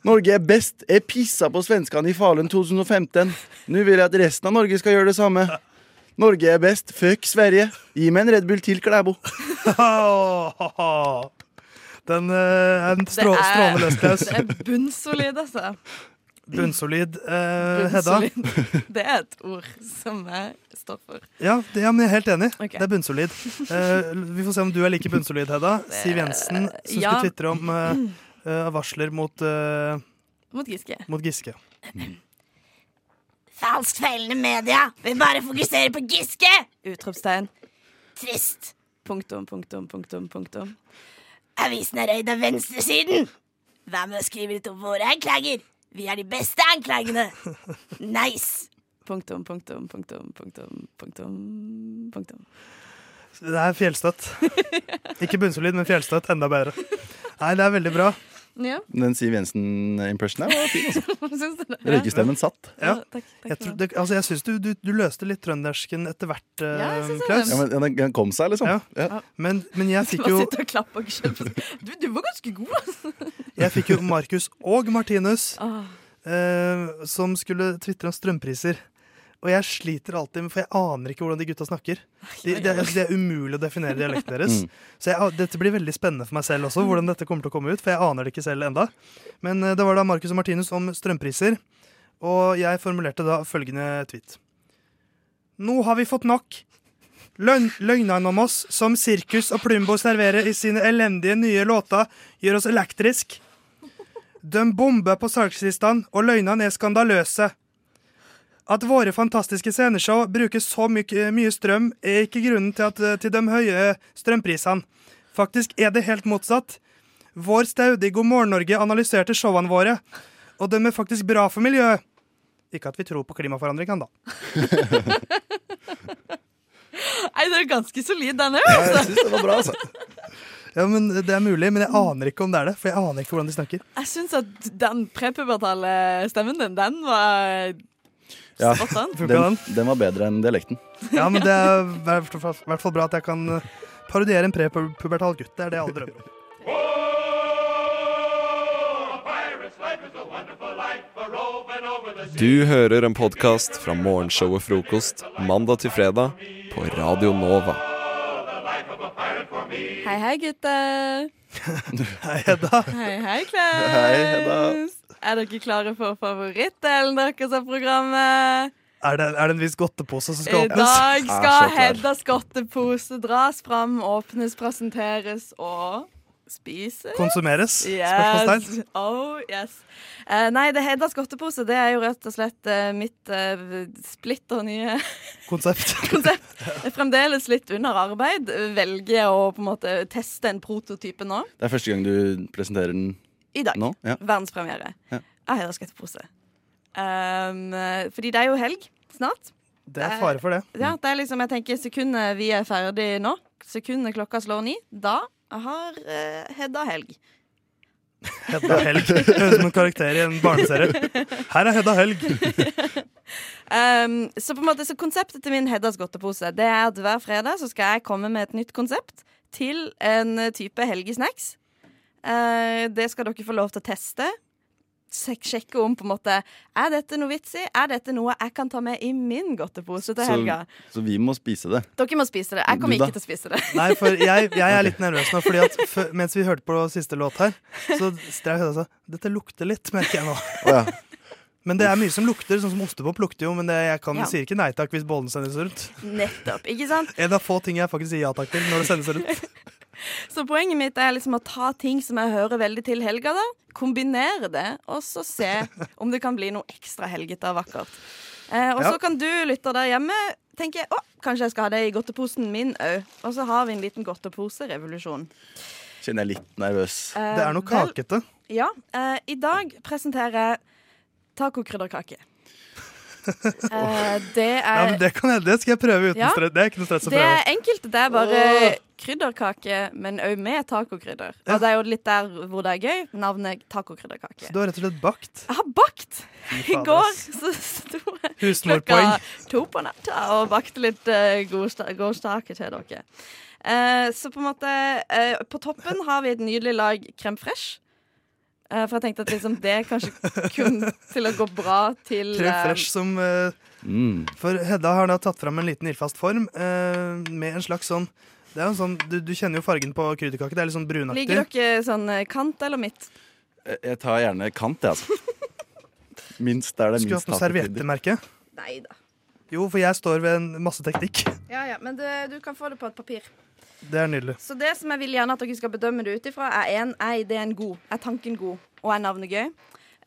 [SPEAKER 18] Norge er best. Jeg pissa på svenskene i Falun 2015. Nå vil jeg at resten av Norge skal gjøre det samme. Norge er best. Fuck Sverige. Gi meg en Red Bull til,
[SPEAKER 11] <laughs>
[SPEAKER 18] Klæbo.
[SPEAKER 11] Den eh, er en strå strålende løs, Klaus.
[SPEAKER 10] <laughs> det er bunnsolid, altså. <laughs>
[SPEAKER 11] Bunnsolid. Eh, Hedda?
[SPEAKER 10] Bunnsolid. Det er et ord som jeg står for.
[SPEAKER 11] Ja, det, ja, men jeg er helt enig.
[SPEAKER 10] Ok.
[SPEAKER 11] Det er bunnsolid. Eh, vi får se om du er like bunnsolid, Hedda. Siv Jensen, som
[SPEAKER 10] ja.
[SPEAKER 11] skulle tvitre om eh, eh, varsler mot, eh,
[SPEAKER 10] Mot Giske.
[SPEAKER 11] mot Giske.
[SPEAKER 10] Mm.
[SPEAKER 23] Falskt feilende media vil bare fokusere på Giske!
[SPEAKER 10] Utropstegn.
[SPEAKER 23] Trist.
[SPEAKER 10] Punktum, punktum, punktum, punktum.
[SPEAKER 23] Avisen er røyd av venstresiden. Hva med å skrive litt om våre anklager? Vi er de beste anklagene. Nice.
[SPEAKER 10] Punktum, punktum, punktum, punktum, punktum. punktum.
[SPEAKER 11] Det er fjellstøtt. Ikke bunnsolid, men fjellstøtt. Enda bedre. Nei, det er veldig bra.
[SPEAKER 10] Ja.
[SPEAKER 18] Den Siv Jensen-impressionen her var fin. altså.
[SPEAKER 10] <laughs> Syns du det?
[SPEAKER 18] Røykestemmen satt.
[SPEAKER 11] Ja. jeg tror det, altså, jeg syns du, du, du løste litt trøndersken etter hvert, eh, Klaus.
[SPEAKER 18] Ja, men den, den kom seg, liksom. Ja.
[SPEAKER 11] Men, men
[SPEAKER 8] <laughs>
[SPEAKER 11] jeg fikk
[SPEAKER 10] Bare
[SPEAKER 11] jo
[SPEAKER 10] sitte og klappe og kjøpe. <laughs> Du, du var ganske god, altså.
[SPEAKER 11] Jeg fikk jo Markus og Martinus, eh, som skulle tvitre om strømpriser. Og jeg sliter alltid med, for jeg aner ikke hvordan de gutta snakker. De, det, er- altså, det er umulig å definere dialekten deres.
[SPEAKER 18] Mm.
[SPEAKER 11] Så jeg, ah, dette blir veldig spennende for meg selv også, hvordan dette kommer til å komme ut. For jeg aner det ikke selv enda. Men eh, det var da Marcus og Martinus om strømpriser. Og jeg formulerte da følgende tweet. Nå har vi fått nok. Løgn, løgnene om oss, som Sirkus og Plumbo serverer i sine elendige nye låter, gjør oss elektrisk. De bomber på salgslistene, og løgnene er skandaløse. At våre fantastiske sceneshow bruker så myk- mye strøm, er ikke grunnen til, at, til de høye strømprisene. Faktisk er det helt motsatt. Vår staude i God morgen Norge analyserte showene våre, og de er faktisk bra for miljøet. Ikke at vi tror på klimaforandringene, da.
[SPEAKER 10] Nei, det er ganske solid, den òg.
[SPEAKER 11] Ja, men Det er mulig, men jeg aner ikke om det er det. For jeg aner ikke hvordan de snakker.
[SPEAKER 10] Jeg syns at den prepubertale stemmen din, den var
[SPEAKER 18] Ja,
[SPEAKER 10] spot on.
[SPEAKER 18] den, den var bedre enn dialekten.
[SPEAKER 11] Ja, men Det er i hvert fall- i hvert fall bra at jeg kan eh, parodiere en prepubertal gutt. Det er det alle drømmer om.
[SPEAKER 16] Du hører en podkast fra morgenshowet Frokost mandag til fredag på Radio Nova.
[SPEAKER 10] Hei, hei, gutter.
[SPEAKER 11] <laughs> Hei, Hedda.
[SPEAKER 10] Hei, hei, Klaus.
[SPEAKER 11] Hei, Hedda.
[SPEAKER 10] Er dere klare for favorittdelen deres av programmet?
[SPEAKER 11] Er det, er det en viss godtepose som
[SPEAKER 10] I
[SPEAKER 11] skal åpnes?
[SPEAKER 10] Eh, dag skal Heddas godtepose dras fram, åpnes, presenteres og spises.
[SPEAKER 11] Konsumeres?
[SPEAKER 10] Yes.
[SPEAKER 11] Spørsmålstegn.
[SPEAKER 10] Oh, yes. Eh, nei, det Heddas godtepose det er jo rett og slett eh, mitt eh, splitter nye
[SPEAKER 11] Konsept.
[SPEAKER 10] Jeg er Fremdeles litt under arbeid. Velger å på en måte teste en prototype nå.
[SPEAKER 18] Det er første gang du presenterer den
[SPEAKER 10] I dag.
[SPEAKER 18] nå? Ja.
[SPEAKER 10] Verdenspremiere.
[SPEAKER 18] Ja.
[SPEAKER 10] Av Hedersgodtepose. Um, fordi det er jo helg snart.
[SPEAKER 11] Det er fare for det.
[SPEAKER 10] Ja, Eh, det er liksom, jeg tenker Sekundet vi er ferdig nå, sekundet klokka slår ni, da har eh, Hedda helg.
[SPEAKER 11] Hedda Helg. Høres ut som en karakter i en barneserie. Her er Hedda Helg.
[SPEAKER 10] <laughs> Um, så på en måte, så konseptet til min Heddas godtepose Det er at hver fredag så skal jeg komme med et nytt konsept til en type helgesnacks. Eh, det skal dere få lov til å teste. Sjek sjekke om på en måte Er dette noe vits i? Er dette noe jeg kan ta med i min godtepose til helga?
[SPEAKER 18] Så, så vi må spise det.
[SPEAKER 10] Dere må spise det. Jeg kommer
[SPEAKER 18] Du da?
[SPEAKER 10] ikke til å spise det.
[SPEAKER 11] Nei, for jeg, jeg er litt nervøs nå, fordi at fø- mens vi hørte på siste låt her, så strev Hedda seg. Dette lukter litt, merker jeg nå. Men det er mye som lukter, sånn som ostepop lukter jo, men det, jeg kan,
[SPEAKER 10] Ja.
[SPEAKER 11] sier ikke nei takk hvis bollen sendes rundt.
[SPEAKER 10] <laughs> Nettopp, ikke sant?
[SPEAKER 11] En av få ting jeg faktisk sier ja takk til når det sendes rundt.
[SPEAKER 10] Så poenget mitt er liksom å ta ting som jeg hører veldig til helga, da. Kombinere det, og så
[SPEAKER 11] <laughs>
[SPEAKER 10] se om det kan bli noe ekstra helgete og vakkert. Eh, og
[SPEAKER 18] Ja.
[SPEAKER 10] så kan du, lytter der hjemme, tenke å, kanskje jeg skal ha det i godteposen min òg. Og så har vi en liten godteposerevolusjon.
[SPEAKER 18] Kjenner jeg litt nervøs.
[SPEAKER 10] Eh, Det er noe vel-
[SPEAKER 11] kakete.
[SPEAKER 10] Ja, eh, i dag presenterer jeg tacokrydderkake. <laughs> Eh, det
[SPEAKER 11] Ja,
[SPEAKER 10] er
[SPEAKER 11] men det kan hende. Det skal jeg prøve uten
[SPEAKER 10] Ja.
[SPEAKER 11] stress. Det er ikke noe stress å
[SPEAKER 10] Det er
[SPEAKER 11] prøve.
[SPEAKER 10] enkelt. Det er bare
[SPEAKER 11] Åh.
[SPEAKER 10] krydderkake, men òg med tacokrydder. Og det er jo litt der hvor det er gøy. Navnet tacokrydderkake.
[SPEAKER 11] Så du har rett og slett bakt?
[SPEAKER 10] Jeg har bakt! I
[SPEAKER 11] fader,
[SPEAKER 10] går
[SPEAKER 11] ass.
[SPEAKER 10] så sto jeg
[SPEAKER 11] Husmorpoeng.
[SPEAKER 10] to på natta og bakte litt uh, gårdstaket til dere. Eh, så på en måte eh, På toppen har vi et nydelig lag crème fresh. Eh, for jeg tenkte at liksom det kanskje kunne til å gå bra til
[SPEAKER 11] Tre
[SPEAKER 10] eh,
[SPEAKER 11] fresh som eh,
[SPEAKER 18] Mm.
[SPEAKER 11] For Hedda har da tatt fram en liten ildfast form eh, med en slags sånn det er jo en sånn, du, du kjenner jo fargen på krydderkake. Det er litt sånn brunaktig.
[SPEAKER 10] Liker dere sånn eh, kant eller midt?
[SPEAKER 18] Jeg- Jeg tar gjerne kant, jeg, altså.
[SPEAKER 10] <laughs>
[SPEAKER 18] Minst der det er
[SPEAKER 11] Skulle
[SPEAKER 18] minst
[SPEAKER 11] hatt noe serviettemerke.
[SPEAKER 10] Nei da.
[SPEAKER 11] Jo, for jeg står ved en masse teknikk. <laughs>
[SPEAKER 10] Ja, ja, men det, du kan få det på et papir.
[SPEAKER 11] Det er nydelig.
[SPEAKER 10] Så det som jeg vil gjerne at dere skal bedømme det ut ifra, er en, er ideen god, er tanken god, og er navnet gøy?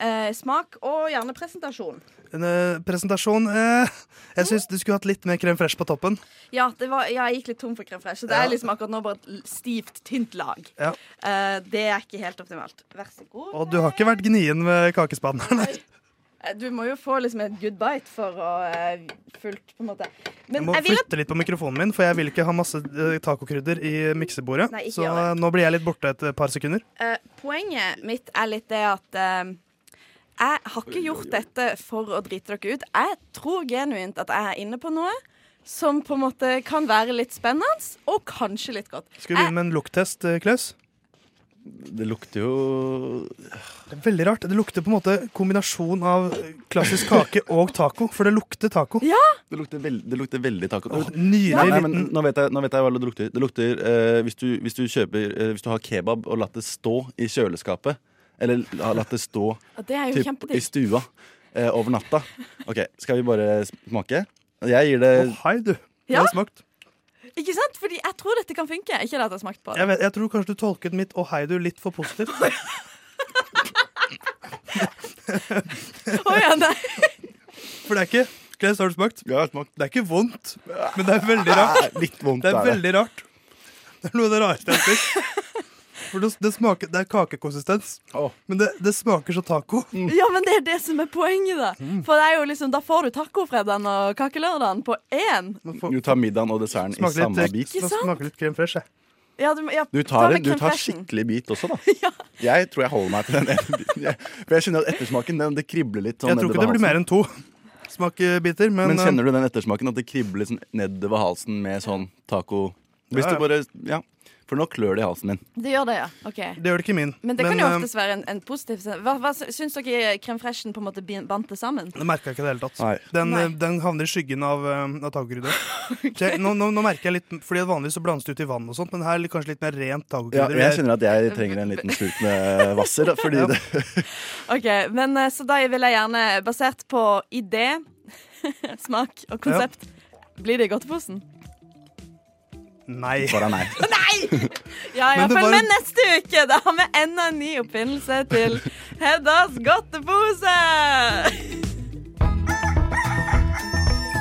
[SPEAKER 10] Eh, smak og gjerne presentasjon.
[SPEAKER 11] En eh, presentasjon eh, Jeg syns du skulle hatt litt mer krem fresh på toppen.
[SPEAKER 10] Ja, det var, ja, jeg gikk litt tom for crème fraiche. Så det
[SPEAKER 11] Ja.
[SPEAKER 10] er liksom akkurat nå bare et l- stivt, tynt lag.
[SPEAKER 11] Ja.
[SPEAKER 10] Eh, det er ikke helt optimalt. Vær så god.
[SPEAKER 11] Og du har ikke vært gnien med kakespaden? nei.
[SPEAKER 10] Eh, Du må jo få liksom et good bite for å eh, fullt, på en måte.
[SPEAKER 11] Jeg
[SPEAKER 10] Men
[SPEAKER 11] må
[SPEAKER 10] jeg vil at
[SPEAKER 11] flytte litt på mikrofonen min, for jeg vil ikke ha masse eh, tacokrydder i miksebordet.
[SPEAKER 10] Nei, ikke
[SPEAKER 11] Så
[SPEAKER 10] gjør
[SPEAKER 11] eh, nå blir jeg litt borte et par sekunder.
[SPEAKER 10] Eh, poenget mitt er litt det at eh, jeg har ikke gjort dette for å drite dere ut. Jeg tror genuint at jeg er inne på noe som på en måte kan være litt spennende, og kanskje litt godt.
[SPEAKER 11] Skal vi begynne med en lukttest, eh, Klaus?
[SPEAKER 18] Det lukter jo
[SPEAKER 11] Det er veldig rart. Det lukter på en måte kombinasjon av eh, klassisk kake og taco, for det lukter taco.
[SPEAKER 18] Det lukter, veld, det lukter veldig taco.
[SPEAKER 11] Åh, nydelig
[SPEAKER 18] Nei, nei, men
[SPEAKER 11] liten-
[SPEAKER 18] nå, vet jeg, nå vet jeg hva det lukter. Det lukter eh, hvis, du, hvis, du kjøper, eh, hvis du har kebab og latt det stå i kjøleskapet, eller har latt det stå
[SPEAKER 19] Ja, det er jo kjempedigg.
[SPEAKER 18] i stua eh, over natta OK, skal vi bare smake? Jeg gir det
[SPEAKER 11] Hei, du.
[SPEAKER 10] Ja?
[SPEAKER 11] har smakt.
[SPEAKER 10] Ikke sant? Fordi jeg tror dette kan funke. Ikke det at jeg har smakt på
[SPEAKER 11] Jeg,
[SPEAKER 10] det.
[SPEAKER 11] vet, jeg tror kanskje du tolket mitt 'å hei, du' litt for positivt.
[SPEAKER 10] <laughs> Å ja, nei.
[SPEAKER 11] For det er ikke Kles, har du smakt? Det er ikke vondt, men det er veldig
[SPEAKER 18] rart.
[SPEAKER 11] det er,
[SPEAKER 18] er det.
[SPEAKER 11] veldig rart. Det er noe av det rareste jeg har spist. For det, det, smaker, det er kakekonsistens, men det, det smaker så taco.
[SPEAKER 10] <laughs> Ja, men det er det som er poenget, da.
[SPEAKER 18] Mm.
[SPEAKER 10] For det er jo liksom, da får du tacofredagen og kakelørdagen på én.
[SPEAKER 18] Du tar middagen og desserten i
[SPEAKER 11] Smaker
[SPEAKER 18] samme
[SPEAKER 11] litt,
[SPEAKER 18] bit.
[SPEAKER 10] Ikke sant?
[SPEAKER 11] smaker litt krem fresh, jeg.
[SPEAKER 10] Ja, du, må- ja,
[SPEAKER 18] Du tar,
[SPEAKER 10] ta
[SPEAKER 18] en,
[SPEAKER 10] med
[SPEAKER 18] du
[SPEAKER 10] creme
[SPEAKER 18] tar
[SPEAKER 10] freshen.
[SPEAKER 18] skikkelig bit
[SPEAKER 10] <laughs>
[SPEAKER 18] også, da. Jeg tror jeg holder meg til den ene biten. Jeg- For jeg kjenner at ettersmaken den, det kribler litt. Sånn
[SPEAKER 11] Jeg tror ikke det blir mer enn to smakebiter, men, eh,
[SPEAKER 18] Men kjenner du den ettersmaken at det kribler sånn nedover halsen med sånn taco Hvis
[SPEAKER 11] Ja, ja.
[SPEAKER 18] du bare Ja. For nå klør det i halsen min.
[SPEAKER 10] Det gjør det, ja. OK.
[SPEAKER 11] Det gjør det ikke i min.
[SPEAKER 10] Men det kan jo
[SPEAKER 11] eh,
[SPEAKER 10] oftest være en, en positiv Hva, hva Syns dere creme freshen på en måte bin- bandt det sammen?
[SPEAKER 11] Det merka jeg ikke i det hele tatt.
[SPEAKER 18] Nei.
[SPEAKER 11] Den,
[SPEAKER 10] Nei.
[SPEAKER 11] eh, den havner i skyggen av, eh, av
[SPEAKER 10] <laughs>
[SPEAKER 11] tacokrydder. Så jeg- Nå, nå, nå merker jeg litt Fordi at Vanligvis så blandes det ut i vann, og sånt men her er det kanskje litt mer rent
[SPEAKER 18] Ja,
[SPEAKER 11] tacokrydder.
[SPEAKER 18] men jeg kjenner at jeg trenger en liten slurk
[SPEAKER 10] <laughs>
[SPEAKER 18] med Hvasser. da, Fordi det, <laughs>
[SPEAKER 10] OK, men eh, så da vil jeg gjerne, basert på idé, <laughs> smak og konsept, blir det i godteposen?
[SPEAKER 11] Nei.
[SPEAKER 18] Bare nei.
[SPEAKER 10] Ja, ja,
[SPEAKER 11] Men det
[SPEAKER 10] følg
[SPEAKER 11] var-
[SPEAKER 10] med neste uke! Da har vi enda en ny oppfinnelse til Heddas godtepose!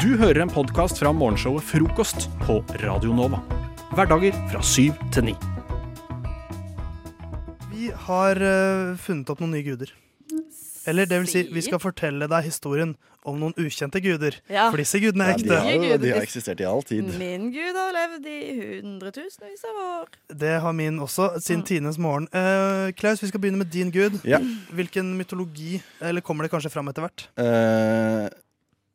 [SPEAKER 1] Du hører en podkast fra morgenshowet Frokost på Radio Nova. Hverdager fra syv til ni.
[SPEAKER 11] <laughs> Vi har eh, funnet opp noen nye guder. Eller det vil si, vi skal fortelle deg historien om noen ukjente guder.
[SPEAKER 10] Ja.
[SPEAKER 11] For disse gudene er
[SPEAKER 18] Ja, de
[SPEAKER 11] ekte.
[SPEAKER 18] har jo- de har eksistert i all tid.
[SPEAKER 10] Min gud har levd i hundretusenvis av år.
[SPEAKER 11] Det har min også, siden tidenes morgen. Eh, Klaus, vi skal begynne med din gud.
[SPEAKER 18] Ja.
[SPEAKER 11] Hvilken mytologi Eller kommer det kanskje fram etter hvert?
[SPEAKER 18] Eh,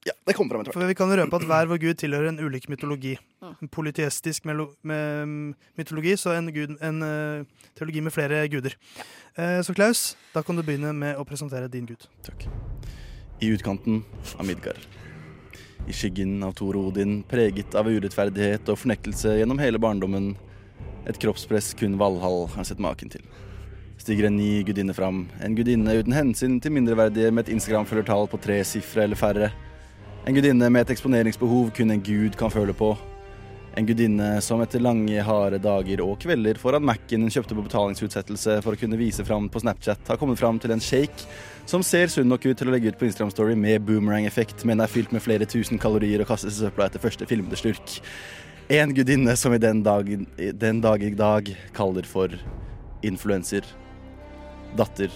[SPEAKER 18] ja, det kommer fram etter
[SPEAKER 11] For vi kan røpe at hver vår gud tilhører en ulik mytologi. En polyteistisk melo- me- mm, mytologi, så en, gud, en eh, teologi med flere guder. Eh, så Klaus, da kan du begynne med å presentere din gud.
[SPEAKER 18] I utkanten av Midgard. I skyggen av Thor Odin, preget av urettferdighet og fornektelse gjennom hele barndommen. Et kroppspress kun Valhall har sett maken til. Stiger en ny gudinne fram. En gudinne uten hensyn til mindreverdige med et Instagram-følgertall på tre sifre eller færre. En gudinne med et eksponeringsbehov kun en gud kan føle på. En gudinne som etter lange, harde dager og kvelder foran Mac-en hun kjøpte på betalingsutsettelse for å kunne vise fram på Snapchat, har kommet fram til en shake som ser sunn nok ut til å legge ut på Instagram Story med boomerang-effekt, men er fylt med flere tusen kalorier og kastes i søpla etter første filmede slurk. En gudinne som i den dag, i den dag i dag kaller for influenser. Datter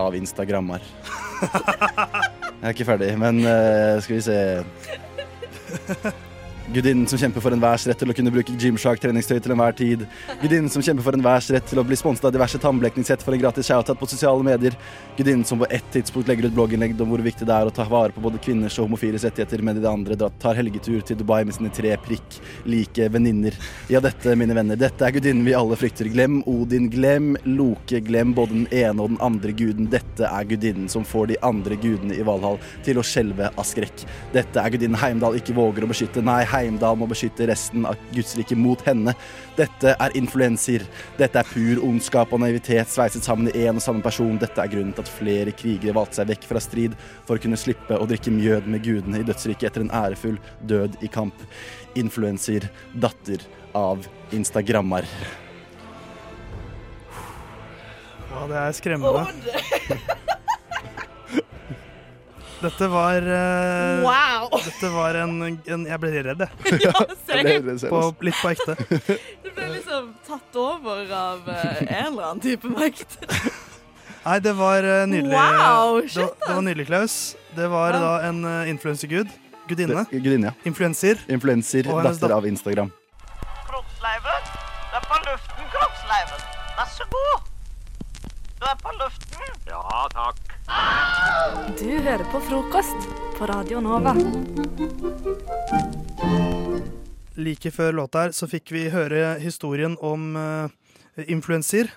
[SPEAKER 18] av instagrammer. <laughs> Jeg er ikke ferdig, men eh, skal vi se Gudinnen som kjemper for enhvers rett til å kunne bruke Gymshark-treningstøy til enhver tid. Gudinnen som kjemper for enhvers rett til å bli sponset av diverse tannblekningssett for en gratis shoutout på sosiale medier. Gudinnen som på ett tidspunkt legger ut blogginnlegg om hvor viktig det er å ta vare på både kvinners og homofiles rettigheter, men i det andre dra- tar helgetur til Dubai med sine tre prikk like venninner. Ja, dette, mine venner, dette er gudinnen vi alle frykter. Glem Odin, glem Loke, glem både den ene og den andre guden. Dette er gudinnen som får de andre gudene i Valhall til å skjelve av skrekk. Dette er gudinnen Heimdal ikke våger å beskytte. Nei, Heimdal må beskytte resten av Guds rike mot henne. Dette er influenser. Dette er pur ondskap og naivitet sveiset sammen i én og samme person. Dette er grunnen til at flere krigere valgte seg vekk fra strid for å kunne slippe å drikke mjød med gudene i dødsriket etter en ærefull død i kamp. Influenser, datter av instagrammer.
[SPEAKER 11] Ja, det er skremmende. <laughs> Dette var eh,
[SPEAKER 10] Wow!
[SPEAKER 11] Dette var en, en Jeg ble redd, jeg.
[SPEAKER 10] <laughs> Ja, Jeg ble redd selv,
[SPEAKER 11] på,
[SPEAKER 18] altså.
[SPEAKER 10] ass.
[SPEAKER 11] litt på ekte.
[SPEAKER 10] Du ble liksom tatt over av eh, en eller annen type makt.
[SPEAKER 11] Nei, det var eh, nydelig.
[SPEAKER 10] Wow,
[SPEAKER 11] det, var- det var nydelig, Klaus. Det var da en uh, influensergud. Gudinne.
[SPEAKER 18] Det- Gudinne, ja.
[SPEAKER 11] Influenser.
[SPEAKER 18] Influenser,
[SPEAKER 11] Og hennes
[SPEAKER 18] datter av Instagram.
[SPEAKER 13] Kroppsleiven. Du er på luften, kroppsleiven. Vær så god. Du er på luften. hm, Ja, takk.
[SPEAKER 3] Du hører på frokost på Radio Nova.
[SPEAKER 11] Like før låta her så fikk vi høre historien om eh, influenser.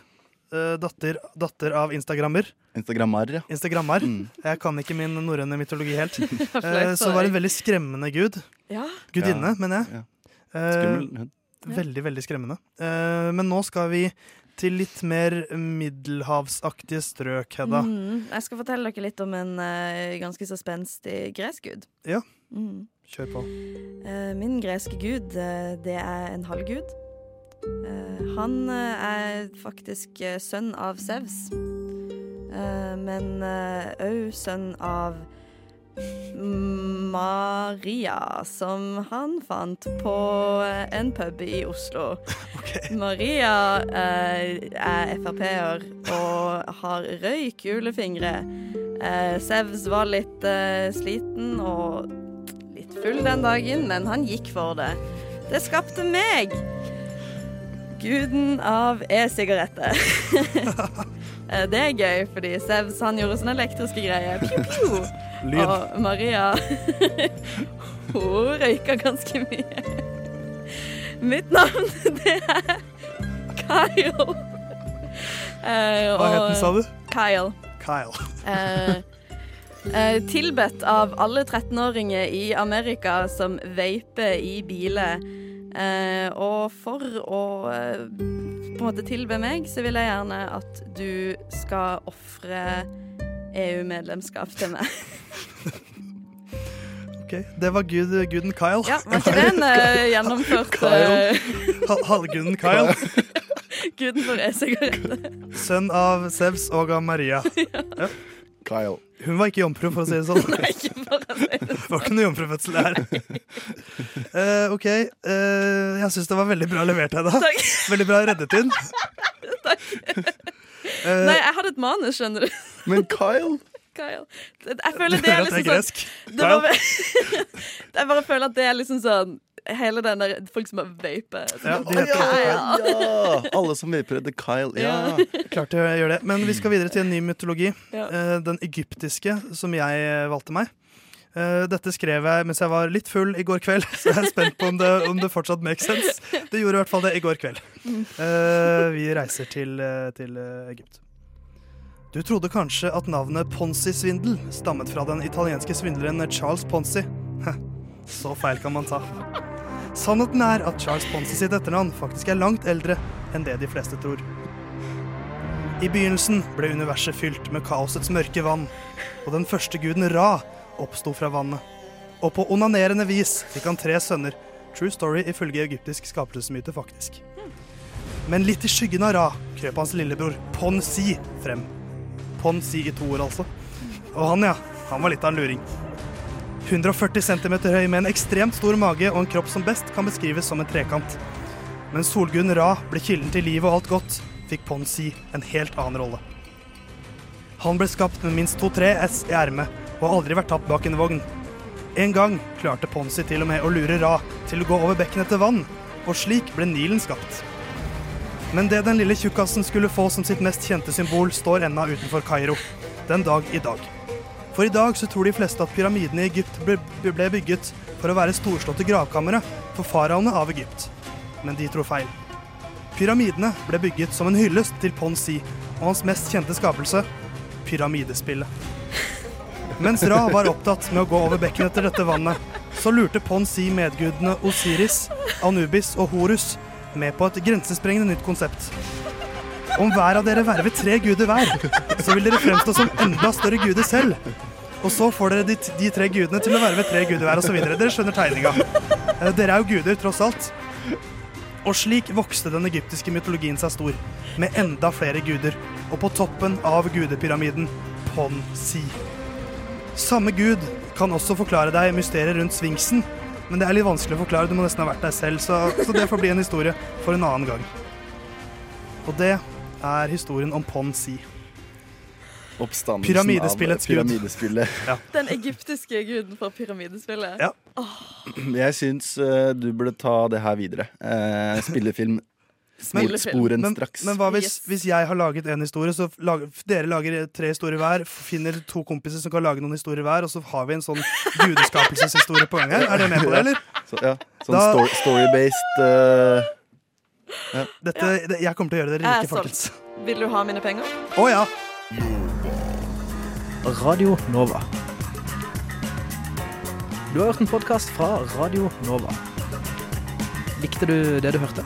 [SPEAKER 11] eh, datter, datter av instagrammer.
[SPEAKER 18] Instagrammer, ja. Mm.
[SPEAKER 11] Instagrammer. Jeg kan ikke min norrøne mytologi
[SPEAKER 18] <laughs>
[SPEAKER 11] helt.
[SPEAKER 18] Flaut
[SPEAKER 11] Eh,
[SPEAKER 18] for
[SPEAKER 11] så var
[SPEAKER 18] deg.
[SPEAKER 11] en veldig skremmende gud.
[SPEAKER 18] Ja.
[SPEAKER 11] Gudinne,
[SPEAKER 18] Ja.
[SPEAKER 11] mener jeg.
[SPEAKER 18] Skummel hun.
[SPEAKER 11] Eh, Veldig, veldig skremmende. Eh, men nå skal vi til litt mer middelhavsaktige strøk, Hedda.
[SPEAKER 10] Mm, jeg skal fortelle dere litt om en eh, ganske så spenstig gresk gud.
[SPEAKER 11] Ja,
[SPEAKER 10] Mm.
[SPEAKER 11] kjør på.
[SPEAKER 10] Eh, min greske gud, eh, det er en halvgud. Eh, han eh, er faktisk eh, sønn av Sevs, eh, men òg sønn av Maria, som han fant på eh, en pub i Oslo. Maria eh, er Frp-er og har røykule fingre. Eh, Sevs var litt eh, sliten og litt full den dagen, men han gikk for det. Det skapte meg! Guden av e-sigaretter. <laughs> Eh, det er gøy, fordi Sevs han gjorde sånne elektriske greier. Piu, piu.
[SPEAKER 11] Lyd.
[SPEAKER 10] Og Maria <laughs> Hun røyka ganske mye. Mitt navn, <laughs> det er Kyle. Eh,
[SPEAKER 11] Hva het
[SPEAKER 10] og-
[SPEAKER 11] den, sa du?
[SPEAKER 10] Kyle.
[SPEAKER 11] Kyle.
[SPEAKER 10] Eh, eh, tilbedt av alle 13-åringer i Amerika som veiper i biler. Eh, og for å eh, på en måte tilbe meg, så vil jeg gjerne at du skal ofre EU-medlemskap til meg. <laughs>
[SPEAKER 11] Ok, Det var gud, guden Kyle.
[SPEAKER 10] Ja, var ikke den eh, gjennomført
[SPEAKER 11] Kyle.
[SPEAKER 10] eh,
[SPEAKER 11] Ha- Halvguden Kyle.
[SPEAKER 10] guden for e-sigaretter?
[SPEAKER 11] Sønn av Sevs og av
[SPEAKER 10] <laughs>
[SPEAKER 11] Maria. Ja.
[SPEAKER 18] Kyle.
[SPEAKER 11] Hun var ikke jomfru, for å si det sånn. Nei,
[SPEAKER 10] ikke for å si det sånn.
[SPEAKER 11] var ikke noe jomfrufødsel her. Eh, OK. eh, jeg syns det var veldig bra levert, Hedda.
[SPEAKER 10] Takk.
[SPEAKER 11] Veldig bra reddet
[SPEAKER 10] <laughs>
[SPEAKER 11] inn. Eh,
[SPEAKER 10] Nei, jeg hadde et manus, skjønner du. <laughs>
[SPEAKER 18] Men Kyle
[SPEAKER 10] Kyle. Jeg føler
[SPEAKER 11] Du
[SPEAKER 10] det er
[SPEAKER 11] hører at
[SPEAKER 10] liksom
[SPEAKER 11] jeg er
[SPEAKER 10] sånn
[SPEAKER 11] gresk.
[SPEAKER 10] det var, <laughs> Jeg bare føler at det er liksom sånn Hele den der folk som bare vaper.
[SPEAKER 18] Ja,
[SPEAKER 10] Sånn,
[SPEAKER 18] de heter
[SPEAKER 10] «Å,
[SPEAKER 18] ja,
[SPEAKER 10] ja, ja».
[SPEAKER 18] Alle som vaper heter Kyle. Ja.
[SPEAKER 11] <laughs> Klart jeg gjør det. Men vi skal videre til en ny mytologi.
[SPEAKER 10] Ja.
[SPEAKER 11] Eh, Den egyptiske, som jeg eh, valgte meg. Eh, Dette skrev jeg mens jeg var litt full i går kveld, <laughs> så jeg er spent på om det, om det fortsatt makes sense. Det gjorde i hvert fall det i går kveld. Eh, Vi reiser til, eh, til eh, Egypt. Du trodde kanskje at navnet Ponzi-svindel stammet fra den italienske svindleren Charles Ponzi. Heh, Så feil kan man ta. Sannheten er at Charles Ponzi sitt etternavn faktisk er langt eldre enn det de fleste tror. I begynnelsen ble universet fylt med kaosets mørke vann, og den første guden Ra oppsto fra vannet. Og på onanerende vis fikk han tre sønner. True story ifølge egyptisk skapelsesmyte, faktisk. Men litt i skyggen av Ra krøp hans lillebror Ponsi frem. Ponsi i to ord, altså. Og han, ja. Han var litt av en luring. 140 cm høy med en ekstremt stor mage og en kropp som best kan beskrives som en trekant. Men solguden Ra ble kilden til livet og alt godt, fikk Ponsi en helt annen rolle. Han ble skapt med minst to-tre S i ermet og har aldri vært tapt bak en vogn. En gang klarte Ponsi til og med å lure Ra til å gå over bekkenet til vann, og slik ble Nilen skapt. Men det den lille tjukkasen skulle få som sitt mest kjente symbol, står ennå utenfor Kairo. Den dag i dag. For i dag så tror de fleste at pyramidene i Egypt ble, ble bygget for å være storslåtte gravkamre for faraoene av Egypt. Men de tror feil. Pyramidene ble bygget som en hyllest til Ponsi og hans mest kjente skapelse, pyramidespillet. Mens Ra var opptatt med å gå over bekken etter dette vannet, så lurte Ponsi medgudene Osiris, Anubis og Horus med på et grensesprengende nytt konsept. Om hver av dere vervet tre guder hver, så vil dere fremstå som enda større guder selv. Og så får dere de, de tre gudene til å verve tre guder hver, osv. Dere skjønner tegninga. Eh, Dere er jo guder, tross alt. Og slik vokste den egyptiske mytologien seg stor, med enda flere guder, og på toppen av gudepyramiden Pon-Si. Samme gud kan også forklare deg mysteriet rundt sfinksen, men det er litt vanskelig å forklare, du må nesten ha vært der selv, så, så det får bli en historie for en annen gang. Og det er historien om Pon-Si.
[SPEAKER 18] Oppstandelsen
[SPEAKER 11] Pyramidespillets
[SPEAKER 18] av
[SPEAKER 11] gud.
[SPEAKER 18] pyramidespillet.
[SPEAKER 10] Den egyptiske guden fra pyramidespillet.
[SPEAKER 11] Ja.
[SPEAKER 18] Jeg syns eh, du burde ta det her videre. Eh, spillefilm. Spor, sporen
[SPEAKER 11] men,
[SPEAKER 18] straks.
[SPEAKER 11] Men hva hvis, hvis jeg har laget en historie, så lager, dere lager tre historier hver, finner to kompiser som kan lage noen historier hver, og så har vi en sånn gudeskapelseshistorie på gang her? Er dere med på det, eller?
[SPEAKER 18] Ja. Så, ja. Sånn
[SPEAKER 11] Da-
[SPEAKER 18] sto- story-based eh,
[SPEAKER 11] Dette, det, jeg kommer til å gjøre dere
[SPEAKER 10] Jeg er
[SPEAKER 11] rike, folkens.
[SPEAKER 10] solgt. Vil du ha mine penger?
[SPEAKER 11] Å ja.
[SPEAKER 8] Radio Nova. Du har hørt en podkast fra Radio Nova. Likte du det du hørte?